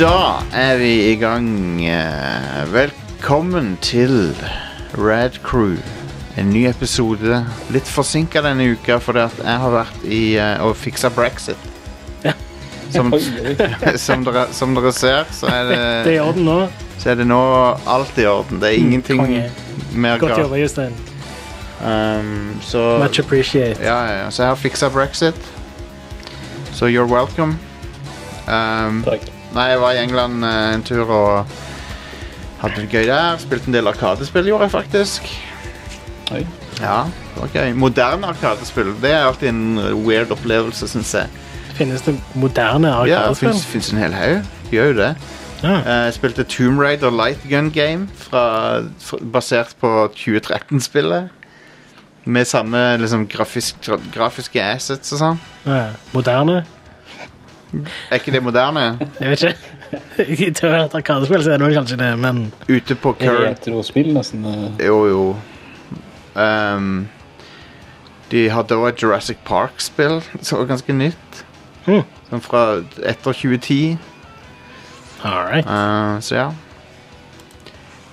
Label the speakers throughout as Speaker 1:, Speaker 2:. Speaker 1: da er vi i gang. Eh, Velkommen til Rad Crew. En ny episode. Litt forsinka denne uka fordi at jeg har vært i eh, og fiksa brexit. Som, som, dere, som dere ser, så er
Speaker 2: Det er
Speaker 1: det,
Speaker 2: i orden nå.
Speaker 1: så er det nå alt i orden. Det er ingenting
Speaker 2: konge.
Speaker 1: mer
Speaker 2: Godt
Speaker 1: galt.
Speaker 2: jobba, Jostein.
Speaker 1: Um, så
Speaker 2: Much appreciate.
Speaker 1: Ja, ja, ja. Så jeg har fiksa brexit. Så you're welcome. Um,
Speaker 3: Takk.
Speaker 1: nei, jeg var i England eh, en tur og hadde det gøy der. Spilte en del arkadespill, gjorde jeg faktisk.
Speaker 3: Oi.
Speaker 1: Ja, det var gøy. Moderne arkadespill det er alltid en weird opplevelse, syns jeg.
Speaker 2: Finnes det moderne
Speaker 1: Ja,
Speaker 2: arkadespill?
Speaker 1: det fins en hel haug. De Gjør jo det.
Speaker 2: Ja.
Speaker 1: Eh, Jeg spilte Tomb Raider Light Gun Game fra, fra, basert på 2013-spillet. Med samme liksom, grafisk, grafiske assets og sånn.
Speaker 2: Ja. Moderne?
Speaker 1: Er ikke det moderne?
Speaker 2: Jeg vet ikke. I tør et arkadespill så er det vel kanskje det, men
Speaker 1: Ute på current
Speaker 3: Retrospill, nesten. eh,
Speaker 1: Jo, jo. Ehm, de hadde også et Jurassic Park-spill som var ganske nytt.
Speaker 2: Hmm.
Speaker 1: Sånn fra etter 2010.
Speaker 2: all right.
Speaker 1: Eh, så ja.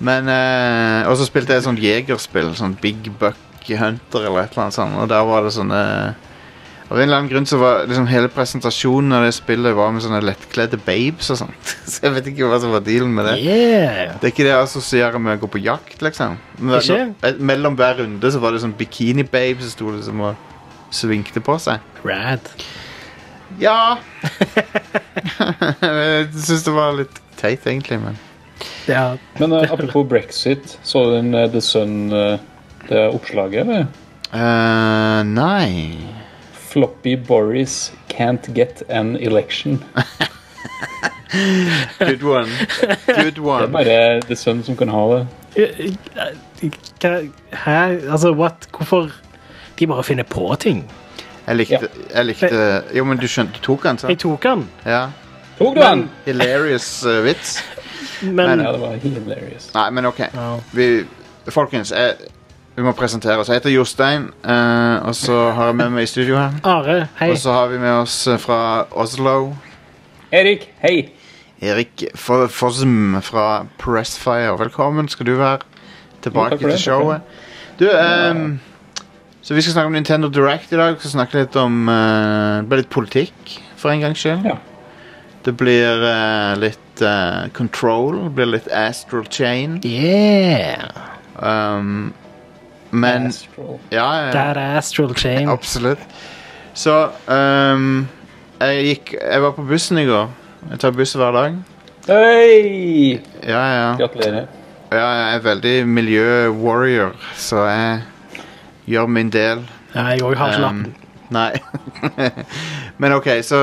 Speaker 1: Men eh, Og så spilte jeg sånn jegerspill. Sånn Big Buck Hunter eller et eller annet sånt. Og der var det sånne Av en eller annen grunn så var liksom hele presentasjonen av det spillet var med sånne lettkledde babes og sånt. Så jeg vet ikke hva som var dealen med det.
Speaker 2: Yeah.
Speaker 1: Det er ikke det jeg assosierer med å gå på jakt, liksom. Men,
Speaker 2: Ikke?
Speaker 1: eh, Mellom hver runde så var det sånn Bikini Babe som sto liksom og svingte på seg.
Speaker 2: Rad.
Speaker 1: Ja! jeg syns det var litt teit, egentlig, men
Speaker 2: Ja.
Speaker 3: Men eh, apropos brexit, så du den eh, The Sun eh, det oppslaget? eller?
Speaker 1: Eh, Nei.
Speaker 3: Floppy Boris can't get an election.
Speaker 1: Good one. Good
Speaker 3: Det er
Speaker 1: one.
Speaker 3: bare The Sun som kan ha det.
Speaker 2: Eh, Hva Hæ? Altså, what? Hvorfor De bare finner på ting.
Speaker 1: Jeg likte, jeg likte Jo, men du skjønte du tok den,
Speaker 2: Jeg
Speaker 1: sant?
Speaker 2: tok den,
Speaker 1: Ja.
Speaker 3: Tok du den?!
Speaker 1: Hilarious eh, vits.
Speaker 2: men
Speaker 3: Ja, det var hilarious.
Speaker 1: Nei, men OK.
Speaker 2: Ja.
Speaker 1: Vi, folkens, jeg, vi må presentere oss. Jeg heter Jostein, eh, og så har jeg med meg i studio her
Speaker 2: Are, hei.
Speaker 1: Og så har vi med oss eh, fra Oslo
Speaker 3: Erik, hei!
Speaker 1: Erik Fo- Fossum fra Pressfire. Velkommen skal du være
Speaker 3: Jo,
Speaker 1: tilbake
Speaker 3: takk for det,
Speaker 1: til
Speaker 3: takk for
Speaker 1: showet. Du, ehm, så vi skal snakke om Nintendo Direct i dag. Vi skal snakke litt om eh, Det blir litt politikk for en gangs skyld.
Speaker 3: Ja.
Speaker 1: Det blir eh, litt eh, Control. Det blir litt Astral Chain.
Speaker 2: Yeah.
Speaker 1: Um, men
Speaker 3: Astral.
Speaker 1: ja, ja, ja.
Speaker 2: That astral chain.
Speaker 1: Absolutt. Så ehm, jeg gikk Jeg var på bussen i går. Jeg tar buss hver dag.
Speaker 3: Hei!
Speaker 1: Ja, ja.
Speaker 3: Gratulerer.
Speaker 1: ja jeg er veldig miljø-warrior, så jeg gjør min del.
Speaker 2: Ja, jeg òg har ikke lappen.
Speaker 1: Ehm, nei. Men OK, så,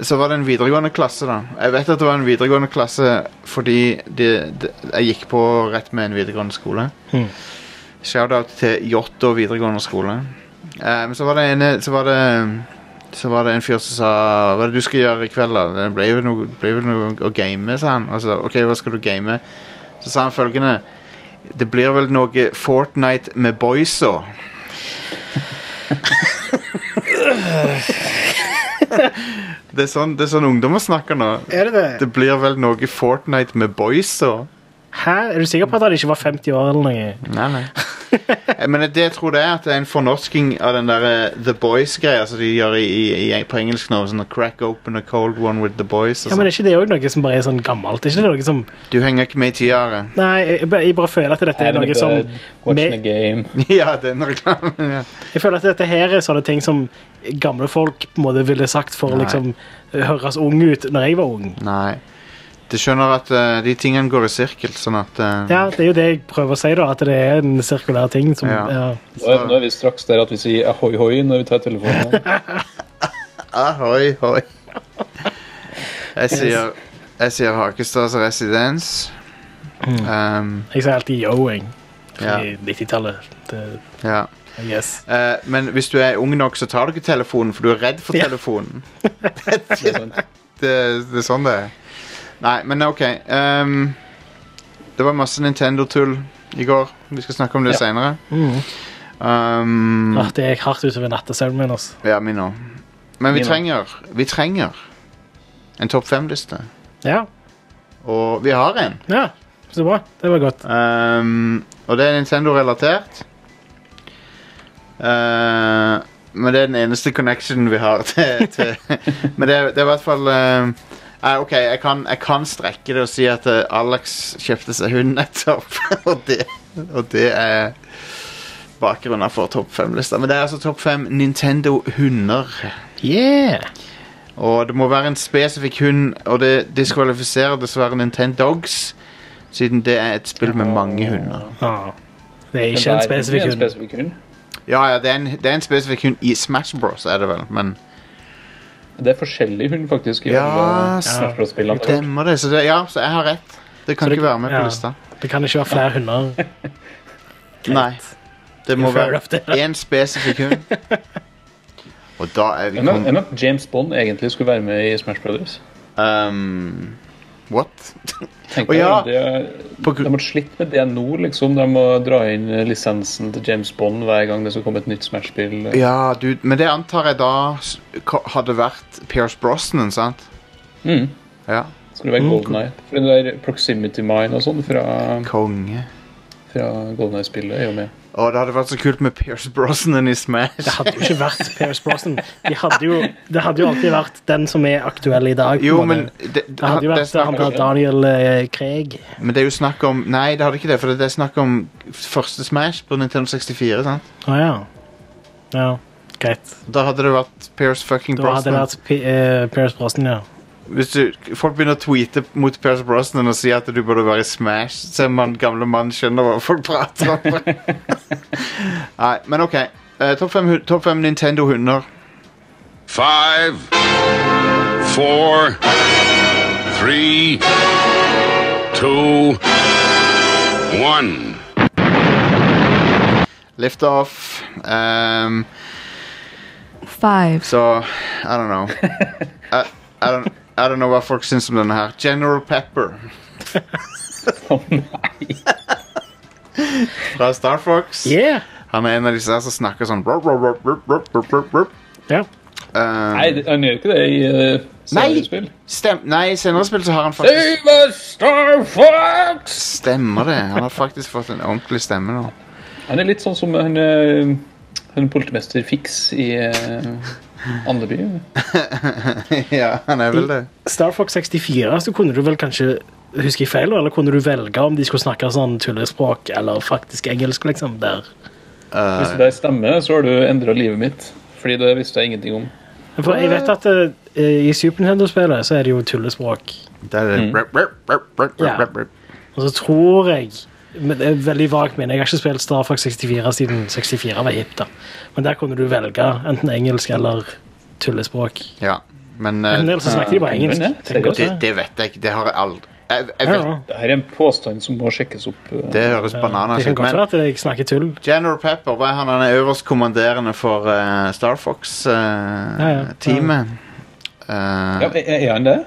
Speaker 1: så var det en videregående klasse, da. Jeg vet at det var en videregående klasse fordi de, de, jeg gikk på rett med en videregående skole.
Speaker 2: Mhm.
Speaker 1: Shout-out til Jåttå videregående skole. Eh, Men så var det en Så var det så var det en fyr som sa Hva er det du skal gjøre i kveld da? Det ble vel noe, ble vel noe å game, sa han Og så, ok, hva skal du game? Så sa han følgende Det blir vel noe Fortnite med boysa Det er sånn, det er sånn ungdommer snakker nå
Speaker 2: Er det det?
Speaker 1: Det blir vel noe Fortnite med boysa
Speaker 2: Hæ? Er du sikker på at han ikke var 50 år eller noe?
Speaker 1: Nei, nei. Eh, Men det jeg tror det er at det er en fornorsking av den der eh, The Boys-greia som de gjør i, i, i, på engelsk nå. Sånn crack open a cold one with the boys. Og
Speaker 2: Ja, men
Speaker 1: sånn.
Speaker 2: Er ikke det òg noe som bare er sånn gammelt? Er ikke det noe som...
Speaker 1: Du henger ikke med i tiare.
Speaker 2: Nei, jeg, jeg bare føler at dette er
Speaker 3: Having a
Speaker 2: noe som
Speaker 3: bed, watching a
Speaker 2: med-
Speaker 3: game.
Speaker 1: ja, den reklamen. Ja.
Speaker 2: Jeg føler at dette her er sånne ting som gamle folk på en måte ville sagt for å
Speaker 1: Nei.
Speaker 2: liksom høres ung ut når jeg var ung.
Speaker 1: Nei. Du skjønner at eh, de tingene går i sirkel, sånn at eh,
Speaker 2: Ja, Det er jo det jeg prøver å si, da, at det er en sirkulær ting som
Speaker 1: Ja.
Speaker 2: ja.
Speaker 3: Nå er- nå er vi straks der at vi sier ahoi hoi når vi tar telefonen.
Speaker 1: Ahoi, hoi. Jeg sier, jeg sier Hakestads residens.
Speaker 2: Mm.
Speaker 1: Um,
Speaker 2: Jeg sier alltid yo-ing i
Speaker 1: ja,
Speaker 2: 90-tallet. Det-
Speaker 1: ja.
Speaker 2: Yes.
Speaker 1: Eh, men hvis du er ung nok, så tar du ikke telefonen, for du er redd for
Speaker 2: Ja.
Speaker 1: telefonen.
Speaker 3: Det er sant.
Speaker 1: det, det er sånn det er. Nei, men ok. ehm, det var masse Nintendo-tull i går. Vi skal snakke om det
Speaker 3: Ja.
Speaker 1: senere.
Speaker 2: Mm.
Speaker 1: Um,
Speaker 2: Ah, det gikk hardt utover nattesøvnen min. Altså.
Speaker 1: ja, min òg. Men vi
Speaker 3: Min også.
Speaker 1: trenger, vi trenger en topp fem-liste.
Speaker 2: Ja.
Speaker 1: Og vi har en.
Speaker 2: Ja, så bra. Det var godt.
Speaker 1: Ehm, og det er Nintendo-relatert. Eh, men det er den eneste connectionen vi har til, til Men det er, det er i hvert fall eh, eh, OK, jeg kan, jeg kan strekke det og si at eh, Alex kjøpte seg hund nettopp. og, det, og det er bakgrunnen for topp fem-lista. Men det er altså topp fem Nintendo-hunder.
Speaker 2: Yeah!
Speaker 1: Og det må være en spesifikk hund, og det diskvalifiserer dessverre Nintendogs, siden det er et spill med mange hunder.
Speaker 2: Ah, det er
Speaker 3: Men
Speaker 2: ikke en
Speaker 3: det er
Speaker 2: spesifikk
Speaker 3: ikke en
Speaker 2: hund.
Speaker 3: spesifikk hund.
Speaker 1: Ja, ja, det er, en, det er en spesifikk hund i Smash Bros, er det vel, men
Speaker 3: Det er forskjellig hund, faktisk. i
Speaker 1: Ja,
Speaker 3: alle
Speaker 1: s-
Speaker 3: Smash Bros-spillene.
Speaker 1: stemmer det. Så det, ja, så jeg har rett. Det kan
Speaker 2: Så det-
Speaker 1: ikke være med på
Speaker 2: ja.
Speaker 1: lista.
Speaker 2: Det kan ikke være flere hunder. Greit.
Speaker 1: Nei. Det må
Speaker 2: Jeg føler
Speaker 1: være
Speaker 2: ofte-
Speaker 1: én spesifikk hund. Og da er vi
Speaker 3: Enn at-
Speaker 1: kommet
Speaker 3: enn at James Bond egentlig skulle være med i Smash Brothers.
Speaker 1: um, What?
Speaker 3: Tenk
Speaker 1: Å,
Speaker 3: deg,
Speaker 1: ja.
Speaker 3: det,
Speaker 1: På gru-
Speaker 3: de har slitt med det nå, liksom. De må dra inn lisensen til James Bond hver gang det skal komme et nytt Smash-spill.
Speaker 1: Ja, du, men det antar jeg da s- ko- hadde vært Pierce Brosnan, sant?
Speaker 3: Mm.
Speaker 1: Ja.
Speaker 3: Skulle
Speaker 1: Mm.
Speaker 3: være Golden Eye. For den der Proximity Mine og sånn fra,
Speaker 1: Konge.
Speaker 3: fra Golden Eye-spillet er jo med.
Speaker 1: Og det hadde vært så kult med Pierce Brosnan i
Speaker 2: Det
Speaker 1: Smash.
Speaker 2: hadde jo ikke vært Pierce Brosnan. De hadde jo, det hadde jo alltid vært den som er aktuell i dag. på en
Speaker 1: Jo,
Speaker 2: måte.
Speaker 1: men det,
Speaker 2: det hadde
Speaker 1: det er
Speaker 2: jo vært han
Speaker 1: snakk om,
Speaker 2: der Daniel eh, Craig.
Speaker 1: Men det er jo snakk om Nei, det hadde ikke det, for det er snakk om første Smash på Nintendo 64. sant?
Speaker 2: Å ja. Ja, greit.
Speaker 1: Da hadde det vært Pierce fucking
Speaker 2: Da hadde det
Speaker 1: Brosnan.
Speaker 2: vært P eh, Pierce Brosnan, ja.
Speaker 1: Hvis du, folk begynner å tweete mot Pierce Brosnan og si at du burde være i Smash, så er man gamle mann skjønner hva folk prater om. Nei, men OK. Eh, Topp fem, hu- topp fem Nintendo-hunder.
Speaker 4: Five, four, three, two, one.
Speaker 1: Lift off. Um,
Speaker 5: Five.
Speaker 1: så I don't know. I, I, don't, I don't know hva folk syns om denne her. General Pepper
Speaker 3: Å nei!
Speaker 1: fra Star Fox.
Speaker 2: Yeah.
Speaker 1: Han er en av disse her som snakker sånn rup, rup, rup, rup, rup, rup, rup, rup.
Speaker 2: ja.
Speaker 1: Eh,
Speaker 3: Nei, det- han gjør ikke det i uh,
Speaker 1: Nei.
Speaker 3: seriespill.
Speaker 1: Stem, nei, i senere spill så har han faktisk
Speaker 3: Save us, Star Fox!
Speaker 1: Stemmer det. Han har faktisk fått en ordentlig stemme nå.
Speaker 3: Han er litt sånn som en, eh, en politimester Fix i uh, Andeby.
Speaker 1: ja, han er vel det.
Speaker 2: Star Fox 64 så kunne du vel kanskje Husker jeg feil, eller kunne du velge om de skulle snakke sånn tullespråk eller faktisk engelsk? liksom, der?
Speaker 3: Hvis det der stemmer, så har du endra livet mitt. Fordi det visste jeg ingenting om.
Speaker 2: For jeg vet at eh, i Super Nintendo-spillet så er det jo tullespråk.
Speaker 1: Det er det. Rup, rup, rup, rup,
Speaker 2: Mm. Ja.
Speaker 1: rup, rup.
Speaker 2: Og så tror jeg men det er veldig vagt men Jeg har ikke spilt Star Fox 64 siden 64 var hipt. da. Men der kunne du velge enten engelsk eller tullespråk.
Speaker 1: Ja, men eh,
Speaker 2: En del så snakket de bare engelsk.
Speaker 3: Men, ja,
Speaker 2: Tenk
Speaker 3: seriøst?
Speaker 2: også.
Speaker 1: det, det vet jeg ikke. Det har jeg aldri jeg, jeg
Speaker 2: Ja,
Speaker 1: vet,
Speaker 2: ja.
Speaker 3: Dette er en påstand som må sjekkes opp. eh.
Speaker 1: Det høres bananas
Speaker 2: Det
Speaker 1: ut,
Speaker 2: kan godt
Speaker 1: men
Speaker 2: være at jeg snakker tull.
Speaker 1: General Pepper, hva er han? Han er øverstkommanderende for eh, Star
Speaker 2: ja, ja.
Speaker 1: Fox-teamet.
Speaker 3: Ja, er- er han det?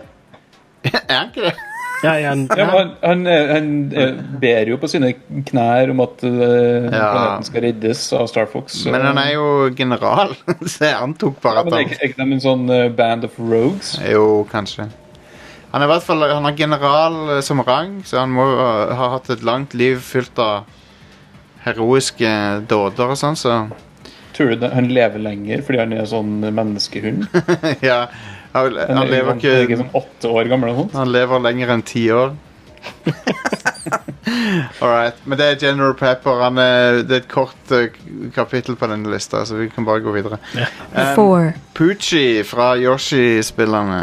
Speaker 1: Eh, er han ikke det?
Speaker 2: Ja, ja, en-
Speaker 3: Ja, men han, han, eh, han eh, ber jo på sine knær om at eh, planeten skal reddes av Star Fox.
Speaker 1: Men han er jo general, så jeg antok bare
Speaker 3: ja,
Speaker 1: at
Speaker 3: men er
Speaker 1: han
Speaker 3: ikke- er ikke de en sånn eh, band of rogues?
Speaker 1: Jo, kanskje. Han er i hvert fall han er general eh, som rang, så han må eh, ha hatt et langt liv fylt av heroiske dåder og sånn, så
Speaker 3: Tror du det- han lever lenger fordi han er sånn menneskehund?
Speaker 1: Ja. Han,
Speaker 3: Han,
Speaker 1: han lever
Speaker 3: er ikke
Speaker 1: ikke
Speaker 3: sånn åtte år gammel eller noe sånt.
Speaker 1: Han lever lenger enn ti år. All right. Men det er General Pepper. Han er, det er et kort eh, kapittel på denne lista, så vi kan bare gå videre. Um,
Speaker 5: Four.
Speaker 1: Poochie fra Yoshi-spillerne.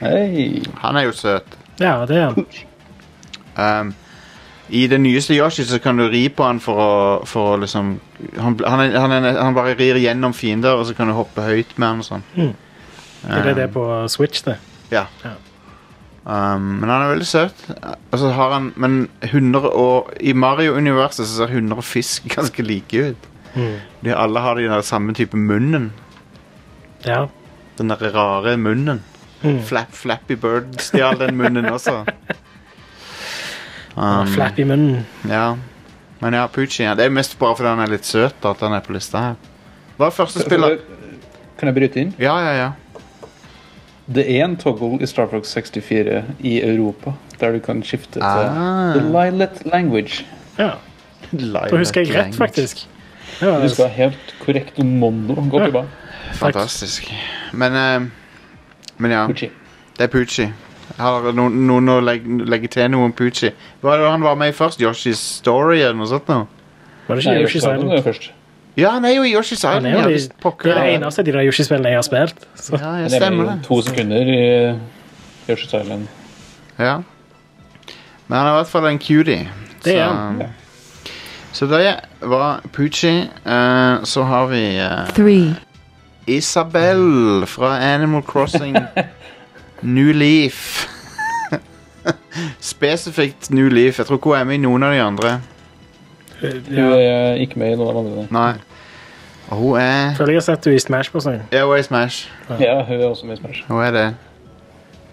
Speaker 3: Hei!
Speaker 1: Han er jo søt.
Speaker 2: ja, det er han.
Speaker 1: Um, I det nyeste Yoshi så kan du ri på han for å, for å liksom han, bl- han, er, han, er, han bare rir gjennom fiender, og så kan du hoppe høyt med han og sånn.
Speaker 2: Er det det på Switch, det?
Speaker 1: Ja.
Speaker 2: Ja.
Speaker 1: Um, men han er veldig søt. Og så har han Men hunder og I Mario-universet så ser hunder og fisk ganske like ut. De alle har den der samme type munnen.
Speaker 2: Ja.
Speaker 1: Den der rare munnen. Flap, Flappy Bird stjal den munnen også. Um,
Speaker 2: Flapp i munnen.
Speaker 1: Ja. Men ja, Poochie. Ja. Det er mest bare fordi han er litt søt at han er på lista her. Hva er første spiller?
Speaker 3: Kan jeg bryte inn?
Speaker 1: Ja, ja, ja.
Speaker 3: Det er en toggle i Star Fox 64 i Europa. der du kan skifte til
Speaker 1: Ah.
Speaker 3: The Lilet language.
Speaker 2: Ja. Da husker jeg rett, faktisk. Det var
Speaker 3: Du skal helt korrekt mondo. Gå
Speaker 2: Ja.
Speaker 3: tilbake.
Speaker 1: Fantastisk. Men, eh, men ja,
Speaker 3: Gucci.
Speaker 1: det er Poochie. Har noen, noen å legge, legge til noe om Poochie? Hva er det han var med i først? Yoshi's Story eller noe sånt? Nå?
Speaker 2: Var det
Speaker 3: Nei,
Speaker 2: ikke
Speaker 3: jeg
Speaker 2: Yoshi's
Speaker 3: sa det
Speaker 2: Island?
Speaker 3: jo først.
Speaker 1: Ja, han er jo i Yoshi's
Speaker 2: Han
Speaker 1: Island.
Speaker 2: er jo
Speaker 1: ja,
Speaker 2: de-
Speaker 1: hvis pokker
Speaker 2: Det er det
Speaker 1: han-
Speaker 2: eneste av de der Yoshi-spillene jeg har spilt. Så.
Speaker 1: Ja,
Speaker 3: Men
Speaker 1: jeg
Speaker 3: det er
Speaker 1: stemmer
Speaker 3: med
Speaker 1: det.
Speaker 3: to sekunder i eh, Yoshi Island.
Speaker 1: Ja. Men han er i hvert fall en cutie.
Speaker 2: Det er
Speaker 1: så,
Speaker 2: han.
Speaker 1: Så det var Poochie. eh, så har vi eh,
Speaker 5: three,
Speaker 1: Isabel fra Animal Crossing New Leaf. Spesifikt New Leaf. Jeg tror ikke hun er med i noen av de andre.
Speaker 2: Ja.
Speaker 3: Du er ikke med i noen av de andre.
Speaker 1: Nei. Og hun er
Speaker 2: Føler jeg har sett du i Smash på sånn.
Speaker 1: Ja, hun er i Smash.
Speaker 3: Ja, hun er også med i Smash.
Speaker 1: Hun er det.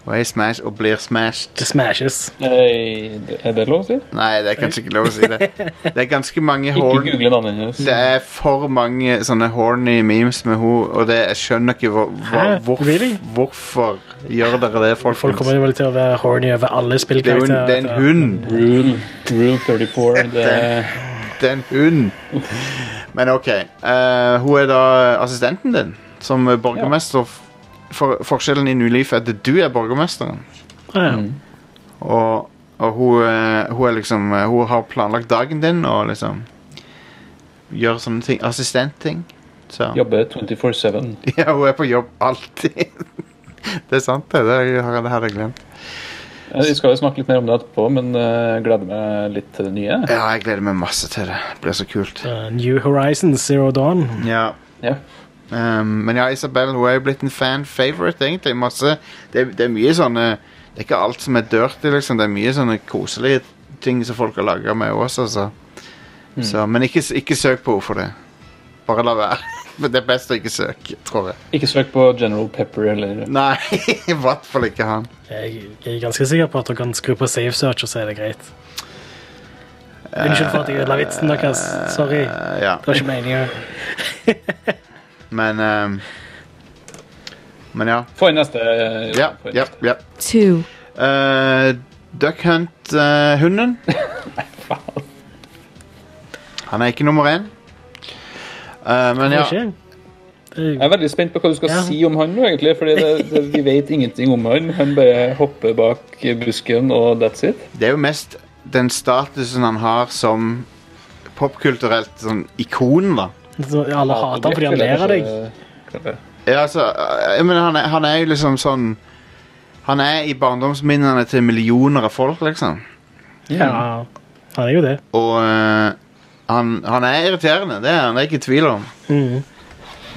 Speaker 1: Hun er i Smash og blir smashed.
Speaker 2: Det smashes.
Speaker 3: Nei, Eh, Er det lov å si?
Speaker 1: Nei, det er kanskje ikke lov å si det. Det er ganske mange
Speaker 3: Ikke
Speaker 1: horn
Speaker 3: google navnet hennes.
Speaker 1: Det er for mange sånne horny memes med henne, og det, jeg skjønner ikke hvor, hva,
Speaker 2: Hæ?
Speaker 1: hvorf-
Speaker 2: Really?
Speaker 1: hvorfor gjør dere det,
Speaker 2: Folk
Speaker 1: folkens.
Speaker 2: kommer jo vel til å være horny over
Speaker 1: Det er jo
Speaker 2: alle
Speaker 1: en,
Speaker 2: spillkarakterer.
Speaker 1: det er en hund.
Speaker 3: Rule, rule 34. Det er
Speaker 1: Det er en hund. Men OK. eh, hun er da assistenten din som er borgermester. For, forskjellen i New Leaf er at du er borgermesteren.
Speaker 2: Ja,
Speaker 1: Mm.
Speaker 2: ja.
Speaker 1: Og, og hun, eh, hun er liksom eh, Hun har planlagt dagen din og liksom gjør sånne ting. Assistentting. Så.
Speaker 3: jobber 24-7.
Speaker 1: Ja, hun er på jobb alltid. det er sant, det. Det har- det hadde jeg glemt.
Speaker 3: Eh, Vi skal jo snakke litt mer om det etterpå, men eh, jeg gleder meg litt til det nye.
Speaker 1: Ja, jeg gleder meg masse til det. Det blir så kult.
Speaker 2: Uh, New Horizons Zero Dawn.
Speaker 1: Ja.
Speaker 3: Ja.
Speaker 1: Um, men ja, Isabel hun er jo blitt en fan favorite, egentlig. Masse, det, det er mye sånne Det er ikke alt som er dirty, liksom. Det er mye sånne koselige ting som folk har laga med oss, altså. Så, men ikke, ikke søk på henne for det. Bare la være. Men det er best å ikke søke, tror jeg.
Speaker 3: Ikke søk på General Pepper eller
Speaker 1: Nei, i hvert fall ikke han.
Speaker 2: Jeg, jeg er ganske sikker på at dere kan skru på safe search, og så er det greit. Unnskyld for at jeg ødela vitsen deres. Sorry.
Speaker 1: Eh,
Speaker 2: Det
Speaker 1: ja.
Speaker 2: var ikke meningen.
Speaker 1: Men um, Men ja.
Speaker 3: Få inn neste. eh,
Speaker 1: Ja,
Speaker 3: få inn
Speaker 1: ja,
Speaker 3: neste.
Speaker 1: ja.
Speaker 5: two,
Speaker 1: Eh, Duck eh, Hunt-hunden.
Speaker 3: Faen.
Speaker 1: han er ikke nummer én. Eh, men ja.
Speaker 2: Ikke? Det-
Speaker 3: Jeg er veldig spent på hva du skal
Speaker 2: Ja.
Speaker 3: si om han nå, egentlig. Fordi det, det, vi vet ingenting om han. Han bare hopper bak busken, og that's it.
Speaker 1: Det er jo mest den statusen han har som popkulturelt sånn ikon, da.
Speaker 2: så Alle hater han fordi han ler av deg.
Speaker 3: deg.
Speaker 1: Ja, altså, eh, jeg mener, han, er, han er jo liksom sånn Han er i barndomsminnene til millioner av folk, liksom.
Speaker 2: Ja, han er jo det.
Speaker 1: Og eh, han, han er irriterende, det er han, det er ikke i tvil om.
Speaker 2: Mhm.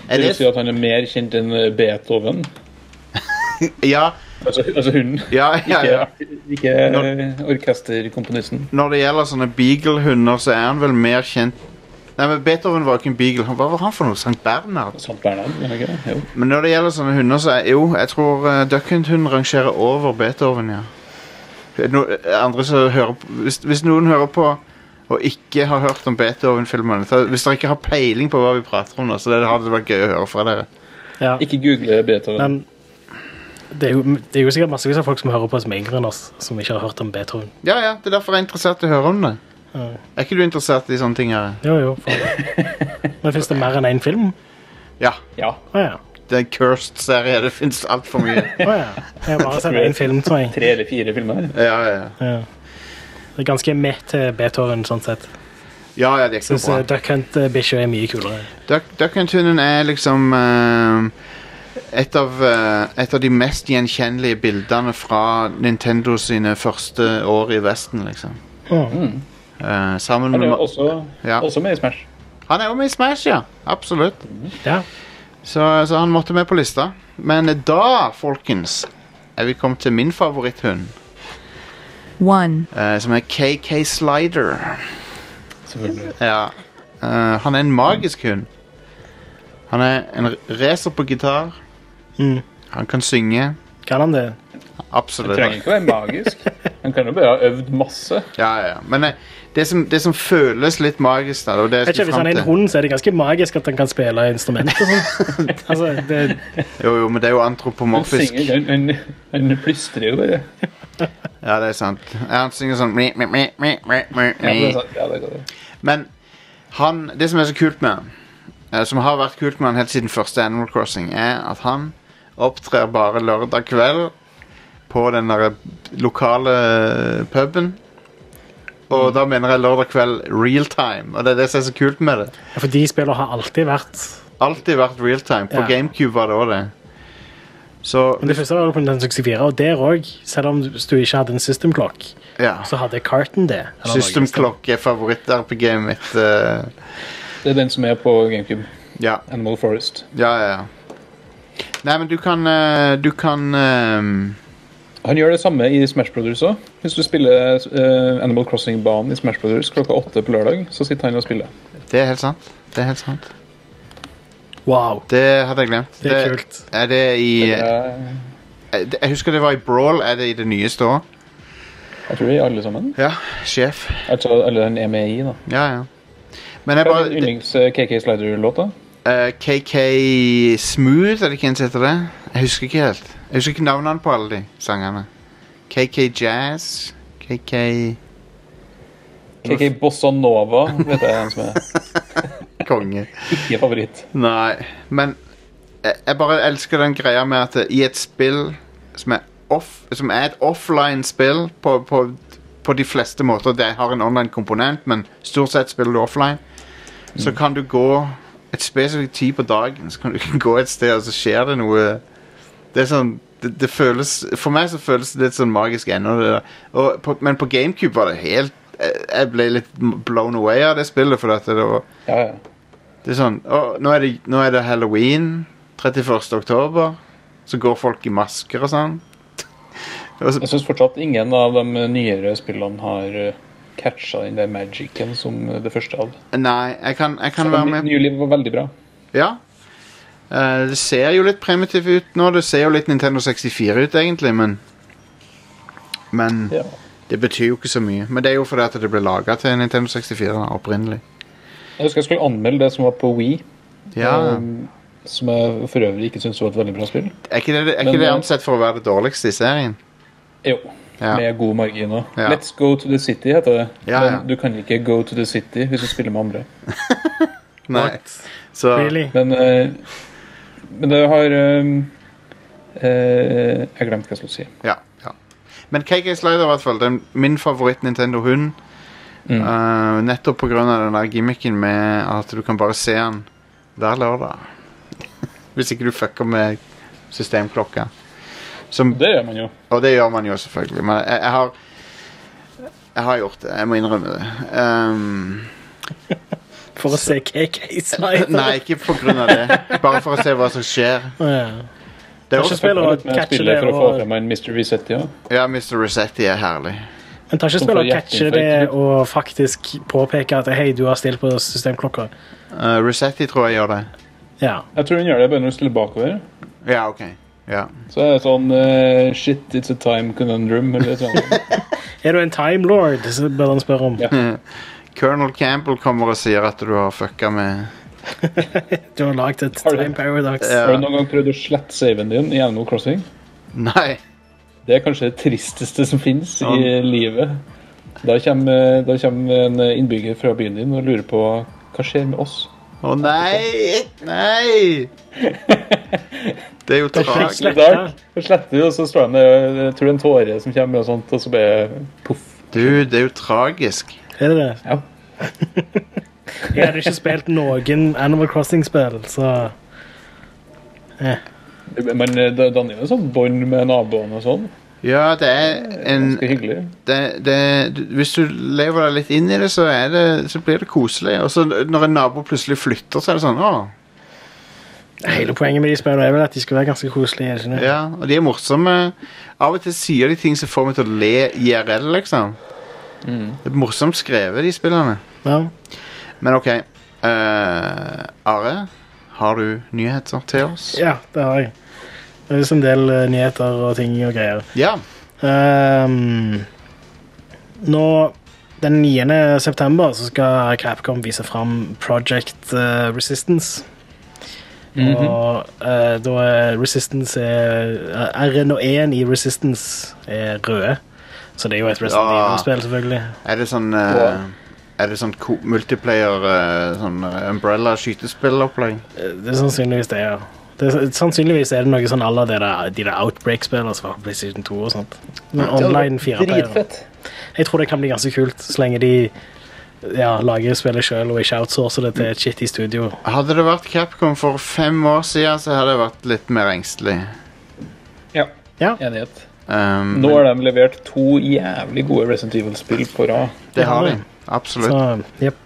Speaker 1: Er
Speaker 3: Det vil si
Speaker 1: det,
Speaker 3: at han er mer kjent enn Beethoven.
Speaker 1: ja,
Speaker 3: Altså, altså hunden.
Speaker 1: ja, ja, ja.
Speaker 3: Ikke, ikke eh, orkesterkomponisten.
Speaker 1: Når det gjelder sånne beagle-hunder, så er han vel mer kjent Nei, men Beethoven var jo ikke en beagle. Han- Hva var han for noe? Sankt Bernhard?
Speaker 3: Sant Bernhard, er det ikke det? Jo.
Speaker 1: Men når det gjelder sånne hunder, så er jo Jeg tror uh, Duckhunt-hunden rangerer over Beethoven, ja. No, eh, andre som hører på, hvis, hvis noen hører på og ikke har hørt om Beethoven-filmene så- Hvis dere ikke har peiling på hva vi prater om, nå, så det hadde det vært gøy å høre fra dere.
Speaker 2: Ja.
Speaker 3: Ikke google Beethoven.
Speaker 2: Men det er, jo, det er jo sikkert massevis av folk som hører på som er yngre enn oss, som ikke har hørt om Beethoven.
Speaker 1: Ja, ja, Det er derfor jeg er interessert i å høre om det.
Speaker 2: Ja.
Speaker 1: Er ikke du interessert i sånne ting? Her?
Speaker 2: Jo, jo. For... Men fins det mer enn én film?
Speaker 1: Ja.
Speaker 3: Ja.
Speaker 2: Å ja.
Speaker 1: Det er en cursed serie. Det fins altfor mye.
Speaker 2: Å ja. Jeg har bare sett én film, tror jeg.
Speaker 3: Tre eller fire filmer.
Speaker 1: Ja, ja, ja.
Speaker 2: Ja. Det er ganske med til Beethoven, sånn sett.
Speaker 1: ja, ja det er ikke
Speaker 2: Syns
Speaker 1: noe bra.
Speaker 2: Duck Hunt-bikkja er mye kulere.
Speaker 1: Duck- Duck Hunt Hunden er liksom eh, et, av, eh, et av de mest gjenkjennelige bildene fra Nintendo sine første år i Vesten, liksom. Eh, sammen
Speaker 3: Han
Speaker 1: med
Speaker 3: er
Speaker 1: Ma-
Speaker 3: også,
Speaker 1: Ja.
Speaker 3: også med i Smash.
Speaker 1: Han er jo med i Smash, ja. Absolutt.
Speaker 2: Ja.
Speaker 1: Så, så han måtte med på lista. Men da, folkens, er vi kommet til min favoritthund,
Speaker 5: one,
Speaker 1: eh, som er KK Slider.
Speaker 3: Selvfølgelig.
Speaker 1: Ja. Eh, han er en magisk hund. Han er en r- racer på gitar.
Speaker 2: Mm.
Speaker 1: Han kan synge.
Speaker 2: Kan han det?
Speaker 1: Absolutt.
Speaker 3: Trenger ikke å være magisk. Han kan jo bare ha øvd masse.
Speaker 1: Ja, ja, ja. Men eh, det som, det som føles litt magisk der, og det
Speaker 2: Jeg vet
Speaker 1: jeg
Speaker 2: ikke,
Speaker 1: skulle
Speaker 2: Hvis han
Speaker 1: frem
Speaker 2: er en
Speaker 1: til
Speaker 2: hund, så er det ganske magisk at han kan spille instrument. og sånn. altså, det,
Speaker 1: Jo, jo, men det er jo
Speaker 3: Han
Speaker 1: antropomorfisk.
Speaker 3: synger, han, han, han plystrer jo bare.
Speaker 1: Ja, det er sant. Han synger sånn meh, meh, meh, meh, meh, meh,
Speaker 3: Ja, det er
Speaker 1: meh.
Speaker 3: sant. Ja, det er godt.
Speaker 1: Men han, det som er så kult med han, eh, som har vært kult med han helt siden første Animal Crossing, er at han opptrer bare lørdag kveld på den der lokale puben. Og da mener jeg lørdag kveld real time, og det er det som er så kult med det.
Speaker 2: Ja, For de spillene har alltid vært
Speaker 1: Alltid vært real time. På
Speaker 2: Ja.
Speaker 1: GameCube var det òg det. Så
Speaker 2: Men det første var jo på Nintendo 64, og der òg, selv om hvis du ikke hadde en system clock,
Speaker 1: ja.
Speaker 2: så hadde Carton det. Eller noe,
Speaker 1: System Clock er favoritt-RPG-et mitt. eh,
Speaker 3: Det er den som er på GameCube.
Speaker 1: ja.
Speaker 3: Animal Forest.
Speaker 1: ja, ja, ja. Nei, men du kan eh, Du kan eh,
Speaker 3: Han gjør det samme i Smash Brothers òg. Hvis du spiller eh, Animal Crossing-banen i Smash Brothers klokka åtte på lørdag, så sitter han og spiller.
Speaker 1: Det er helt sant. Det er helt sant.
Speaker 2: Wow,
Speaker 1: Det hadde jeg glemt.
Speaker 2: det er kult.
Speaker 1: Er det i
Speaker 3: Jeg,
Speaker 1: eh, det- Jeg husker det var i Brawl. Er det i det nyeste òg?
Speaker 3: jeg tror de alle sammen.
Speaker 1: Ja. Sjef.
Speaker 3: Altså alle den er med i, da. eh,
Speaker 1: Ja, ja. Men jeg
Speaker 3: Hva
Speaker 1: bare
Speaker 3: er din yndlings-KK Slider-låta?
Speaker 1: eh, KK Smooth, er det ikke en som heter det? Jeg husker ikke helt. Jeg husker ikke navnene på alle de sangene. KK Jazz KK
Speaker 3: KK Bossa Nova vet jeg en som er
Speaker 1: Konge.
Speaker 3: ikke favoritt.
Speaker 1: Nei, men jeg, jeg bare elsker den greia med at eh, i et spill som er, off, som er et offline-spill på, på, på de fleste måter Det har en online-komponent, men stort sett spiller du offline. Så kan du gå et spesifikt tid på dagen, så kan du gå et sted, og så skjer det noe Det er sånn det, det føles, For meg så føles det litt sånn magisk ennå. det der. Og på- Men på GameCube var det helt jeg- Jeg ble litt blown away av det spillet, for at det var
Speaker 3: Ja, ja.
Speaker 1: det er sånn, å, nå, er det, nå er det halloween 31. oktober Så går folk i masker og sånn og så,
Speaker 3: Jeg syns fortsatt ingen av de nyere spillene har catcha den der magicen som det første hadde.
Speaker 1: Nei, jeg kan, jeg kan
Speaker 3: Selv
Speaker 1: være
Speaker 3: om
Speaker 1: med
Speaker 3: Nylig var veldig bra.
Speaker 1: Ja Eh, Det ser jo litt primitivt ut nå Det ser jo litt Nintendo 64 ut egentlig Men, men
Speaker 3: Ja.
Speaker 1: det betyr jo ikke så mye Men det er jo fordi at det ble laget til Nintendo 64 da, opprinnelig
Speaker 3: Jeg husker jeg skulle anmelde det som var på Wii,
Speaker 1: Ja,
Speaker 3: um, som jeg for øvrig ikke syns var et veldig bra spill.
Speaker 1: er ikke det, er
Speaker 3: Men,
Speaker 1: ikke det
Speaker 3: eh,
Speaker 1: ansett for å være det dårligste i serien?
Speaker 3: Jo,
Speaker 1: Ja.
Speaker 3: med god margin òg.
Speaker 1: Ja.
Speaker 3: Let's go to the city heter det.
Speaker 1: Ja, ja.
Speaker 3: Men du kan ikke go to the city hvis du spiller med andre.
Speaker 1: Nei, så
Speaker 2: Really?
Speaker 3: Men, eh, men det har um, eh, Jeg glemte hva jeg skulle si.
Speaker 1: Ja, ja. Men KK Slider i hvert fall, den, min favoritt Nintendo-hund.
Speaker 3: Mm.
Speaker 1: Uh, nettopp pga. den der gimmicken med at du kan bare se den hver lørdag. Hvis ikke du fucker med systemklokka. Som,
Speaker 3: Det gjør man jo.
Speaker 1: og det gjør man jo selvfølgelig, men jeg, jeg har Jeg har gjort det. Jeg må innrømme det. Um,
Speaker 2: For å se KK-sider.
Speaker 1: nei, ikke pga. det. Bare for å se hva som skjer. Det er
Speaker 2: Kanskje
Speaker 1: også,
Speaker 2: spiller
Speaker 3: Litt med
Speaker 2: catcher
Speaker 3: spillet
Speaker 2: det
Speaker 3: for å få
Speaker 2: og-
Speaker 3: frem en Mr. Resetti òg.
Speaker 1: ja, Mr. Resetti er herlig.
Speaker 2: Men tar ikke
Speaker 3: Som
Speaker 2: spill
Speaker 3: får
Speaker 2: å catche
Speaker 3: hjerteinfarkt.
Speaker 2: det og faktisk påpeke at hei, du har stilt på systemklokka.
Speaker 1: Uh, Resetti tror jeg gjør det.
Speaker 2: Ja.
Speaker 3: Jeg tror hun gjør det bare når hun stiller bakover.
Speaker 1: Ja, OK. Ja.
Speaker 3: Så er det sånn eh, Shit, it's a time conundrum. Eller noe
Speaker 2: Er du en time lord? Så bør han spørre om.
Speaker 3: Ja.
Speaker 1: Colonel Campbell kommer og sier at du har fucka med
Speaker 2: Du har lagd et
Speaker 3: Har du?
Speaker 2: time paradox.
Speaker 1: Ja.
Speaker 3: Har du noen gang prøvd å slette saven din i Animal Crossing?
Speaker 1: Nei.
Speaker 3: Det er kanskje det tristeste som finnes i
Speaker 1: Ja.
Speaker 3: livet. Da kommer, da kommer en innbygger fra byen din og lurer på hva skjer med oss.
Speaker 1: Å nei! Nei! Det er jo tragisk.
Speaker 2: Slette.
Speaker 3: I dag så sletter du, og så står han der, jeg tror det er en tåre som kommer, og sånt, og så bare poff.
Speaker 1: Du, det er jo tragisk.
Speaker 2: Er det det?
Speaker 3: Ja.
Speaker 2: Jeg hadde ikke spilt noen Animal Crossing-spill, så
Speaker 3: Men eh, det danner jo en sånn bånd med naboene og sånn.
Speaker 1: Ja, det er en
Speaker 3: Ganske hyggelig.
Speaker 1: det, det, du- Hvis du lever deg litt inn i det, så, er det, så blir det koselig. Og så når en nabo plutselig flytter, så er det sånn Å,
Speaker 2: Hele poenget med de spillene er vel at de skal være ganske koselige. er det Ikke? det?
Speaker 1: ja. Og de er morsomme. Av og til sier de ting som får meg til å le IRL, liksom. Det er morsomt skrevet, de spillene.
Speaker 2: Ja.
Speaker 1: Men OK. eh, Are, har du nyheter til oss?
Speaker 2: ja, det har jeg. Det er liksom en del eh, nyheter og ting og greier.
Speaker 1: Ja.
Speaker 2: Ehm, nå den 9. september så skal Capcom vise fram Project eh, Resistance. Og eh, da er Resistance er eh, R-en og E-en i Resistance er røde. Så det er jo et Resident
Speaker 1: Ja.
Speaker 2: Evil-spill, selvfølgelig.
Speaker 1: Er det sånn eh,
Speaker 3: Ja.
Speaker 1: Er det sånn ko- multiplayer eh, Sånn eh, umbrella-skytespillopplegg?
Speaker 2: Eh, Det er sannsynligvis det, ja. Det er, sannsynligvis er det noe sånn à la det der- de der Outbreak-spillene som var på PlayStation 2 og sånt. Men online fireplayer.
Speaker 3: Dritfett.
Speaker 2: Jeg tror det kan bli ganske kult, så lenge de ja, lager spillet sjøl og ikke outsourcer det
Speaker 1: Mm.
Speaker 2: til et shitty studio.
Speaker 1: Hadde det vært Capcom for fem år siden, så hadde jeg vært litt mer engstelig.
Speaker 3: Ja.
Speaker 2: Ja.
Speaker 3: Enighet.
Speaker 1: Um,
Speaker 3: Nå har de levert to jævlig gode Resident Evil-spill på rad.
Speaker 1: det har de. Absolutt.
Speaker 2: Så, jep.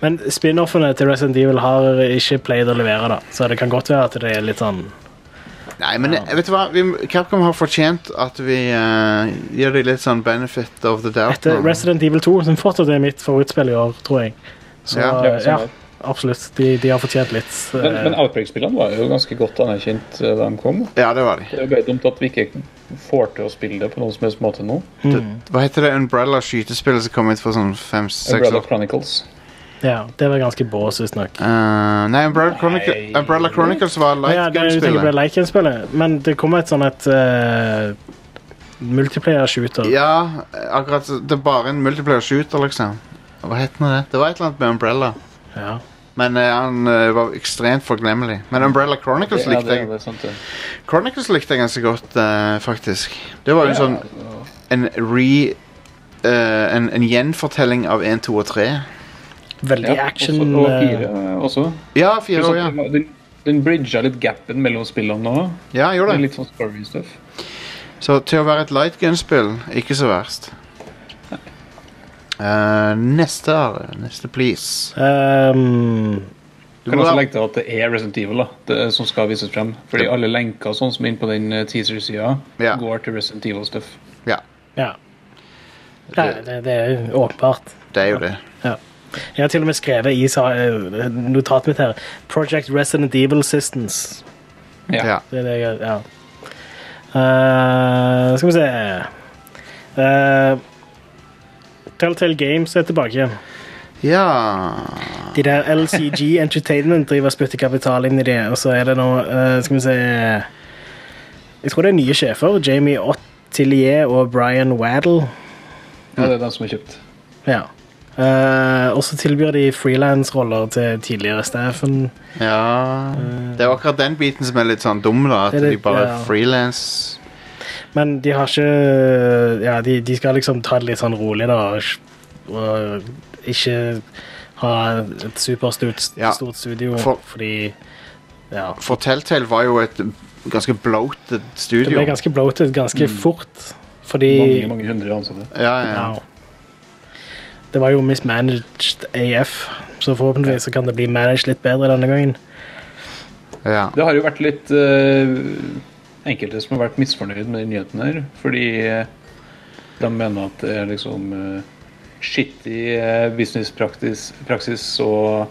Speaker 2: Men spin-offene til Resident Evil har ikke pleid å levere, da. så det kan godt være at det er litt sånn
Speaker 1: Nei, men jeg- vet du hva? Vi, Capcom har fortjent at vi eh, gir dem litt sånn benefit of the doubt.
Speaker 2: Etter
Speaker 1: nå.
Speaker 2: Resident Evil 2, som fortsatt er mitt favorittspill i år, tror jeg. Så
Speaker 1: Ja,
Speaker 2: ja,
Speaker 3: ja, sånn er det.
Speaker 2: absolutt. De, de har fortjent litt.
Speaker 3: Men,
Speaker 2: eh,
Speaker 3: men Outbreak-spillene var jo ganske godt anerkjent eh, da de kom.
Speaker 1: Ja, det var de.
Speaker 3: Det er jo bare dumt at vi ikke får til å spille det på noen som helst måte nå.
Speaker 2: Mm.
Speaker 1: Hva heter det Umbrella-skytespillet som kom ut for sånn fem-seks
Speaker 3: Umbrella
Speaker 1: år?
Speaker 3: Chronicles.
Speaker 2: ja, det var ganske bås, visstnok.
Speaker 1: Eh, nei, Umbrella, Chronicle,
Speaker 3: Nei.
Speaker 1: Umbrella Chronicles var
Speaker 2: Ja, det er jo tenker på
Speaker 1: lightgun-spillet.
Speaker 2: Leiken-spillet, men det kom et sånn et eh, multiplayer-shooter.
Speaker 1: Ja, akkurat. så- Det er bare en multiplayer shooter, liksom. Hva het nå det? Det var et eller annet med Umbrella.
Speaker 2: Ja.
Speaker 1: Men eh, han eh, var ekstremt forglemmelig. Men Umbrella Chronicles
Speaker 3: Ja,
Speaker 1: likte
Speaker 3: det,
Speaker 1: jeg
Speaker 3: det er sant, det.
Speaker 1: Chronicles likte jeg ganske godt, eh, faktisk. Det var jo en sånn
Speaker 3: Ja,
Speaker 1: en re... eh, en, en gjenfortelling av 1, 2 og 3.
Speaker 2: Veldig
Speaker 3: ja,
Speaker 2: action.
Speaker 3: også- Og
Speaker 2: eh,
Speaker 3: fire eh, også.
Speaker 1: Ja,
Speaker 3: Det er
Speaker 1: fire år, ja.
Speaker 3: sånn- Den, den bridga litt gapen mellom spillene nå.
Speaker 1: Ja, jeg
Speaker 3: Det
Speaker 1: gjorde
Speaker 3: er
Speaker 1: det.
Speaker 3: litt sånn story-stuff.
Speaker 1: Så til å være et lightgun-spill, ikke så verst. Eh, neste, Are. Neste, please.
Speaker 2: ehm,
Speaker 1: Du
Speaker 3: Kan
Speaker 1: må
Speaker 3: også
Speaker 1: ha-
Speaker 3: legge til at det er Resident Evil da, det, er- som skal vises frem. Fordi alle lenker og sånn som er inne på den eh, teaser-sida,
Speaker 1: Ja.
Speaker 3: går til Resident Evil-stuff.
Speaker 1: Ja,
Speaker 2: ja. ja det, det er jo åpenbart.
Speaker 1: det er jo det.
Speaker 2: Ja. Jeg har til og med skrevet i sa- eh, notatet mitt her Project Resident Evil Systems.
Speaker 1: Ja.
Speaker 2: Det er det jeg Ja. Eh, skal vi se Eh, Telltale Games er tilbake igjen.
Speaker 1: Ja
Speaker 2: De der LCG Entertainment driver og spytter kapital inn i det, og så er det nå eh, Skal vi se Jeg tror det er nye sjefer. Jamie Ottillier og Brian Waddle.
Speaker 3: Ja, det er den som er kjøpt.
Speaker 2: Ja. Eh, og så tilbyr de frilansroller til tidligere staffen.
Speaker 1: Ja Det er jo akkurat den biten som er litt sånn dum, da. At
Speaker 2: Det er
Speaker 1: de
Speaker 2: litt-
Speaker 1: bare
Speaker 2: ja.
Speaker 1: frilans
Speaker 2: Men de har ikke Ja, de, de skal liksom ta det litt sånn rolig, da. og ikke- Og ikke ha et superstort
Speaker 1: Ja,
Speaker 2: stort studio,
Speaker 1: for-
Speaker 2: fordi Ja.
Speaker 1: For Telltale var jo et ganske bloated
Speaker 2: Det
Speaker 1: studio.
Speaker 2: ble ganske bloated ganske fort, fordi
Speaker 3: Mm. Mange, mange hundre ansatte.
Speaker 1: Ja, ja.
Speaker 2: Ja. Det var jo mismanaged AF, så forhåpentligvis så kan det bli managed litt bedre denne gangen.
Speaker 1: ja.
Speaker 3: Det har jo vært litt eh, enkelte som har vært misfornøyd med den nyheten her, fordi eh, de mener at det er liksom eh, skittig eh, businesspraksis praksis å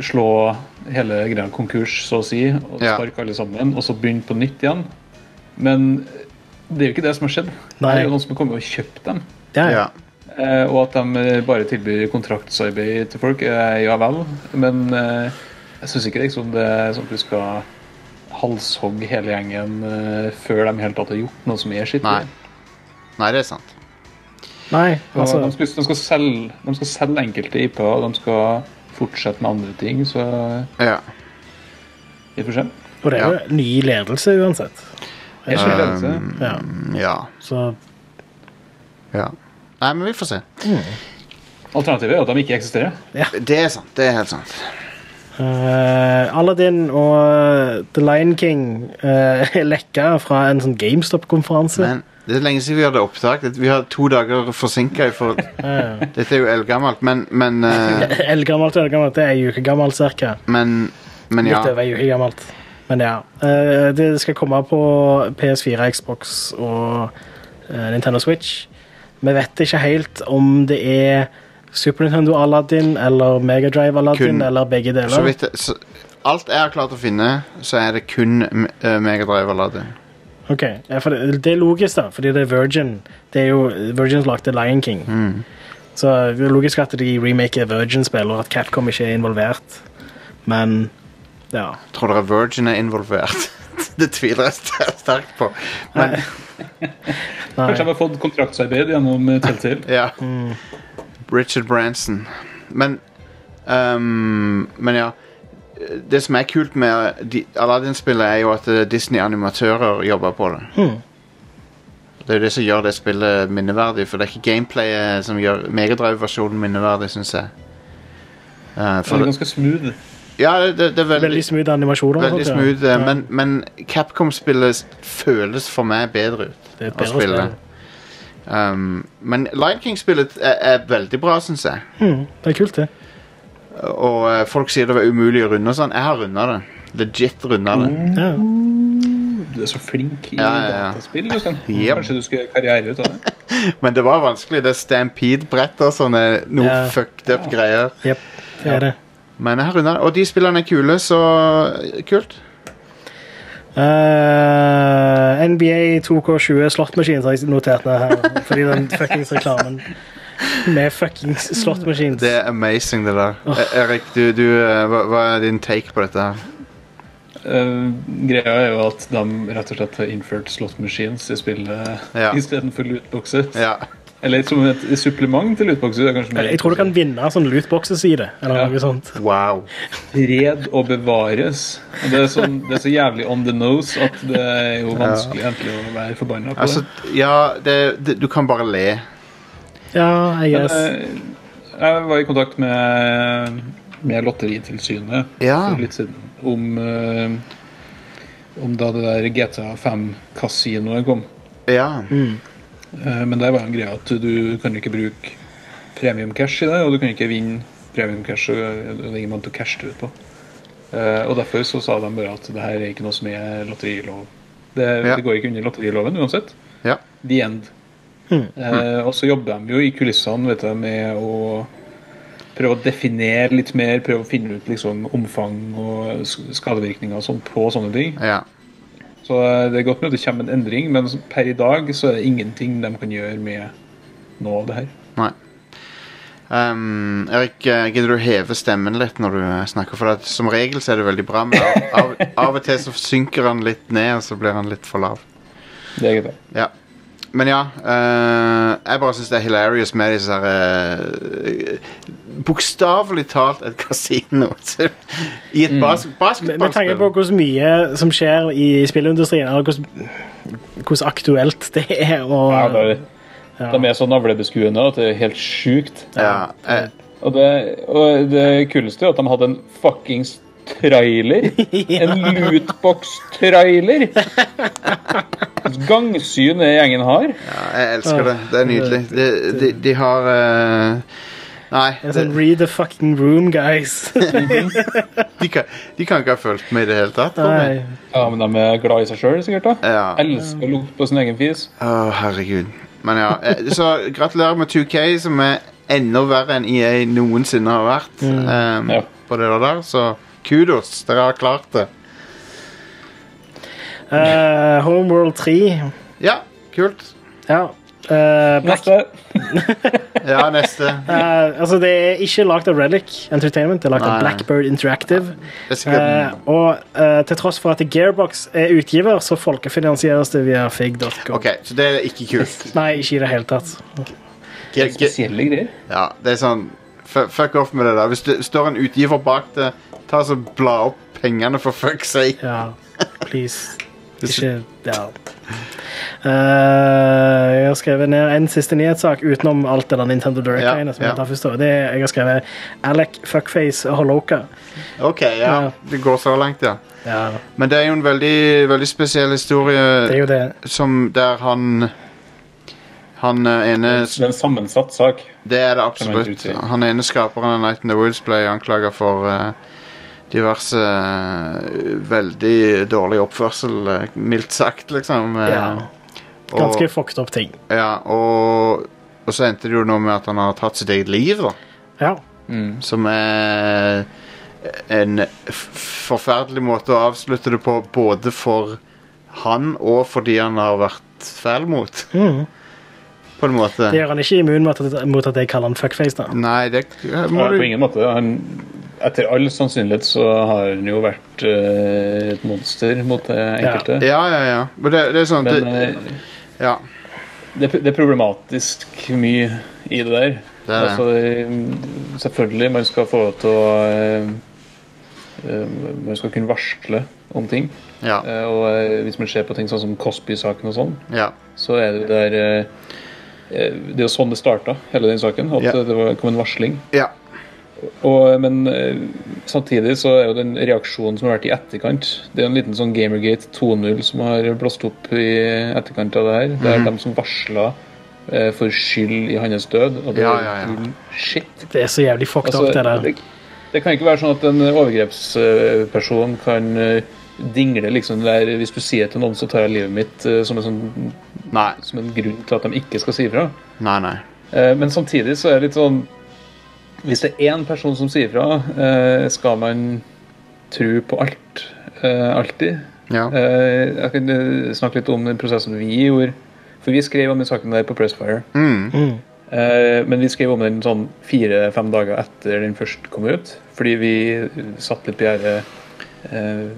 Speaker 3: slå hele greia konkurs, så å si, og
Speaker 1: Ja.
Speaker 3: sparke alle sammen, og så begynne på nytt igjen. Men eh, det er jo ikke det som har skjedd. Det
Speaker 2: Nei.
Speaker 3: er jo noen som har kommet og kjøpt dem.
Speaker 2: Ja,
Speaker 1: ja.
Speaker 3: Eh, og at de eh, bare tilbyr kontraktsarbeid til folk, eh, ja vel. Men eh, jeg syns ikke liksom det er sånn at du skal halshogge hele gjengen eh, før de helt tatt har gjort noe som er skitt.
Speaker 1: Nei. Nei, det er sant.
Speaker 2: Nei,
Speaker 3: Og
Speaker 2: altså
Speaker 3: de, skal, de, skal selge, de skal selge enkelte IP-er, og de skal fortsette med andre ting, så
Speaker 1: Ja.
Speaker 3: vi får se.
Speaker 2: Og det er jo ny ledelse uansett.
Speaker 3: Jeg skjønner ledelse.
Speaker 2: Ja,
Speaker 1: Ja.
Speaker 2: så
Speaker 1: ja. Nei, men vi får se.
Speaker 3: Alternativet er jo at de ikke eksisterer.
Speaker 1: Det er sant. Det er helt sant.
Speaker 2: Eh, Aladdin og eh, The Lion King eh, er lekka fra en sånn GameStop-konferanse.
Speaker 1: Men det er lenge siden vi hadde opptak. Det- Vi har to dager forsinka. For... Dette er jo eldgammelt, men men, eh,
Speaker 2: Eldgammelt og eldgammelt. Det er ei uke gammelt, cirka.
Speaker 1: men, men ja.
Speaker 2: Litt over ei uke gammelt. Men ja. Eh, det skal komme på PS4, Xbox og eh, Nintendo Switch. Vi vet ikke helt om det er Super Nintendo Aladdin eller Megadrive Aladdin
Speaker 1: Kun-
Speaker 2: eller begge
Speaker 1: Så
Speaker 2: deler.
Speaker 1: vidt det- så, Alt jeg har klart å finne, så er det kun eh, Megadrive-Aladdin.
Speaker 2: Ok, ja, for det, det er logisk, da, fordi det er Virgin. Det er jo Virgin som lagde Lion King.
Speaker 1: Mm.
Speaker 2: Så det er logisk at de remaker Virgin-spill, og at Capcom ikke er involvert. Men Ja.
Speaker 1: Tror dere Virgin er involvert? det tviler jeg st- sterkt på. Men,
Speaker 3: Kanskje han
Speaker 2: Nei.
Speaker 3: har fått kontraktsarbeid gjennom eh, Telltale.
Speaker 1: ja. Richard Branson. Men ehm, Men ja. Det som er kult med de- Aladdin-spillet, er jo at eh, Disney-animatører jobber på det.
Speaker 2: Hmm.
Speaker 1: Det er jo det som gjør det spillet minneverdig, for det er ikke gameplayet som gjør Megadrive-versjonen minneverdig, syns jeg. Eh,
Speaker 3: Han
Speaker 1: for
Speaker 3: er
Speaker 1: det,
Speaker 3: ganske smooth.
Speaker 1: ja, det, det, det er veldig,
Speaker 2: Veldig smooth animasjoner. og
Speaker 1: veldig
Speaker 2: sånt, ja.
Speaker 1: smooth, eh,
Speaker 2: Ja,
Speaker 1: men, men Capcom-spillet s- føles for meg bedre ut
Speaker 2: det er et
Speaker 1: å
Speaker 2: bedre
Speaker 1: spille.
Speaker 2: spill.
Speaker 1: Um, men Lion King-spillet er, er veldig bra, syns jeg.
Speaker 2: Hmm, Det er kult, det.
Speaker 1: Og eh, folk sier det var umulig å runde og sånn. Jeg har runda det. Legit runda det.
Speaker 2: Ja.
Speaker 3: Du er så flink i
Speaker 1: Ja, ja, ja.
Speaker 3: dataspill. Liksom.
Speaker 1: Yep.
Speaker 3: Kanskje du skulle gjøre karriere ut av det?
Speaker 1: Men det var vanskelig. Det er Stampede-brett og sånne noe
Speaker 2: Ja.
Speaker 1: fucked up greier.
Speaker 2: Jep, det er det.
Speaker 1: Men jeg har runda det. Og de spillerne er kule, så eh, kult.
Speaker 2: Eh, NBA 2K20 slottmaskin har jeg notert ned her. Fordi den fuckings reklamen med fuckings slottmaskin.
Speaker 1: Det er amazing, det der. E- Erik, du, du, eh, hva, hva er din take på dette? her?
Speaker 3: Eh, greia er jo at de rett og slett har innført slot machines i spillet
Speaker 1: Ja.
Speaker 3: istedenfor lootboxer.
Speaker 1: Ja.
Speaker 3: Eller som et supplement til lootboxer. Det er kanskje mer
Speaker 2: Jeg tror du kan vinne sånn lootboxes i det. Eller
Speaker 3: Ja.
Speaker 2: noe sånt.
Speaker 1: Wow.
Speaker 3: Fred og bevares. Og det, er sånn, det er så jævlig on the nose at det er jo vanskelig egentlig å være forbanna på
Speaker 1: Altså,
Speaker 3: det.
Speaker 1: ja, det, det, du kan bare le.
Speaker 2: Ja, I
Speaker 3: Men,
Speaker 2: guess.
Speaker 3: eh, Jeg var i kontakt med, med Lotteritilsynet
Speaker 1: Ja.
Speaker 3: for litt siden om, eh, om da det der GTA 5-kasinoet kom.
Speaker 1: Ja.
Speaker 3: Eh, Men der var jo en greie at du kan ikke bruke premium cash i det, og du kan ikke vinne premium cash. og Det er ingen måte å cashe det ut på. Eh, Og derfor så sa de bare at det her er ikke noe som er lotterilov. Det,
Speaker 1: Ja.
Speaker 3: det går ikke under lotteriloven uansett.
Speaker 1: Ja.
Speaker 3: The end. Eh, og så jobber de jo i kulissene vet du, med å prøve å definere litt mer, prøve å finne ut liksom, omfang og sk- skadevirkninger og sånn på sånne ting.
Speaker 1: ja.
Speaker 3: Så eh, det er godt med at det kommer en endring, men per i dag så er det ingenting de kan gjøre med noe av det her.
Speaker 1: Nei. Ehm, Erik, eh, gidder du å heve stemmen litt når du eh, snakker? For at som regel så er det veldig bra, men av, av, av og til så synker han litt ned, og så blir han litt for lav.
Speaker 3: Det er greit.
Speaker 1: Ja. Men ja, eh, jeg bare syns det er hilarious med disse her uh, Bokstavelig talt et kasino så- i et bas
Speaker 2: Med med
Speaker 1: basketballspill.
Speaker 2: tanke på hvor mye som skjer i spillindustrien, eller hvordan hvordan aktuelt det er å Ja.
Speaker 3: De er så navlebeskuende at det er helt sjukt.
Speaker 1: Ja, eh,
Speaker 3: Og det, og det kuleste er at de hadde en fuckings trailer. En lootbox-trailer! Gangsyn den gjengen har.
Speaker 1: jeg elsker det. Det er nydelig. De, de, de har eh, Nei,
Speaker 2: Det er
Speaker 1: det,
Speaker 2: sånn Read the fucking room, guys.
Speaker 1: de, kan, de kan ikke ha fulgt med i det hele tatt. tror jeg.
Speaker 2: Nei.
Speaker 3: Ja, Men de er glad i seg sjøl, sikkert. da
Speaker 1: Ja.
Speaker 3: Elsker å lukte på sin egen fis.
Speaker 1: Å, herregud. Men ja, eh, så gratulerer med 2K, som er enda verre enn EA noensinne har vært.
Speaker 2: Mm.
Speaker 1: ehm,
Speaker 3: Ja.
Speaker 1: På det der, så kudos, dere har klart det.
Speaker 2: Eh, Homeworld 3.
Speaker 1: Ja, kult.
Speaker 2: Ja. Eh,
Speaker 3: Neste.
Speaker 1: Ja, neste.
Speaker 2: Eh, altså, det er ikke lagd av Relic Entertainment, det er lagd
Speaker 1: Nei,
Speaker 2: av
Speaker 1: nei.
Speaker 2: Blackbird Interactive.
Speaker 1: Det er sikkert
Speaker 2: Eh, og eh, til tross for at Gearbox er utgiver, så folkefinansieres det via fig.com.
Speaker 1: OK, så det er ikke kult.
Speaker 2: Nei, ikke i det hele tatt.
Speaker 1: Ge- ge-
Speaker 3: Spesielle greier.
Speaker 1: Ja, det er sånn fu- Fuck off med det der. Hvis det står en utgiver bak det, ta så bla opp pengene, for fuck's sake.
Speaker 2: Ja, please.
Speaker 1: Hvis-
Speaker 2: Ikke Ja. Eh, jeg har skrevet ned en siste nyhetssak utenom alt det der Nintendo
Speaker 1: Ja,
Speaker 2: Direct-greiene. som
Speaker 1: ja.
Speaker 2: jeg tar først da. Det er, jeg har skrevet Alec Fuckface Holoka.
Speaker 1: OK, ja. Det går så langt, ja.
Speaker 2: Ja,
Speaker 1: Men det er jo en veldig, veldig spesiell
Speaker 2: det er
Speaker 1: historie
Speaker 2: jo det.
Speaker 1: som der han Han eh, ene
Speaker 3: Det er en sammensatt sak.
Speaker 1: Det er det
Speaker 3: Kan man ikke
Speaker 1: absolutt.
Speaker 3: utsi.
Speaker 1: Han ene skaperen av Night in the Woods ble anklaga for eh, diverse eh, veldig dårlig oppførsel, eh, mildt sagt, liksom. eh,
Speaker 2: Ja. Ganske fucked up ting.
Speaker 1: Og, ja, og, og så endte det jo nå med at han har tatt sitt eget liv, da.
Speaker 2: Ja.
Speaker 1: Som er en f- forferdelig måte å avslutte det på, både for han og fordi han har vært fæl mot. På
Speaker 2: Mm.
Speaker 1: en måte.
Speaker 2: Det gjør han ikke immun mot at, mot at jeg kaller han fuckface. da
Speaker 1: Nei, det
Speaker 3: Ja,
Speaker 1: må
Speaker 3: på
Speaker 1: du
Speaker 3: ingen måte. Han, etter all sannsynlighet så har han jo vært eh, et monster mot det enkelte.
Speaker 1: Ja, ja, ja. Men det, det er sånn det,
Speaker 3: Men eh,
Speaker 1: Ja.
Speaker 3: det, det er problematisk mye i det der.
Speaker 1: Det er det.
Speaker 3: Altså, eh, selvfølgelig, man skal få lov til å eh, eh, Man skal kunne varsle om ting.
Speaker 1: Ja.
Speaker 3: Eh, Og eh, hvis man ser på ting sånn som Cosby-saken og sånn,
Speaker 1: ja.
Speaker 3: så er det jo der eh, eh, Det er jo sånn det starta, hele den saken. At
Speaker 1: Ja.
Speaker 3: eh, det var- kom en varsling.
Speaker 1: ja.
Speaker 3: Og, men eh, samtidig så er jo den reaksjonen som har vært i etterkant Det er jo en liten sånn Gamergate 2.0 som har blåst opp i etterkant av det her. Det er
Speaker 1: Mhm.
Speaker 3: dem som varsla eh, for skyld i hans død, og det
Speaker 1: Ja,
Speaker 3: er
Speaker 1: ja, ja.
Speaker 3: full shit.
Speaker 2: Det er så jævlig fucked
Speaker 3: Altså,
Speaker 2: up, det der.
Speaker 3: det, det kan ikke være sånn at en overgrepsperson kan eh, dingle liksom det der Hvis du sier til noen, så tar jeg livet mitt, eh, som en, sånn,
Speaker 1: Nei.
Speaker 3: som en grunn til at de ikke skal si ifra.
Speaker 1: Nei, nei.
Speaker 3: Eh, Men samtidig så er det litt sånn Hvis det er én person som sier fra, eh, skal man tro på alt. eh, Alltid.
Speaker 1: Ja.
Speaker 3: Eh, Jeg kan eh, snakke litt om den prosessen vi gjorde. For vi skrev om den saken der på Pressfire.
Speaker 1: Mm.
Speaker 3: Eh, Men vi skrev om den sånn fire-fem dager etter den først kom ut. Fordi vi satt litt på gjerdet eh,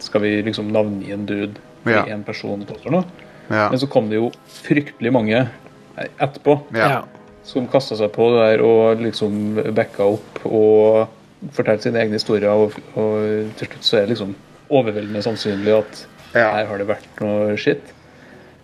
Speaker 3: Skal vi liksom navngi en dude?
Speaker 1: Ja.
Speaker 3: Fordi én person påstår noe?
Speaker 1: Ja.
Speaker 3: Men så kom det jo fryktelig mange eh, etterpå
Speaker 1: ja.
Speaker 2: Ja.
Speaker 3: som kasta seg på det der og liksom backa opp og fortalte sine egne historier. Og, og til slutt så er det liksom overveldende sannsynlig at
Speaker 1: Ja.
Speaker 3: her har det vært noe skitt.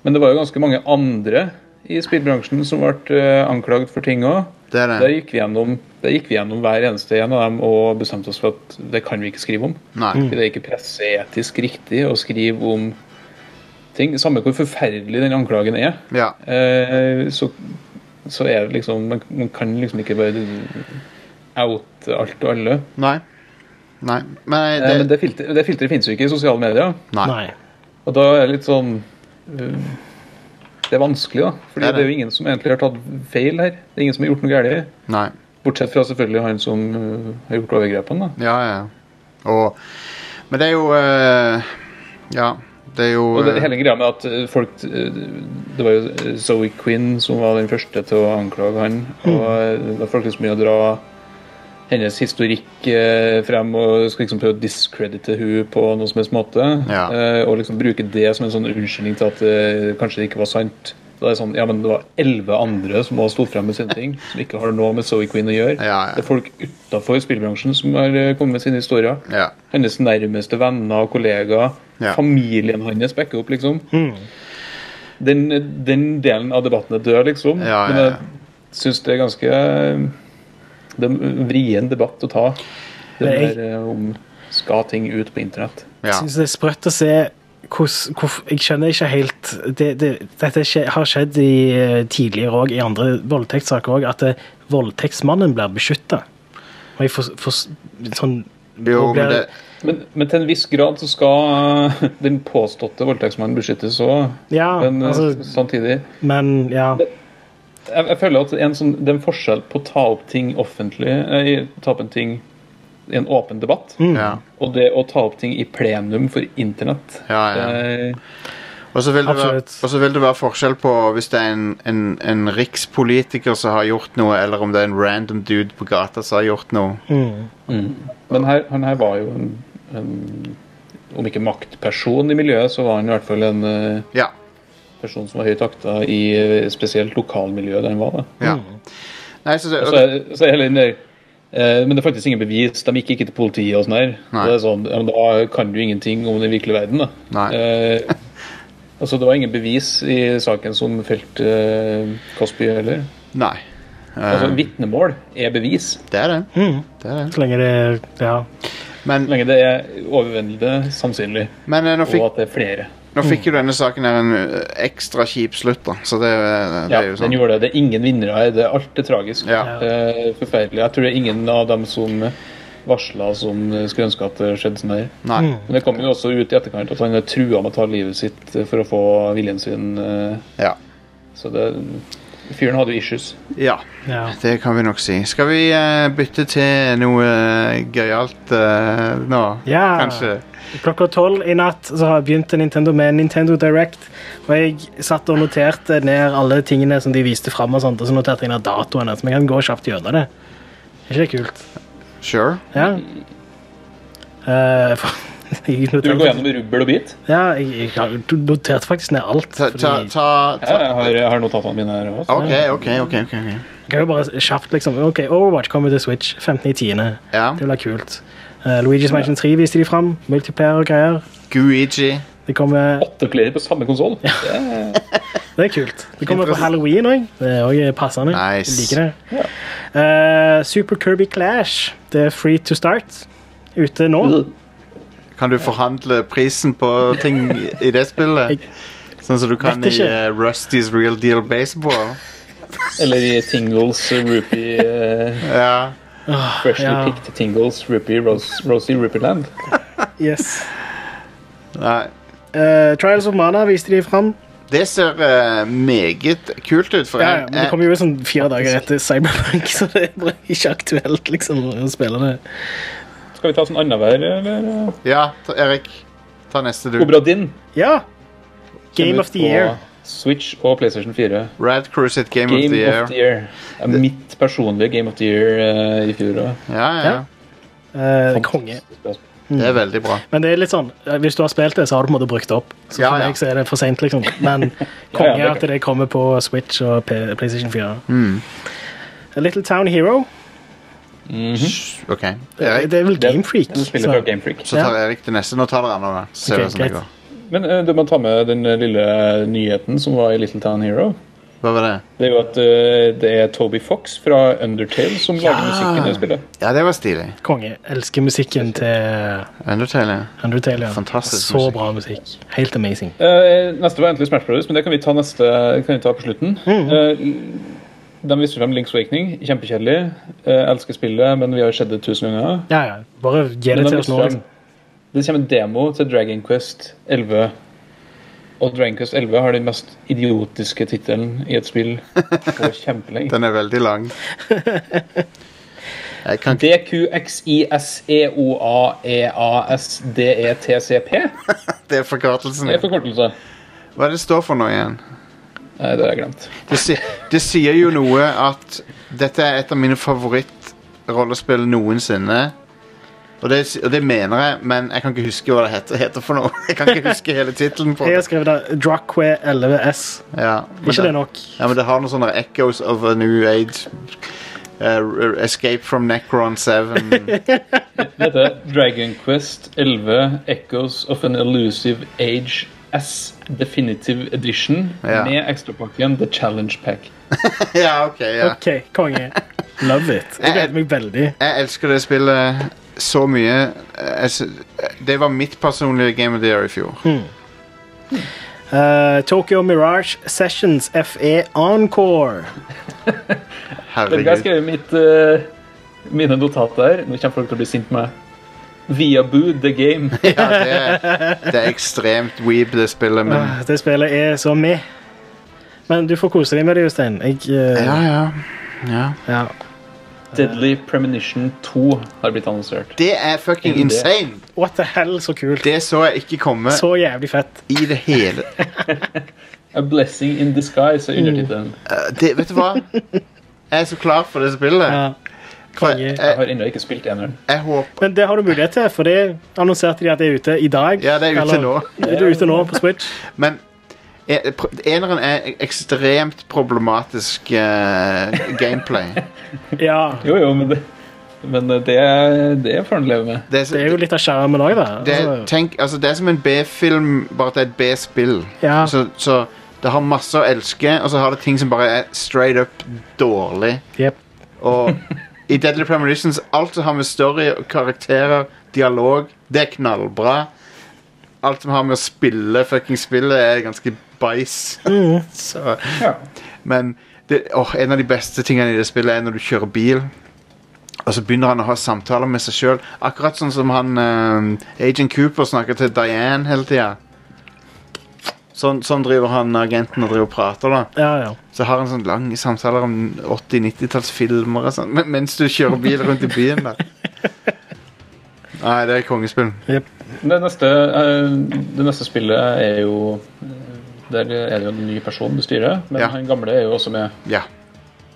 Speaker 3: Men det var jo ganske mange andre i spillbransjen som ble eh, anklagd for ting òg.
Speaker 1: Det er
Speaker 3: Der
Speaker 1: det.
Speaker 3: gikk, vi gjennom, der gikk vi gjennom hver eneste en av dem og bestemte oss for at det kan vi ikke skrive om.
Speaker 1: Nei.
Speaker 3: Fordi Det er ikke presseetisk riktig å skrive om ting. Samme hvor forferdelig den anklagen er.
Speaker 1: Ja.
Speaker 3: Eh, så, så er det liksom man, man kan liksom ikke bare oute alt og alle.
Speaker 1: Nei. Nei. Men
Speaker 3: Eh,
Speaker 1: det,
Speaker 3: men det filteret det filteret finnes jo ikke i sosiale medier.
Speaker 1: Nei.
Speaker 2: Nei.
Speaker 3: Og da er det litt sånn eh, Det er vanskelig, da. For
Speaker 1: Det er
Speaker 3: det,
Speaker 1: det.
Speaker 3: er jo ingen som egentlig har tatt feil her. Det er ingen som har gjort noe galt.
Speaker 1: Nei.
Speaker 3: Bortsett fra selvfølgelig han som eh, har gjort overgrepene. da.
Speaker 1: Ja, ja. Og Men det er jo eh, Ja. Det er jo
Speaker 3: Og det,
Speaker 1: eh,
Speaker 3: hele greia med at eh, folk eh, Det var jo eh, Zoe Quinn som var den første til å anklage han. Og
Speaker 1: Mm.
Speaker 3: eh, da folk liksom begynner å dra hennes historikk eh, frem og skal liksom prøve å diskredite hun på noen som helst måte.
Speaker 1: Ja.
Speaker 3: eh, og liksom bruke det som en sånn unnskyldning til at eh, kanskje det ikke var sant. Da er det sånn, ja, men det var elleve andre som også sto frem med sine ting, som ikke har noe med Zoe Quinn å gjøre.
Speaker 1: Ja, ja.
Speaker 3: Det er folk utafor spillbransjen som har eh, kommet med sine historier.
Speaker 1: Ja.
Speaker 3: Hennes nærmeste venner og kollegaer.
Speaker 1: Ja.
Speaker 3: Familien hans backer opp, liksom.
Speaker 2: Hmm.
Speaker 3: Den, den delen av debatten er død, liksom.
Speaker 1: Ja, ja,
Speaker 3: Men
Speaker 1: ja.
Speaker 3: jeg syns det er ganske Det er en vrien debatt å ta. Det
Speaker 2: Men jeg-
Speaker 3: der eh, om skal ting ut på internett.
Speaker 1: ja.
Speaker 2: Jeg synes det er sprøtt å se hvordan hvordan- Jeg skjønner ikke helt det, det, Dette skje, har skjedd i, eh, tidligere òg, i andre voldtektssaker òg, at eh, voldtektsmannen blir beskytta. Og jeg får, får s- sånn
Speaker 1: Jo,
Speaker 2: og blir-
Speaker 1: men det
Speaker 3: Men, men til en viss grad så skal eh, den påståtte voldtektsmannen beskyttes òg.
Speaker 2: Ja,
Speaker 3: Men eh,
Speaker 2: altså-
Speaker 3: samtidig
Speaker 2: Men ja.
Speaker 3: jeg, jeg føler at en sånn, det er en forskjell på å ta opp ting offentlig, eh, i- ta opp en ting i en åpen debatt,
Speaker 1: Ja.
Speaker 3: og det å ta opp ting i plenum for internett.
Speaker 1: Ja, ja.
Speaker 3: Eh,
Speaker 1: Og så vil, det være,
Speaker 2: Absolutt.
Speaker 1: og så vil det være forskjell på hvis det er en, en, en rikspolitiker som har gjort noe, eller om det er en random dude på gata som har gjort noe.
Speaker 2: Mm.
Speaker 3: men her, han her var jo en, en om ikke maktperson i miljøet, så var han i hvert fall en eh,
Speaker 1: Ja.
Speaker 3: person som var høyt akta i eh, spesielt lokalmiljøet der han var. da.
Speaker 1: ja.
Speaker 2: Mm.
Speaker 1: Nei, så det,
Speaker 3: Og Så er, så er hele den der, eh, men det er faktisk ingen bevis. De gikk ikke til politiet. og sånn her.
Speaker 1: Nei.
Speaker 3: Og Det er sånn, ja, men da kan du ingenting om den virkelige verden. da.
Speaker 1: Nei.
Speaker 3: Eh, altså, Det var ingen bevis i saken som felt eh, Cosby heller.
Speaker 1: Nei. Eh,
Speaker 3: Altså, Vitnemål er bevis.
Speaker 1: Det er det.
Speaker 2: Mm.
Speaker 1: det, er det.
Speaker 2: Så lenge det Ja.
Speaker 1: Men,
Speaker 3: Så lenge det er overveldende sannsynlig,
Speaker 1: men eh, nå
Speaker 3: og
Speaker 1: fikk,
Speaker 3: at det er flere.
Speaker 1: nå
Speaker 2: Mm.
Speaker 1: fikk jo denne saken her en eh, ekstra kjip slutt, da. Så det, eh, det
Speaker 3: Ja,
Speaker 1: er jo
Speaker 3: den
Speaker 1: sånn.
Speaker 3: gjorde det. Det er ingen vinnere her. Det er alt er tragisk.
Speaker 1: Ja.
Speaker 3: Eh, forferdelig. Jeg tror det er ingen av dem som varsla, som skulle ønske at det skjedde sånn her.
Speaker 1: Nei.
Speaker 2: Mm.
Speaker 3: Men det kom jo også ut i etterkant at han er trua med å ta livet sitt for å få viljen sin. eh,
Speaker 1: Ja.
Speaker 3: Så det Fyren hadde jo issues.
Speaker 1: ja.
Speaker 2: ja.
Speaker 1: Det kan vi nok si. Skal vi eh, bytte til noe eh, gøyalt eh, nå?
Speaker 2: Ja.
Speaker 1: Kanskje?
Speaker 2: Klokka tolv i natt så har begynte Nintendo med en Nintendo Direct. Og jeg satt og noterte ned alle tingene som de viste fram, og sånt, og så noterte jeg ned datoene. Så vi kan gå kjapt gjennom det. Er ikke det kult?
Speaker 1: Sure.
Speaker 2: Ja. Eh, for, jeg
Speaker 3: Du vil gå
Speaker 2: noterte,
Speaker 3: gjennom rubbel og bit?
Speaker 2: ja, jeg, jeg noterte faktisk ned alt.
Speaker 1: Ta,
Speaker 2: Fordi,
Speaker 1: ta, ta,
Speaker 3: Ja,
Speaker 1: ta.
Speaker 3: jeg har, jeg har notatene mine her også.
Speaker 1: OK, OK, OK. ok, ok.
Speaker 2: jeg kan jo bare kjapt liksom Ok, Overwatch kommer til Switch 15.10.
Speaker 1: Ja.
Speaker 2: Det blir kult. Eh, Luigi's Mansion 3 viste de fram. Multiplayer og greier.
Speaker 1: Guigi.
Speaker 2: Det kommer
Speaker 3: Åtte flere på samme konsoll.
Speaker 2: Det er kult. Det kommer på
Speaker 1: Interessant.
Speaker 2: halloween òg. Det er også passende.
Speaker 1: Nice.
Speaker 2: Jeg liker det. Eh, Super Kirby Clash. Det er free to start. Ute nå.
Speaker 1: Kan du forhandle prisen på ting i det spillet? Sånn som du kan i
Speaker 2: Vet ikke.
Speaker 1: eh, Rusty's Real Deal Baseball?
Speaker 3: Eller i Tingles eh, Rupee eh,
Speaker 1: Ja.
Speaker 3: Freshly
Speaker 2: ja.
Speaker 3: picked Tingles Rupee Rose, Rosie Rupeeland.
Speaker 2: Yes.
Speaker 1: Nei.
Speaker 2: Eh, Trials of Mana viste de fram.
Speaker 1: Det ser eh, meget kult ut. For
Speaker 2: Ja, ja,
Speaker 1: jeg-
Speaker 2: men
Speaker 3: Eh,
Speaker 2: det kommer jo sånn fire dager etter Cyberpunk, så det er bare ikke aktuelt liksom, å spille det.
Speaker 3: Skal vi ta sånn annenhver, eller?
Speaker 1: jeg- ja, ta, Erik. Ta neste, du.
Speaker 3: Obradin.
Speaker 2: Ja! Game of the Year.
Speaker 3: Switch og PlayStation 4.
Speaker 1: Rad Crew sitt Game,
Speaker 3: Game
Speaker 1: of the Year.
Speaker 3: Ja, mitt personlige Game of the Year eh, i fjor òg.
Speaker 1: Ja, ja, ja.
Speaker 2: Ja. Eh, konge.
Speaker 1: Det er veldig bra.
Speaker 2: Men det er litt sånn, eh, hvis du har spilt det, så har du på en måte brukt det opp. Så
Speaker 1: Ja,
Speaker 2: for
Speaker 1: ja.
Speaker 2: meg så er det for sent, liksom. Men
Speaker 3: Ja, ja,
Speaker 2: konge
Speaker 3: det er Mm.
Speaker 2: at det kommer på Switch og P PlayStation 4. A Little Town Hero.
Speaker 1: OK. Erik,
Speaker 2: Det er vel Game Freak.
Speaker 3: Spiller fra
Speaker 2: så-
Speaker 3: Game Freak.
Speaker 1: så tar Erik det neste. Nå tar dere andre. da. Så ser
Speaker 2: Ok,
Speaker 1: vi hvordan det
Speaker 2: greit.
Speaker 1: går.
Speaker 3: Men eh, du må ta med den eh, lille nyheten som var i Little Town Hero.
Speaker 1: Hva var det?
Speaker 3: Det er jo at eh, det er Toby Fox fra Undertale som lager musikken i det spillet.
Speaker 1: Ja, det var stilig.
Speaker 2: Konge. Elsker musikken til
Speaker 1: Undertale. ja.
Speaker 2: Undertale. ja.
Speaker 1: Fantastisk
Speaker 2: Så
Speaker 1: musikk.
Speaker 2: bra musikk. Helt amazing.
Speaker 3: Eh, neste var egentlig Smash Brothers, men det kan vi ta, neste, kan vi ta på slutten.
Speaker 2: Mm.
Speaker 3: Eh, de viser frem Link's Awakening. Kjempekjedelig. Eh, elsker spillet, men vi har sett det tusen ganger.
Speaker 2: Ja, ja. Bare gi det
Speaker 3: Men de
Speaker 2: til oss
Speaker 3: viser
Speaker 2: nå.
Speaker 3: frem-
Speaker 2: Liksom.
Speaker 3: Det kommer en demo til Dragon Quest 11. Og Dragon Quest 11 har den mest idiotiske tittelen i et spill på kjempelenge.
Speaker 1: Den er veldig lang. Jeg kan ikke
Speaker 3: E DQXISEOAEASDETCP
Speaker 1: Det er forkortelsen.
Speaker 3: Det er forkortelse.
Speaker 1: Hva er det det står for nå igjen?
Speaker 3: Nei, det har jeg glemt.
Speaker 1: Det, si, det sier jo noe at dette er et av mine favorittrollespill noensinne. Og det, og det mener jeg, men jeg kan ikke huske hva det heter, heter for noe. Jeg kan ikke huske hele tittelen på
Speaker 2: Jeg har
Speaker 1: det.
Speaker 2: skrevet da Drockway 11S.
Speaker 1: Ja, men
Speaker 2: Ikke det
Speaker 1: det,
Speaker 2: nok?
Speaker 1: ja, men det har noen sånne echoes of a new age. eh, r- escape from Necron 7.
Speaker 3: Det heter Dragon Quest 11 Echoes of an Elusive Age S Definitive Edition
Speaker 1: Ja.
Speaker 3: med ekstrapakken The Challenge Pack.
Speaker 1: ja, ok, ja.
Speaker 2: OK, konge. Love it. Jeg gleder meg veldig.
Speaker 1: Jeg elsker det spillet så mye. Eh, Jeg, sy- det var mitt personlige Game of the Year i fjor.
Speaker 2: Eh, Tokyo Mirage Sessions FE Encore.
Speaker 3: Vet du hva jeg
Speaker 1: Herregud.
Speaker 3: skrev i mitt, eh, mine notater? Nå kommer folk til å bli sint på meg. Via Boo The Game.
Speaker 1: Ja, det, er- det er ekstremt weeb, det spillet, men
Speaker 2: Ah, Det spillet er så med. Men du får kose deg med det, Jostein. Jeg, eh,
Speaker 1: Ja, ja. ja.
Speaker 2: ja.
Speaker 3: Deadly Premonition 2 har blitt annonsert.
Speaker 1: Det er fucking
Speaker 3: Det-
Speaker 1: insane!
Speaker 2: What the hell, så kult.
Speaker 1: Det så jeg ikke komme
Speaker 2: Så jævlig fett.
Speaker 1: i det hele
Speaker 3: A Blessing in Disguise er undertittelen.
Speaker 1: Eh, det, Vet du hva? Jeg er så klar for det spillet.
Speaker 2: Ja.
Speaker 1: For
Speaker 2: konge.
Speaker 1: jeg,
Speaker 3: Jeg
Speaker 1: jeg,
Speaker 3: har ennå ikke spilt eneren.
Speaker 1: jeg håper
Speaker 2: Men det har du mulighet til, for det annonserte de at det er ute i dag.
Speaker 1: Ja, det er ute nå.
Speaker 2: Det er ute nå på Switch.
Speaker 1: Men eh, pro- eneren er ekstremt problematisk eh, gameplay.
Speaker 2: Ja,
Speaker 3: Jo, jo, men det, men eh, det, det får han leve med.
Speaker 1: Det er, så-
Speaker 2: det er jo litt av skjermen òg, da.
Speaker 1: det, er-
Speaker 2: Altså,
Speaker 1: tenk, altså, det er som en B-film, bare at det er et B-spill.
Speaker 2: Ja.
Speaker 1: Så, så det har masse å elske, og så har det ting som bare er straight up dårlig.
Speaker 2: jep.
Speaker 1: Og i Deadly Premonitions Alt som har med story, karakterer, dialog Det er knallbra Alt som har med å spille fucking spillet Er ganske beis Så,
Speaker 3: Ja.
Speaker 1: Men det, åh, en av de beste tingene i det spillet Er når du kjører bil Og så begynner han å ha samtaler med seg selv Akkurat sånn som han eh, Agent Cooper snakker til Diane hele tiden Sånn, sånn driver han agenten og driver og prater da
Speaker 2: Ja, ja.
Speaker 1: så har han sånn lange samtaler om 80-90-tallsfilmer og sånn, men- mens du kjører bil rundt i byen der. Nei, det er kongespill.
Speaker 3: Det neste, eh, det neste spillet er jo eh, Der er det jo en ny person du styrer, men
Speaker 1: Ja.
Speaker 3: han gamle er jo også med.
Speaker 1: Ja.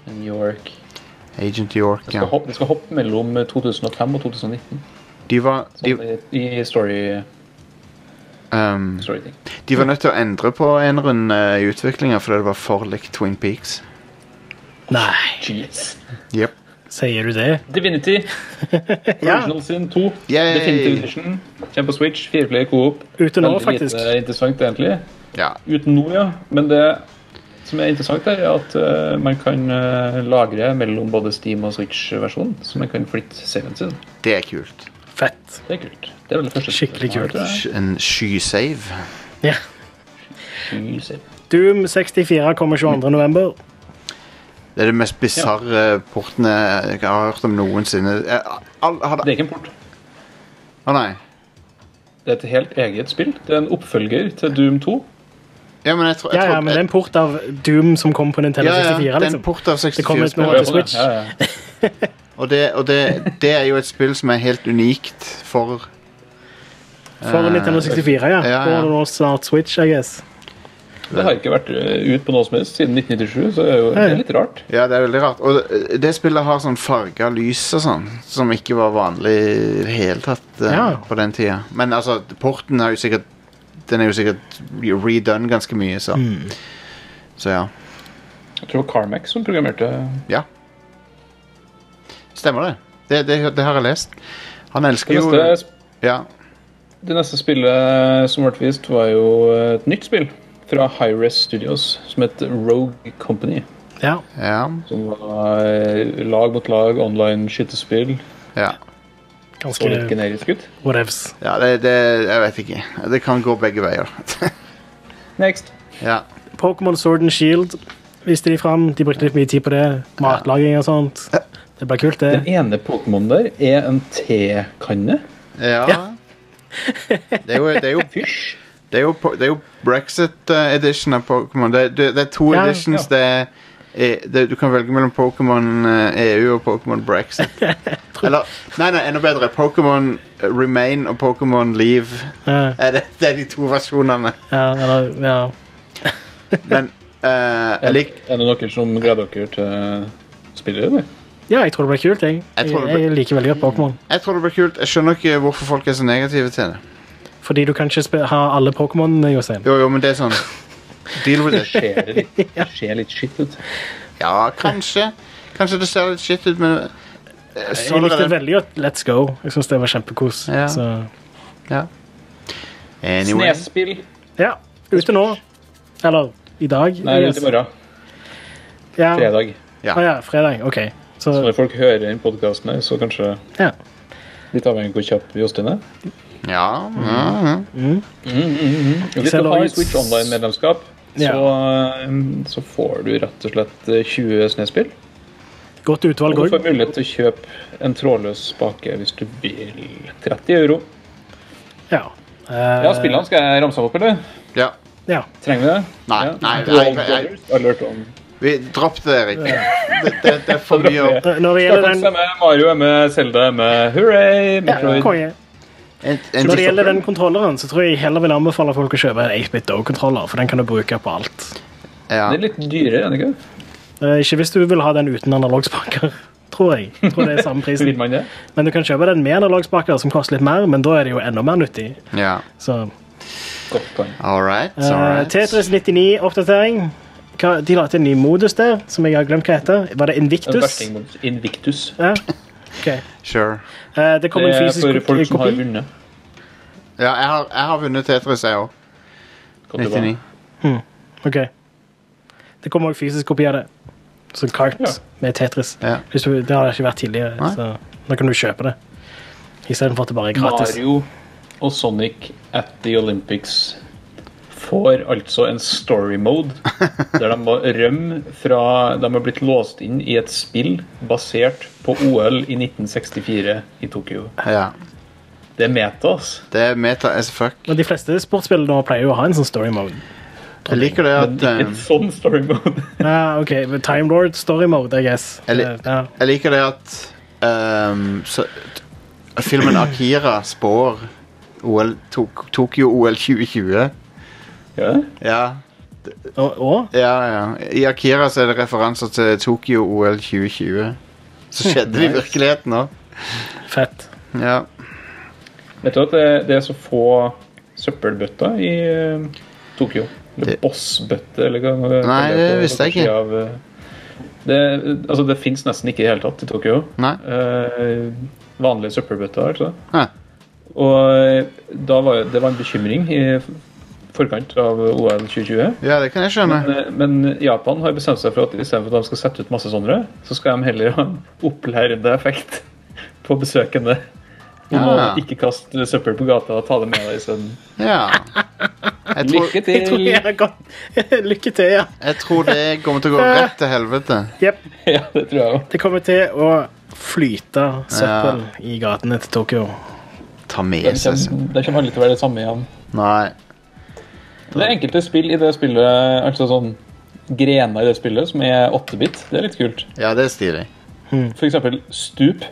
Speaker 3: New York.
Speaker 1: Agent York,
Speaker 3: Det
Speaker 1: ja.
Speaker 3: skal, hoppe, det skal hoppe mellom 2005 og 2019.
Speaker 1: De var, de,
Speaker 3: Sånn, I i story,
Speaker 1: ehm,
Speaker 3: story ting.
Speaker 1: de var nødt til å endre på eneren eh, i utviklinga fordi det var for likt Twin Peaks.
Speaker 2: Nei,
Speaker 3: Jeez.
Speaker 1: Yep.
Speaker 2: sier du det?
Speaker 3: Divinity. Original Sin 2.
Speaker 1: Yay.
Speaker 3: Definitive Edition. Kjem på Switch. Fireplayer co-op.
Speaker 2: Ute nå,
Speaker 3: Veldig lite
Speaker 2: faktisk.
Speaker 3: interessant, egentlig.
Speaker 1: Ja.
Speaker 3: Uten nå, ja. Men det som er interessant, er at eh, man kan eh, lagre mellom både Steam og Switch-versjonen. Så man kan flytte saven sin.
Speaker 1: Det er kult.
Speaker 2: Fett.
Speaker 3: Det er kult. Det er vel det første
Speaker 2: Skikkelig
Speaker 3: som er,
Speaker 2: kult.
Speaker 3: tror jeg.
Speaker 1: En skysave.
Speaker 2: Ja.
Speaker 3: Fy save.
Speaker 2: Doom 64 kommer 22. november.
Speaker 1: Det er det mest bisarre portene jeg har hørt om noensinne. Eh, All, hadde,
Speaker 3: Det er ikke en port.
Speaker 1: Å nei.
Speaker 3: Det er et helt eget spill. Det er en oppfølger til Doom 2.
Speaker 1: Ja, men jeg tror, jeg
Speaker 2: Ja, ja,
Speaker 1: tror-
Speaker 2: men det er en port av Doom som kom på Nintendo
Speaker 1: ja, ja,
Speaker 2: 64,
Speaker 1: det er en
Speaker 2: liksom.
Speaker 1: port av
Speaker 2: Det kommer ut med
Speaker 1: 64-spill.
Speaker 2: til Switch.
Speaker 3: Ja, ja.
Speaker 1: Og, det, og det, det er jo et spill som er helt unikt for
Speaker 2: For Nintendo 64, ja.
Speaker 1: ja, ja.
Speaker 2: Og nå snart Switch, I guess.
Speaker 3: Det har ikke vært eh, ut på noe som helst siden 1997, så det er jo det er litt rart.
Speaker 1: Ja, det er veldig rart. Og det, det spillet har sånn farga lys og sånn, som ikke var vanlig i det hele tatt eh,
Speaker 2: Ja.
Speaker 1: på den tida. Men altså, porten er jo sikkert Den er jo sikkert redone ganske mye, så Så ja.
Speaker 3: Jeg tror det var Carmack som programmerte
Speaker 1: Ja. Stemmer det. Det, det. det har jeg lest. Han elsker
Speaker 3: det
Speaker 1: jo
Speaker 3: neste,
Speaker 1: Ja.
Speaker 3: det neste spillet som ble vist, var jo et nytt spill fra Hi-Res Studios som het Rogue Company.
Speaker 2: Ja.
Speaker 1: Ja.
Speaker 3: Som var eh, lag mot lag, online skytespill.
Speaker 1: ja.
Speaker 3: Så litt
Speaker 2: Ganske
Speaker 3: generisk ut.
Speaker 2: whatevs.
Speaker 1: ja det, det Jeg vet ikke. Det kan gå begge veier.
Speaker 3: Next.
Speaker 1: ja.
Speaker 2: Pokémon Sword and Shield viste de fram. De brukte litt mye tid på det. Matlaging og sånt. Det ble kult,
Speaker 3: Den
Speaker 2: det.
Speaker 3: ene Pokémonen der er en tekanne.
Speaker 1: Ja. Det er jo, det er jo
Speaker 3: Fysj.
Speaker 1: Det er jo, po- det er jo Brexit eh, edition av Pokémon. Det, det, det er to
Speaker 2: Ja,
Speaker 1: editions. Det er, eh, det, du kan velge mellom Pokémon eh, EU og Pokémon Brexit. Eller, nei, nei, enda bedre. Pokémon eh, Remain og Pokémon Leave.
Speaker 2: Ja,
Speaker 1: Eh, Det, det er de to versjonene.
Speaker 2: ja, eller, ja.
Speaker 1: Men eh, jeg,
Speaker 3: Er,
Speaker 1: lik,
Speaker 3: er det noen som gleder dere til spillet? eller?
Speaker 2: ja, jeg tror det ble kult, jeg.
Speaker 1: Jeg
Speaker 2: Jeg,
Speaker 1: tror det ble-
Speaker 2: jeg liker veldig godt Pokémon.
Speaker 1: jeg tror det blir kult. Jeg skjønner ikke hvorfor folk er så negative til det.
Speaker 2: Fordi du kan ikke spe- ha alle Pokémon, eh, Jostein.
Speaker 1: Jo, jo, men det er sånn Deal with
Speaker 3: Det
Speaker 1: it.
Speaker 3: skjer det litt, det skjer litt shit ut.
Speaker 1: Ja, kanskje. Kanskje det ser litt shit ut, men eh, så
Speaker 2: Jeg likte
Speaker 1: allerede-
Speaker 2: veldig godt Let's Go. Jeg synes det var kjempekos.
Speaker 1: Ja.
Speaker 2: Så
Speaker 1: ja. Anyway.
Speaker 3: Snespill.
Speaker 2: ja. Ute nå. Eller i dag.
Speaker 3: Nei,
Speaker 2: I
Speaker 3: ut i morgen.
Speaker 2: Ja.
Speaker 3: Fredag.
Speaker 1: Ja.
Speaker 2: Å ja, fredag. OK. Så
Speaker 3: Så når folk hører den podkasten her, så kanskje
Speaker 2: ja.
Speaker 3: litt avhengig av hvor kjapp Jostein er.
Speaker 1: Ja, ja, ja.
Speaker 3: Hvis du
Speaker 2: Selv
Speaker 3: har
Speaker 2: om-
Speaker 3: Switch Online-medlemskap,
Speaker 2: Ja.
Speaker 3: så, eh, så får du rett og slett eh, 20 snespill.
Speaker 2: Godt
Speaker 3: Og
Speaker 2: utvalg
Speaker 3: du
Speaker 2: òg.
Speaker 3: får mulighet til å kjøpe en trådløs spake hvis du vil. 30 euro.
Speaker 2: Ja.
Speaker 3: Ja, spillene skal jeg ramse opp, eller?
Speaker 1: ja.
Speaker 2: Ja.
Speaker 3: Trenger vi det?
Speaker 1: Nei,
Speaker 3: Ja.
Speaker 1: nei,
Speaker 3: Roll
Speaker 1: nei, nei.
Speaker 3: Dollars, Alert on.
Speaker 1: Vi dropp det, Erik. Det, det, det er for mye å-
Speaker 2: Når når det gjelder
Speaker 3: Starfox
Speaker 2: den
Speaker 3: er med, Mario er med, Zelda er med. Hurray!
Speaker 2: ja,
Speaker 3: Metroid.
Speaker 2: konge.
Speaker 1: en, en,
Speaker 2: Når det gjelder den kontrolleren, så tror jeg heller vil anbefale folk å kjøpe en 8-bit Dog-kontroller, for den kan du bruke på alt.
Speaker 1: ja.
Speaker 3: Det er litt dyrere, er det ikke?
Speaker 2: Eh, Ikke hvis du vil ha den uten analogspaker, tror jeg. Jeg Tror det er samme
Speaker 3: Vil
Speaker 2: prisen.
Speaker 3: man det?
Speaker 2: Men du kan kjøpe den med analogspaker, som koster litt mer, men da er det jo enda mer nyttig.
Speaker 1: ja.
Speaker 2: Så,
Speaker 3: Godt poeng.
Speaker 1: All right.
Speaker 2: eh,
Speaker 1: All right.
Speaker 2: Tetris 99-oppdatering. De la til en ny modus der, som jeg har glemt hva heter. Var det
Speaker 3: En
Speaker 2: Invictus?
Speaker 3: versting mot Invictus.
Speaker 2: Ja. Ok.
Speaker 1: Sure.
Speaker 2: Eh, Det kom
Speaker 3: Det
Speaker 2: en
Speaker 3: er
Speaker 2: fysisk
Speaker 3: for folk som har
Speaker 2: kopi.
Speaker 3: vunnet.
Speaker 1: Ja, jeg har, jeg har vunnet Tetris, jeg òg.
Speaker 3: Godt jobba.
Speaker 1: 99.
Speaker 2: Ok. Det kommer også fysisk kopi av det. Så kart
Speaker 3: Ja.
Speaker 2: med Tetris.
Speaker 1: Ja.
Speaker 2: Hvis du, det har det ikke vært tidligere,
Speaker 1: Nei.
Speaker 2: så nå kan du kjøpe det. Istedenfor at det bare er gratis.
Speaker 3: Mario og Sonic at the Olympics får altså en story mode der de må rømme fra De har blitt låst inn i et spill basert på OL i 1964 i Tokyo.
Speaker 1: Ja.
Speaker 3: Det er meta, ass.
Speaker 1: Det er meta as fuck.
Speaker 2: Men de fleste sportsspill nå pleier jo å ha en sånn story mode.
Speaker 1: Jeg liker det
Speaker 3: Men
Speaker 1: at
Speaker 3: ikke en
Speaker 1: eh,
Speaker 3: sånn story mode.
Speaker 2: Ja, ok, men Time Lord story mode, I guess. Eh,
Speaker 1: Eller-
Speaker 2: ja.
Speaker 1: Jeg liker det at ehm, så, Filmen Akira spår OL, tok, Tokyo OL 2020.
Speaker 3: Ja.
Speaker 1: Ja.
Speaker 2: Og, og
Speaker 1: ja, ja. I Akira så er det referanser til Tokyo OL 2020. Så skjedde det i virkeligheten òg.
Speaker 2: Fett.
Speaker 1: Ja.
Speaker 3: Vet du at det, det er så få søppelbøtter i eh, Tokyo? Eller
Speaker 1: Det-
Speaker 3: bossbøtte, eller hva hva-
Speaker 1: Nei,
Speaker 3: hva
Speaker 1: det
Speaker 3: på
Speaker 1: visste jeg
Speaker 3: forsiden
Speaker 1: ikke.
Speaker 3: av, eh, det, altså, det fins nesten ikke i det hele tatt i Tokyo.
Speaker 1: Nei.
Speaker 3: Eh, vanlige søppelbøtter, altså.
Speaker 1: Hæ.
Speaker 3: Og eh, da var jo- det var en bekymring i forkant av OL 2020.
Speaker 1: ja, det kan jeg skjønne.
Speaker 3: Men, eh, men Japan har bestemt seg for at istedenfor at de skal sette ut masse sånne, så skal de heller ha en opplærende effekt på besøkende. Om
Speaker 1: Ja.
Speaker 3: å ikke kaste søppel på gata og ta det med deg isteden.
Speaker 1: Ja. Jeg tror,
Speaker 3: Lykke
Speaker 2: Jeg tror
Speaker 3: til!
Speaker 2: jeg har gått Lykke til, ja.
Speaker 1: jeg tror det kommer til å gå rett til helvete.
Speaker 2: Jep.
Speaker 3: Ja, det tror jeg òg.
Speaker 2: Det kommer til å flyte søppel i gatene til Tokyo.
Speaker 1: Ta med
Speaker 3: Det
Speaker 1: seg så-
Speaker 3: kommer det kommer aldri til å være det samme igjen.
Speaker 1: Nei.
Speaker 3: Det er enkelte spill i det spillet, altså sånn grener i det spillet, som er 8-bit. Det er litt kult.
Speaker 1: Ja, det er stilig.
Speaker 3: For eksempel stup.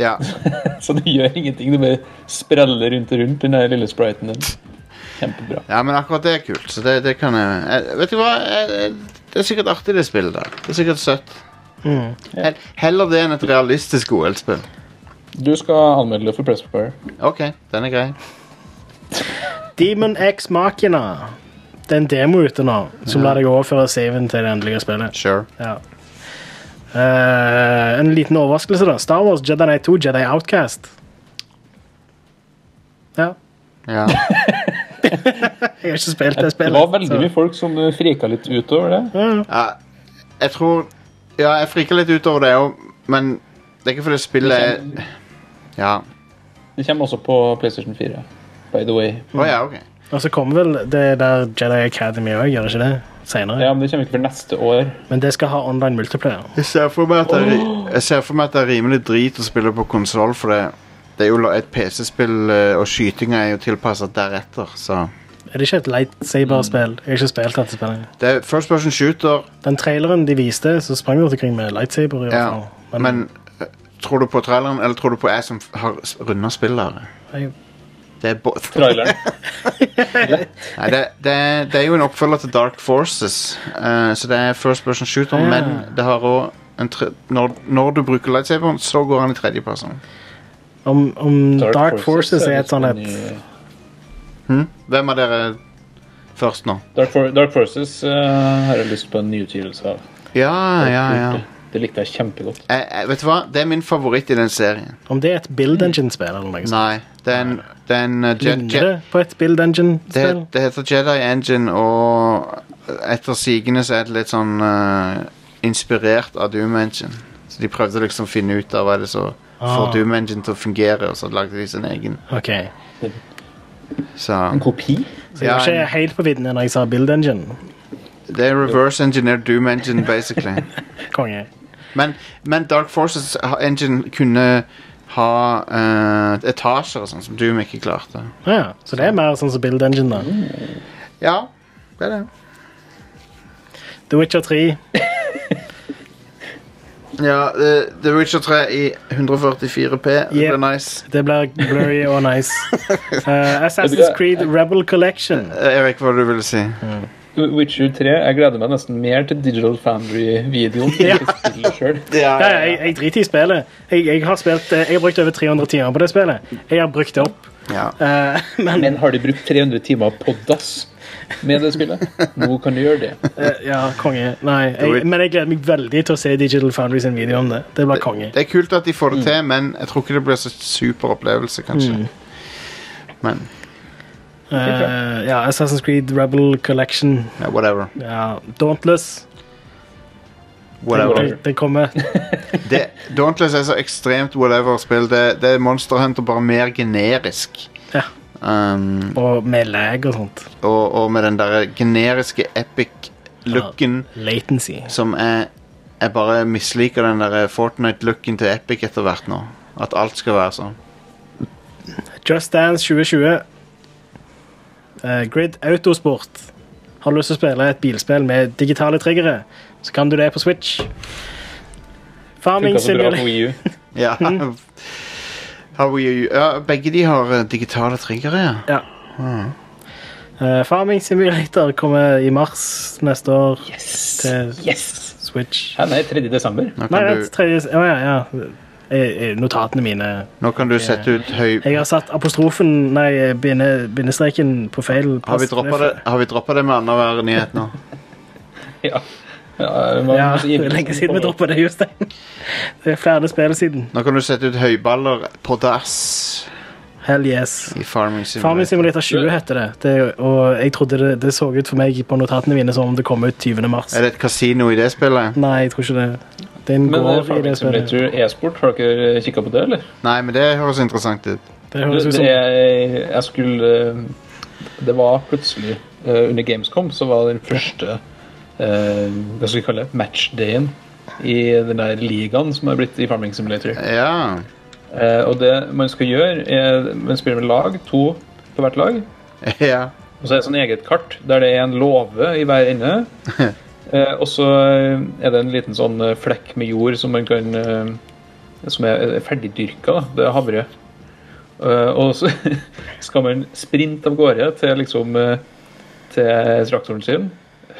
Speaker 1: Ja.
Speaker 3: Så det gjør ingenting. Du bare spreller rundt og rundt den der lille spriten din. Kjempebra.
Speaker 1: ja, men akkurat det er kult. Så det, det kan jeg, jeg Vet du hva? Jeg, jeg, det er sikkert artig, det spillet der. Det er sikkert søtt. Hell- Heller det enn et realistisk OL-spill.
Speaker 3: Du skal anmelde det for Pressfire.
Speaker 1: OK, den er grei.
Speaker 2: Demon X Machina. Det er en demo ute nå som lar deg overføre saven til det endelige spillet.
Speaker 1: Sure.
Speaker 2: Ja. Eh, en liten overraskelse, da. Star Wars Jedi Knight 2, Jedi Outcast. Ja.
Speaker 1: Ja.
Speaker 2: Jeg har ikke spilt det
Speaker 3: Det
Speaker 2: spillet.
Speaker 3: var veldig
Speaker 2: så-
Speaker 3: mye folk som eh, frika litt utover det.
Speaker 1: ja jeg tror Ja, jeg friker litt ut over det òg, men det er ikke fordi spillet er Ja.
Speaker 3: Det kommer også på PlayStation 4, by the way.
Speaker 1: Å ja, OK.
Speaker 2: Og så kommer vel det der Jedi Academy òg, gjør det ikke det? Senere.
Speaker 3: Ja, men Det kommer ikke før neste år.
Speaker 2: Men det skal ha online multiplayer.
Speaker 1: Jeg ser for meg at det er, jeg ser for meg at det er rimelig drit å spille på konsoll, for det, det er jo la- et PC-spill, eh, og skytinga er jo tilpassa deretter, så
Speaker 2: Er det ikke et lightsaber-spill? Jeg har ikke spilt dette spillet.
Speaker 1: Det er first person shooter,
Speaker 2: Den traileren de viste, så sprang vi rundt omkring med lightsaber. I hvert
Speaker 1: ja,
Speaker 2: fall. Men,
Speaker 1: men eh, tror du på traileren, eller tror du på jeg som f- har s- runda spillet?
Speaker 2: jeg,
Speaker 1: Det er, bo-
Speaker 3: Traileren.
Speaker 1: Nei, det, det, er- det er jo en oppfølger til Dark Forces, eh, så det er first person shooter,
Speaker 2: Ja.
Speaker 1: men det har òg en tre, når, når du bruker lightsaberen, så går han i tredjeperson.
Speaker 2: om, om Dark, Forces, er et sånn
Speaker 3: liksom
Speaker 2: et
Speaker 3: en ny-
Speaker 1: Hvem av dere først nå?
Speaker 3: Dark, For Dark Forces eh, har jeg lyst på en ny utgivelse av.
Speaker 1: Ja, ja, ja.
Speaker 3: Det likte jeg kjempegodt.
Speaker 1: Jeg, jeg, Eh, vet du hva? Det er min favoritt i den serien.
Speaker 2: Om det er et Build Engine-spill eller noe sånt.
Speaker 1: Nei, det er en, det er en uh, Je-
Speaker 2: Ligner
Speaker 1: Je-
Speaker 2: det på et Build
Speaker 1: det,
Speaker 2: Engine-spill?
Speaker 1: det heter Jedi Engine, og etter sigende så er det litt sånn uh, inspirert av Doom Engine. Så de prøvde liksom å finne ut av hva er det som
Speaker 2: Ah.
Speaker 1: får Doom Engine til å fungere, og så lagde de sin egen.
Speaker 2: Ok.
Speaker 1: Så
Speaker 3: En kopi?
Speaker 2: Så jeg var
Speaker 1: Ja,
Speaker 2: ikke helt på viddene når jeg sa Build Engine.
Speaker 1: det er reverse engineered Doom Engine, basically.
Speaker 2: Konge.
Speaker 1: Men, men Dark Forces ha- Engine kunne ha uh, etasjer og sånn, som Doom ikke klarte.
Speaker 2: Ja, så det er mer sånn som Build Engine, da.
Speaker 1: Mm. Ja, det er det.
Speaker 2: The Witcher 3.
Speaker 1: Ja, eh, The Witcher 3 i 144p. Det
Speaker 2: Yep.
Speaker 1: blir nice.
Speaker 2: Det blir blurry og nice. Eh, Assassin's Creed Rebel Collection.
Speaker 1: Eh, Erik, hva du ville si?
Speaker 3: Witcher 3. Jeg gleder meg nesten mer til Digital Foundry-videoen.
Speaker 2: Ja.
Speaker 3: enn til spillet selv.
Speaker 2: Ja, ja, jeg, jeg driter i spillet. Jeg, jeg, har spilt, eh, jeg har brukt over 300 timer på det spillet. Jeg har brukt det opp.
Speaker 1: Ja.
Speaker 2: Eh, men
Speaker 3: Men har de brukt 300 timer på dass med det spillet? Nå kan du gjøre det.
Speaker 2: eh, Ja, konge. Nei,
Speaker 1: Wit-
Speaker 2: jeg, men jeg gleder meg veldig til å se Digital Foundry sin video om det. Det blir konge.
Speaker 1: Det er kult at de får
Speaker 2: mm.
Speaker 1: det til, men jeg tror ikke det blir så super opplevelse, kanskje. Men
Speaker 2: Eh, ja, Assassin's Creed Rebel Collection.
Speaker 1: ja, whatever.
Speaker 2: Ja, Dauntless.
Speaker 1: whatever.
Speaker 2: Det, det kommer.
Speaker 1: Det, Dauntless er så ekstremt whatever-spill. Det, det er Monster Hunter bare mer generisk.
Speaker 2: Ja.
Speaker 1: Um,
Speaker 2: Og med lag og sånt.
Speaker 1: og, og med den der generiske epic-looken
Speaker 2: Latency.
Speaker 1: som er Jeg bare misliker den der Fortnite-looken til Epic etter hvert nå. At alt skal være sånn.
Speaker 2: Just Dance 2020. Eh, Grid Autosport. Har du lyst til å spille et bilspill med digitale triggere, så kan du det på Switch. Farming
Speaker 3: Funka så bra på
Speaker 2: Simulator
Speaker 3: Wii U.
Speaker 1: Ja.
Speaker 2: Mm.
Speaker 1: Har vi, ja, begge de har eh, digitale triggere, ja.
Speaker 2: eh, Farming Simulator kommer i mars neste år
Speaker 3: Yes!
Speaker 2: til
Speaker 3: yes.
Speaker 2: Switch.
Speaker 3: Hæ, nei, 3. desember.
Speaker 1: Nå
Speaker 2: Nei,
Speaker 1: kan
Speaker 2: det
Speaker 1: du,
Speaker 2: er tredje Å ja, ja. Eh, eh, Notatene mine
Speaker 1: nå kan du sette ut høy...
Speaker 2: Jeg har satt apostrofen, nei, eh, binde, bindestreken på feil
Speaker 1: Har vi
Speaker 2: plass.
Speaker 1: droppa det, har vi droppet det med annenhver nyhet nå?
Speaker 3: Ja. Ja, man-
Speaker 2: Ja,
Speaker 3: altså, i-
Speaker 2: det er lenge siden vi droppa det, Jostein. Det er flere spill siden.
Speaker 1: Nå kan du sette ut høyballer på dass
Speaker 2: Hell yes.
Speaker 1: i Farming Simulator.
Speaker 2: Farming Simulator 20 heter det. det og jeg trodde det, det så ut for meg på notatene mine som om det kom ut 20. mars.
Speaker 1: Er det et kasino i det spillet?
Speaker 2: Nei, jeg tror ikke det. Den
Speaker 3: Men eh,
Speaker 2: går i det
Speaker 3: Farming
Speaker 2: spillet.
Speaker 3: Simulator e-sport, har dere kikka på det, eller?
Speaker 1: Nei, men det høres interessant ut.
Speaker 2: Det
Speaker 3: Det,
Speaker 2: høres ut
Speaker 3: det,
Speaker 2: som
Speaker 3: jeg, jeg skulle eh, Det var plutselig eh, Under Gamescom så var den første eh, Hva skal vi kalle det? Matchdayen i den der ligaen som har blitt i Farming Simulator.
Speaker 1: Ja.
Speaker 3: Eh, og det man skal gjøre, er man spiller med lag, to på hvert lag.
Speaker 1: ja.
Speaker 3: Og så er det sånn eget kart der det er en låve i hver ende. Eh, og så er det en liten sånn eh, flekk med jord som man kan eh, Som er er ferdigdyrka. da. Det er havre. Eh, og så skal man sprinte av gårde til liksom eh, til traktoren sin,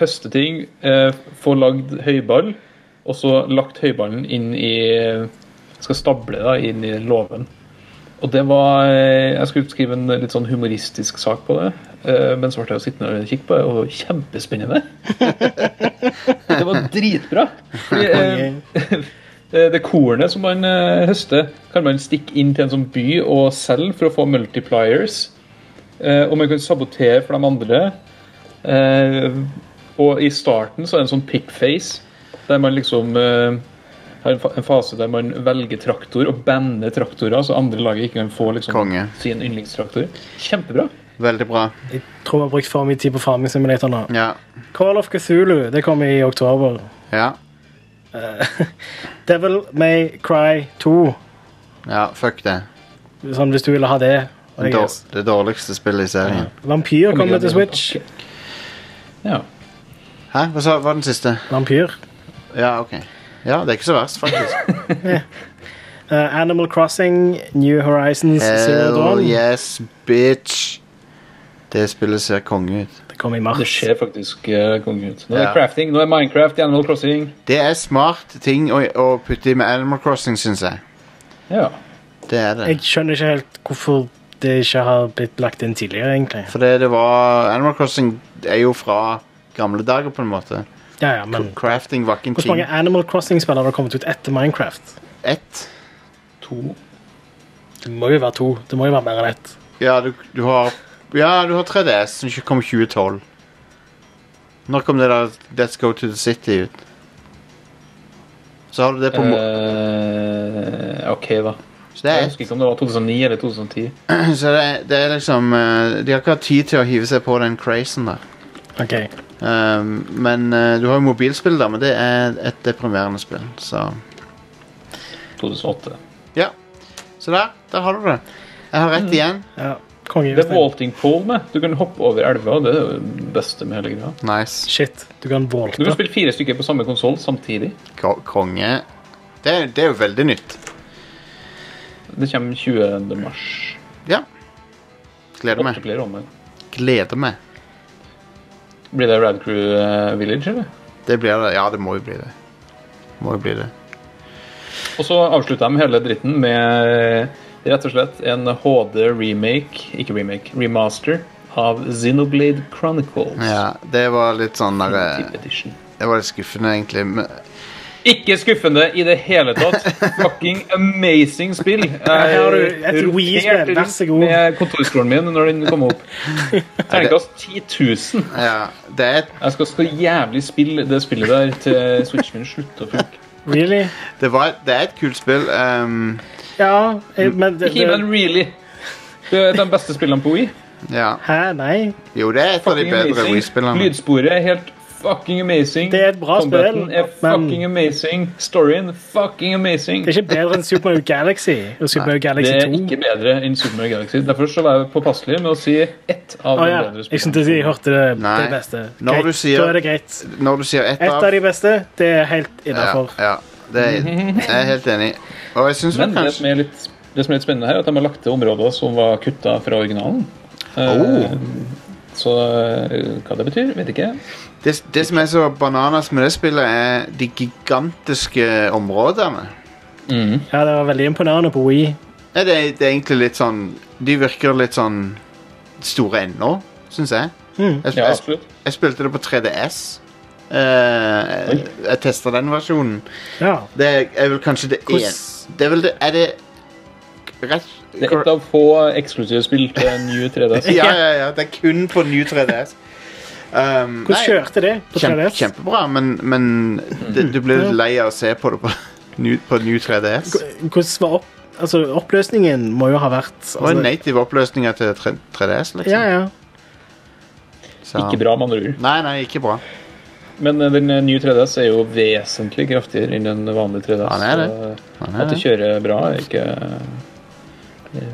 Speaker 3: høste ting, eh, få lagd høyball, og så lagt høyballen inn i Skal stable da, inn i låven. Og det var eh, Jeg skulle skrive en litt sånn humoristisk sak på det. eh, Men så ble jeg sittende og kikke på det, og det var kjempespennende. det var dritbra. Fordi, eh, eh, det kornet som man eh, høster, kan man stikke inn til en sånn by og selge for å få multipliers. Eh, Og man kan sabotere for de andre. Eh, Og i starten så er det en sånn pickface, der man liksom eh, har en fa- en fase der man velger traktor og banner traktorer, så andre laget ikke kan få liksom,
Speaker 1: Konge.
Speaker 3: sin yndlingstraktor. Kjempebra.
Speaker 1: Veldig bra.
Speaker 2: Jeg tror vi har brukt for mye tid på Farming Simulator nå.
Speaker 1: Ja.
Speaker 2: Call of Cthulhu, det kommer i oktober.
Speaker 1: Ja.
Speaker 2: Devil May Cry 2,
Speaker 1: ja fuck det.
Speaker 2: sånn hvis du ville ha det. I
Speaker 1: Det,
Speaker 2: guess.
Speaker 1: dår, det dårligste spillet i serien.
Speaker 2: Vampyr
Speaker 3: Kommer
Speaker 2: kommer til
Speaker 3: igjen,
Speaker 2: Switch.
Speaker 3: Ja.
Speaker 1: Hæ? Hva sa, var den siste?
Speaker 2: Vampyr.
Speaker 1: Ja, OK. Ja, det er ikke så verst, faktisk.
Speaker 2: Eh, Animal Crossing, New Horizons, Zero
Speaker 1: Hell
Speaker 2: Dawn.
Speaker 1: yes, bitch. Det spillet ser konge ut.
Speaker 2: Det kommer i mars.
Speaker 3: Det ser faktisk uh, konge ut. Nå er det
Speaker 1: Ja.
Speaker 3: crafting, nå er Minecraft, Animal Crossing.
Speaker 1: Det er smart ting å, å putte i med Animal Crossing, syns jeg.
Speaker 3: Ja.
Speaker 1: Det er det.
Speaker 2: Jeg skjønner ikke helt hvorfor det ikke har blitt lagt inn tidligere, egentlig.
Speaker 1: For det, det var Animal Crossing er jo fra gamle dager, på en måte.
Speaker 2: Ja, ja,
Speaker 1: Mm.
Speaker 2: men
Speaker 1: Crafting var ikke en
Speaker 2: Hvor mange
Speaker 1: ting.
Speaker 2: Animal Crossing-spillere har kommet ut etter Minecraft?
Speaker 1: Ett.
Speaker 3: To.
Speaker 2: Det må jo være to. Det må jo være mer enn ett.
Speaker 1: Ja, du, du har Ja, du har 3DS som ikke kom i 2012. Når kom det der Let's Go to the City ut? Så har du det på mo
Speaker 3: Eh, OK, da.
Speaker 1: Så, det
Speaker 3: Jeg
Speaker 1: er,
Speaker 3: husker ikke om det var 2009 eller 2010.
Speaker 1: ett. så det, er, det er liksom eh, De har ikke hatt tid til å hive seg på den crazen der.
Speaker 2: Ok,
Speaker 1: Um, men eh, du har jo mobilspill, da, men det er et deprimerende spill, så
Speaker 3: 2008.
Speaker 1: Ja. Så der. Der har du det. Jeg har
Speaker 2: Mm.
Speaker 1: rett igjen.
Speaker 2: ja. Konge.
Speaker 3: Det er
Speaker 2: Jostein.
Speaker 3: vaulting pole med. Du kan hoppe over elva. Det er jo det beste med hele greia.
Speaker 1: Nice.
Speaker 2: Shit, du kan
Speaker 3: Du kan
Speaker 2: valte.
Speaker 3: spille fire stykker på samme konsoll samtidig.
Speaker 1: Ko konge. Det, er- det er jo veldig nytt.
Speaker 3: Det kommer 20. mars.
Speaker 1: Ja. Gleder meg.
Speaker 3: Multiplayer online.
Speaker 1: Gleder meg.
Speaker 3: Blir det Rad Crew eh, Village, eller?
Speaker 1: Det blir det. Ja, det må jo bli det. Må jo bli det.
Speaker 3: Og så avslutta de hele dritten med eh, rett og slett en HD-remake, ikke remake, remaster av Xenoblade Chronicles.
Speaker 1: Ja, det var litt sånn der,
Speaker 3: Definitive
Speaker 1: eh,
Speaker 3: Edition.
Speaker 1: Det var litt skuffende, egentlig. Men
Speaker 3: Ikke skuffende i det hele tatt. Fucking amazing spill. Eh,
Speaker 2: her har du et Wii-spill, vær så god.
Speaker 3: Med kontorstolen min når den kom opp. Terningkast 10 000.
Speaker 1: ja, det er,
Speaker 3: Jeg skal så jævlig spille det spillet der til switchen min slutter å funke.
Speaker 2: Really?
Speaker 1: det, var, det er et kult spill. ehm,
Speaker 2: Ja, eh, men det,
Speaker 3: Mm. Ikke men
Speaker 2: det,
Speaker 3: really. Det er de beste spillene på Wii.
Speaker 1: ja.
Speaker 2: Hæ, nei?
Speaker 1: Jo, det er et av de
Speaker 3: Fucking
Speaker 1: bedre
Speaker 3: amazing.
Speaker 1: Wii-spillene.
Speaker 3: Lydsporet er helt fucking amazing.
Speaker 2: Det er et bra
Speaker 3: Combaten
Speaker 2: spill,
Speaker 3: er fucking
Speaker 2: men-
Speaker 3: amazing. Storyen fucking amazing.
Speaker 2: Det er ikke bedre enn Super Mario Galaxy og Super Mario
Speaker 3: Det
Speaker 2: Galaxy
Speaker 3: er
Speaker 2: 2.
Speaker 3: ikke bedre enn Super Mario Galaxy. Derfor så var jeg påpasselig med å si ett av
Speaker 2: Å
Speaker 3: de
Speaker 2: ja,
Speaker 3: bedre
Speaker 2: jeg syntes jeg hørte det, det
Speaker 1: Nei.
Speaker 2: beste.
Speaker 1: Når
Speaker 2: Greit,
Speaker 1: du sier-
Speaker 2: Da er det greit.
Speaker 1: Når du sier ett
Speaker 2: Et av
Speaker 1: av
Speaker 2: de beste, det er helt innafor.
Speaker 1: Ja, ja det er, jeg er helt enig. Og jeg syns
Speaker 3: Men det som,
Speaker 1: kanskje
Speaker 3: er litt,
Speaker 1: Oh.
Speaker 3: det som er litt spennende her, er at de har lagt til områder som var kutta fra originalen. Eh, Så eh, hva det betyr, vet ikke.
Speaker 1: Det, det som er så bananas med det spillet, er de gigantiske områdene.
Speaker 2: Ja, det var veldig imponerende på Wii.
Speaker 1: Nei, det, er- det er egentlig litt sånn De virker litt sånn store ennå, syns jeg.
Speaker 2: Mm.
Speaker 1: Jeg,
Speaker 3: Ja,
Speaker 1: jeg,
Speaker 3: absolutt.
Speaker 1: jeg spilte det på 3DS. Eh, jeg jeg testa den versjonen.
Speaker 2: Ja.
Speaker 1: Det er, er vel kanskje det
Speaker 2: Hvordan-
Speaker 1: en- Det er vel det Er det rett
Speaker 3: Det er et av få eksklusive spill til New 3DS.
Speaker 1: Ja, ja, ja. Det er kun på new 3DS. Um,
Speaker 2: Hvordan
Speaker 1: nei,
Speaker 2: kjørte det på E
Speaker 1: kjempe,
Speaker 2: 3DS?
Speaker 1: kjempebra, men, men det, du blir litt lei av å se på det på new, på new 3DS.
Speaker 2: Hvordan var opp... Altså, oppløsningen må jo ha vært
Speaker 1: Det var
Speaker 2: altså,
Speaker 1: en native oppløsninger til 3, ds liksom.
Speaker 2: Ja, ja.
Speaker 1: Så-
Speaker 3: Ikke bra, med andre ord.
Speaker 1: Nei, nei, ikke bra.
Speaker 3: Men eh, den eh, nye 3DS er jo vesentlig kraftigere enn den vanlige 3DS.
Speaker 1: Han er det.
Speaker 3: så, eh,
Speaker 1: Han
Speaker 3: At
Speaker 1: er
Speaker 3: det
Speaker 1: det.
Speaker 3: kjører bra, er ikke eh, jeg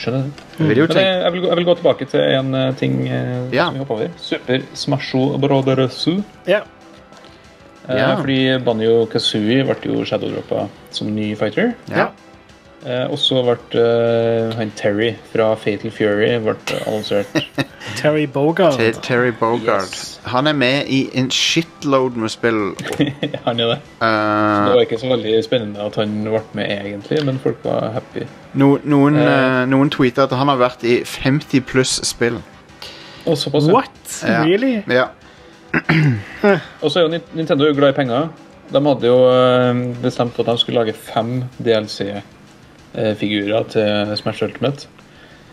Speaker 3: Skjønner det.
Speaker 1: Jeg vil jo
Speaker 3: Men jeg,
Speaker 1: tenke
Speaker 3: jeg, vil, gå- jeg vil gå tilbake til en eh, ting eh,
Speaker 1: Ja.
Speaker 3: som vi hoppa over. Super Smasho Broderesu.
Speaker 2: ja.
Speaker 1: Ja.
Speaker 3: Eh, Fordi Banjo Kazooie ble jo shadowdroppa som ny fighter.
Speaker 1: ja.
Speaker 3: Eh, Og så ble eh, han Terry fra Fatal Fury ble annonsert.
Speaker 2: Terry Bogard.
Speaker 1: Ter eh, Terry Bogard.
Speaker 3: Yes.
Speaker 1: Han er med i en shitload med spill.
Speaker 3: han er det. Det
Speaker 1: Uh,
Speaker 3: var ikke så veldig spennende at han ble med, egentlig, men folk var happy.
Speaker 1: no, noen,
Speaker 3: Eh.
Speaker 1: uh, noen tweeter at han har vært i 50 pluss spill.
Speaker 3: Og såpass, ja.
Speaker 2: What?
Speaker 1: Ja.
Speaker 2: Really?
Speaker 1: Ja.
Speaker 3: Og så er jo Nin- Nintendo er jo glad i penger. De hadde jo eh, bestemt at de skulle lage fem DLC-figurer til Smash Ultimate.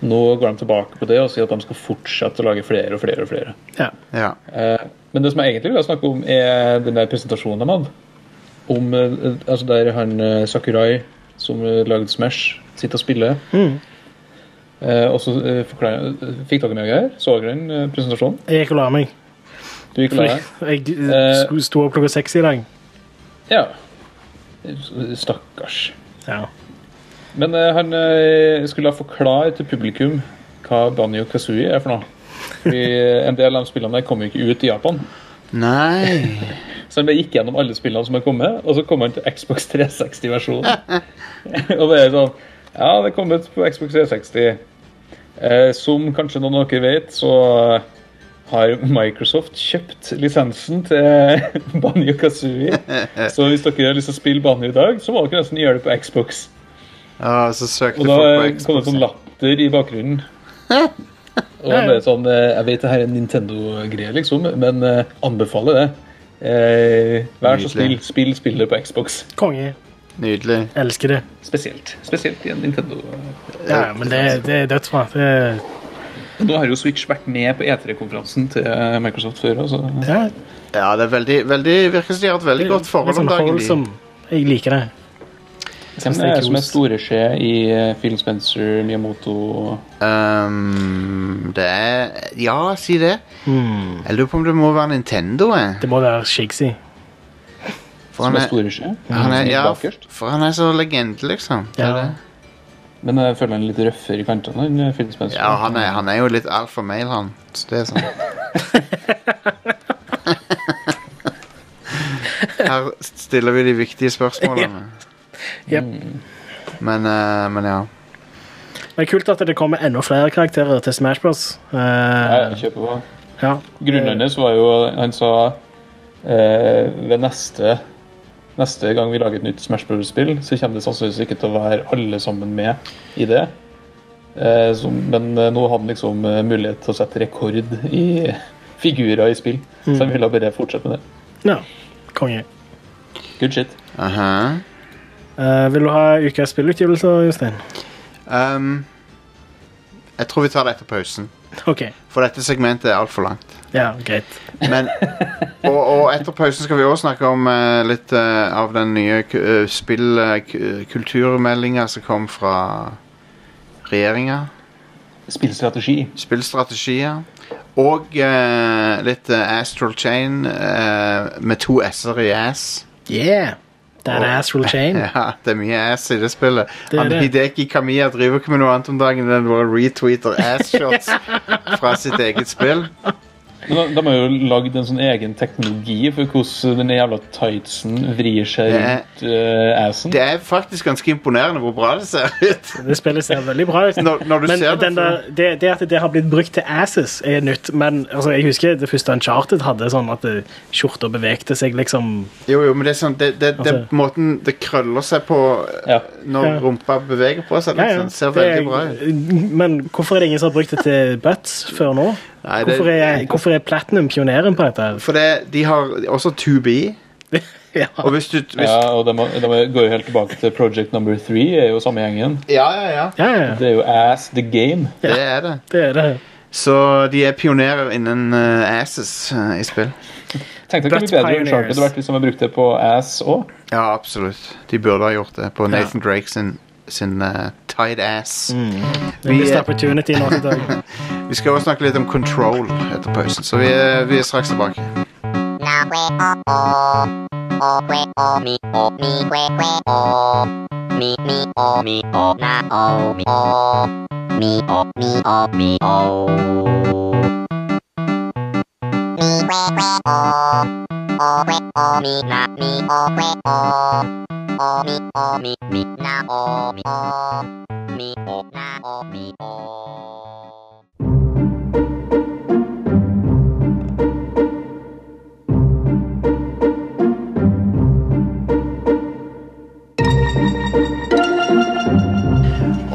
Speaker 3: Nå går de tilbake på det og sier at de skal fortsette å lage flere og flere. og flere.
Speaker 2: Ja.
Speaker 1: ja.
Speaker 3: Eh, Men det som jeg egentlig vil snakke om, er den der presentasjonen de hadde. Om, eh, altså der han eh, Sakurai, som eh, lagde Smash, sitter og spiller.
Speaker 2: Mm.
Speaker 3: Eh, og så eh, forklarer- Fikk dere med dere her? Så dere den eh, presentasjonen?
Speaker 2: Jeg gikk og la meg.
Speaker 3: Du gikk og la deg?
Speaker 2: Jeg eh, sto- sto opp klokka seks i dag.
Speaker 3: Ja. Stakkars.
Speaker 2: Ja.
Speaker 3: Men eh, han eh, skulle da forklare til publikum hva Banjo Kazooie er for noe. Fordi eh, en del av de spillene der kom jo ikke ut i Japan.
Speaker 1: Nei
Speaker 3: Så han bare gikk gjennom alle spillene som har kommet, og så kom han til Xbox 360-versjonen. og bare sånn Ja, det kom ut på Xbox 360. Eh, som kanskje noen av dere vet, så har Microsoft kjøpt lisensen til Banjo Kazooie. Så hvis dere har lyst til å spille Banjo i dag, så må dere nesten gjøre det på Xbox.
Speaker 1: Ah, Så søkte
Speaker 3: Og da
Speaker 1: folk på
Speaker 3: kom det sånn
Speaker 1: Xbox.
Speaker 3: latter i bakgrunnen. Og han ble sånn eh, Jeg vet det her er en Nintendo-greie, liksom, men eh, anbefaler det. Eh, vær så snill,
Speaker 1: Nydelig.
Speaker 3: spill spillet på Xbox.
Speaker 2: Konge.
Speaker 1: Nydelig.
Speaker 2: Elsker det.
Speaker 3: Spesielt. Spesielt i en Nintendo.
Speaker 2: Ja, men det, det er dødsbra. Det,
Speaker 3: Nå har jo Switch vært med på E3-konferansen til eh, Microsoft før. Altså.
Speaker 2: ja,
Speaker 1: Ja, det er veldig, veldig virker som de har et veldig godt forhold om
Speaker 2: liksom
Speaker 1: dagen.
Speaker 2: hold
Speaker 1: De.
Speaker 2: som- Jeg liker det.
Speaker 3: Hvem
Speaker 2: synes det er
Speaker 3: er det som er
Speaker 2: kos.
Speaker 3: storeskje i eh, Phil Spencer, Miyamoto
Speaker 1: Ehm, det er Ja, si det. Jeg lurer på om det må være Nintendo. Jeg.
Speaker 2: Hmm. Det må være Shigsy.
Speaker 1: For
Speaker 3: som
Speaker 1: han
Speaker 3: er
Speaker 1: er,
Speaker 3: storeskje?
Speaker 1: han er,
Speaker 3: Som er
Speaker 1: ja,
Speaker 3: bakerst.
Speaker 1: for han er så legende, liksom. Det er
Speaker 2: Ja.
Speaker 1: det.
Speaker 3: Men jeg føler han er litt røffere i kantene enn eh, Phil Spencer.
Speaker 1: Ja, han er, han er jo litt alfa male, han. Så det er sånn. Her stiller vi de viktige spørsmålene.
Speaker 2: Jep.
Speaker 1: Men, eh, men ja.
Speaker 2: Men det er kult at det kommer enda flere karakterer til Smash Bros. Eh,
Speaker 3: Ja, jeg kjøper på.
Speaker 2: ja.
Speaker 3: Grunnen hennes var jo Han sa eh, ved neste Neste gang vi lager et nytt Smash Bros-spill, så kommer det sannsynligvis ikke til å være alle sammen med i det. Eh, som, men eh, nå hadde han liksom eh, mulighet til å sette rekord i figurer i spill. Så han ville bare fortsette med det.
Speaker 2: ja. Konge.
Speaker 3: Good shit.
Speaker 1: Aha.
Speaker 2: Eh, vil du ha ukas spillutgivelser, Jostein?
Speaker 1: Um, jeg tror vi tar det etter pausen,
Speaker 2: OK.
Speaker 1: for dette segmentet er altfor langt.
Speaker 2: Ja, greit.
Speaker 1: Men, og, og etter pausen skal vi også snakke om eh, litt eh, av den nye uh, spillkulturmeldinga eh, som kom fra regjeringa.
Speaker 3: Spillstrategi.
Speaker 1: spillstrategier. Og eh, litt eh, Astral Chain eh, med to s-er i ass.
Speaker 2: Yeah! That
Speaker 1: Og-
Speaker 2: ass will chain.
Speaker 1: Ja, det er mye ass i det spillet.
Speaker 2: Det er
Speaker 1: Han
Speaker 2: det.
Speaker 1: Hideki Kamiya driver ikke med noe annet om dagen enn å retweeter ass-shots fra sitt eget spill.
Speaker 3: Men De, de har jo lagd en sånn egen teknologi for hvordan den jævla tightsen vrir seg rundt eh, assen.
Speaker 1: Det er faktisk ganske imponerende hvor bra det ser ut.
Speaker 2: Det spillet ser veldig bra ut.
Speaker 1: Når, når du
Speaker 2: Men
Speaker 1: ser det,
Speaker 2: den der, det, det at det har blitt brukt til asses, er nytt. Men altså, jeg husker det første Uncharted hadde sånn at eh, skjorta bevegte seg, liksom.
Speaker 1: så- Jo, jo, men det er sånn Det, det, det er
Speaker 2: Altså-
Speaker 1: måten det krøller seg på eh,
Speaker 3: Ja.
Speaker 1: når
Speaker 2: Ja.
Speaker 1: rumpa beveger på seg.
Speaker 2: Ja, ja.
Speaker 1: Liksom. Ser
Speaker 2: Det er-
Speaker 1: veldig bra ut.
Speaker 2: Men hvorfor er det ingen som har brukt det til butts før nå?
Speaker 1: Nei, det-
Speaker 2: Hvorfor er, hvorfor er Platinum pioneren på dette? her?
Speaker 1: For det, de har også 2B.
Speaker 2: Ja.
Speaker 1: Og hvis du hvis,
Speaker 3: Ja, og de, har- de går jo helt tilbake til Project Number Three, er jo samme gjengen.
Speaker 1: Ja, ja, ja.
Speaker 2: Ja, ja,
Speaker 3: Det er jo Ass The Game.
Speaker 1: Det er det.
Speaker 2: det er det.
Speaker 1: Så de er pionerer innen eh, asses eh, i spill.
Speaker 3: Tenk deg hvor
Speaker 2: Butt
Speaker 3: mye bedre
Speaker 2: pioneers.
Speaker 3: Uncharted hadde vært hvis de hadde brukt det på Ass òg.
Speaker 1: Ja, absolutt. De burde ha gjort det på Nathan Drake sin, sin eh, tight ass.
Speaker 2: Mm. Det er
Speaker 1: Vi,
Speaker 2: missed
Speaker 1: eh,
Speaker 2: opportunity nå til dag.
Speaker 1: vi skal også snakke litt om control etter pausen, så vi, er- vi er straks tilbake.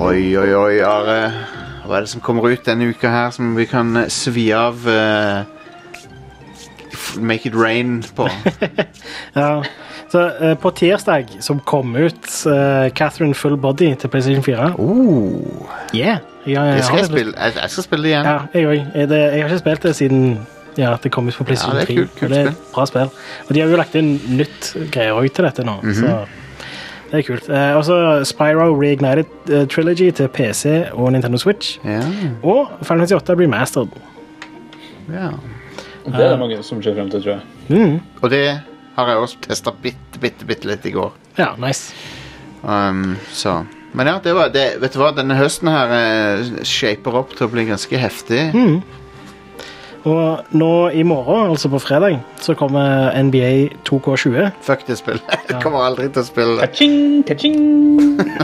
Speaker 1: Oi, oi, oi, Are. Hva er det som kommer ut denne uka her som vi kan eh, svi av eh, f- Make it rain på?
Speaker 2: Ja. Så, eh, på tirsdag som kom ut eh, Catherine Full Body til PlayStation 4.
Speaker 1: Oh,
Speaker 2: Yeah. Ja,
Speaker 1: det
Speaker 2: jeg,
Speaker 1: skal jeg,
Speaker 2: har det.
Speaker 1: spille. Jeg, jeg skal spille det igjen.
Speaker 2: Ja, jeg òg. Jeg, det- jeg har ikke spilt det siden ja, det kom ut på PlayStation
Speaker 1: Ja,
Speaker 2: 3.
Speaker 1: det er kult, kult
Speaker 2: og det er et
Speaker 1: spill.
Speaker 2: bra spill. Og de har jo lagt inn nytt greier òg til dette nå.
Speaker 1: Mhm.
Speaker 2: Så det er kult. Eh, og så Spyro Reignited eh, Trilogy til PC og Nintendo Switch.
Speaker 1: Ja,
Speaker 2: Og Final Fantasy 8 Remastered.
Speaker 1: ja.
Speaker 3: Det er det mange som ser frem til, tror jeg.
Speaker 2: Mm.
Speaker 1: Og det har jeg også testa bitte, bitte, bitte litt i går.
Speaker 2: Ja, nice.
Speaker 1: Um, så. Men ja, det var det. Vet du hva, denne høsten her eh, shaper opp til å bli ganske heftig.
Speaker 2: Mm. Og nå i morgen, altså på fredag, så kommer NBA 2K20.
Speaker 1: Fuck det spillet. Jeg kommer aldri til å spille det.
Speaker 3: Ka-ching, ka-ching.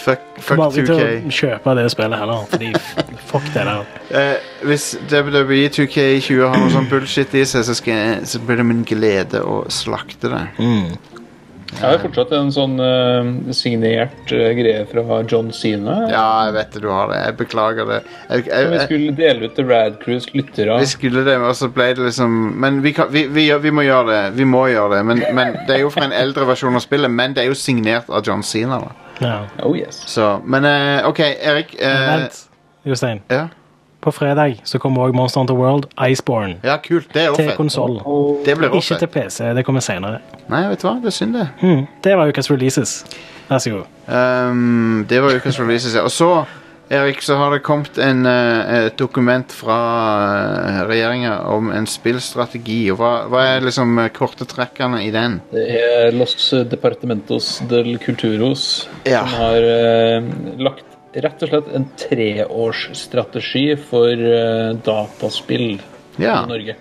Speaker 1: Fuck, fuck
Speaker 2: Kommer aldri
Speaker 1: 2K.
Speaker 2: til å kjøpe det spillet heller, fordi fuck det der.
Speaker 1: Eh, hvis E WWE 2K20 har noe sånn bullshit i seg, så, skal jeg, så blir det min glede å slakte det.
Speaker 3: Jeg har fortsatt en sånn eh, signert eh, greie fra John Sina.
Speaker 1: Ja, jeg vet det, du har det. Jeg beklager det. Jeg,
Speaker 3: Som
Speaker 1: jeg,
Speaker 3: jeg
Speaker 1: jeg,
Speaker 3: skulle dele ut til Rad Cruise lyttere.
Speaker 1: vi skulle det, og så ble det liksom Men vi, kan, vi, vi, gjør- vi må gjøre det. Vi må gjøre det. Men, men det er jo fra en eldre versjon av spillet, men det er jo signert av John Cena. Da.
Speaker 2: Ja.
Speaker 3: Oh yes.
Speaker 1: Så, men eh, OK, Erik. eh,
Speaker 2: Vent, Jostein.
Speaker 1: ja,
Speaker 2: På fredag så kommer også Monster Hunter World Iceborne
Speaker 1: ja, kult. Det er
Speaker 2: til
Speaker 1: også fett.
Speaker 2: konsoll.
Speaker 1: Det blir
Speaker 2: Ikke
Speaker 1: også
Speaker 2: til
Speaker 1: fett.
Speaker 2: PC, det kommer senere.
Speaker 1: Nei, vet du hva, det er synd, det.
Speaker 2: Mm. Det var ukas releases. Vær så god.
Speaker 1: Ehm, det var ukas releases. ja. Og så, Erik, så har det kommet en, eh, et dokument fra uh, regjeringa om en spillstrategi. Og hva, hva er liksom eh, korte trekkene i den?
Speaker 3: Det er Los Departamentos del Culturos
Speaker 1: Ja.
Speaker 3: som har eh, lagt rett og slett en treårsstrategi for eh, dataspill
Speaker 1: Ja. Hmm.
Speaker 3: i Norge.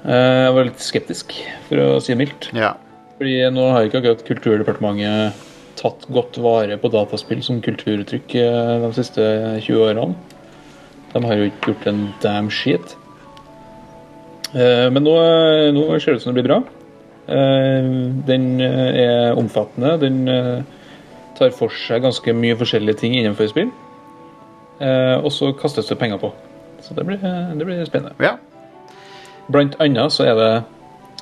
Speaker 3: Eh, jeg var litt skeptisk, for å si det mildt.
Speaker 1: Ja.
Speaker 3: Fordi nå har ikke akkurat Kulturdepartementet tatt godt vare på dataspill som kulturuttrykk eh, de siste 20 årene. De har jo ikke gjort en damn shit. Eh, Men nå, nå ser det ut som det blir bra. Eh, Den eh, er omfattende. Den eh, tar for seg ganske mye forskjellige ting innenfor spill. Eh, Og så kastes det penger på. Så det blir, eh, det blir spennende.
Speaker 1: ja.
Speaker 3: Blant annet så er det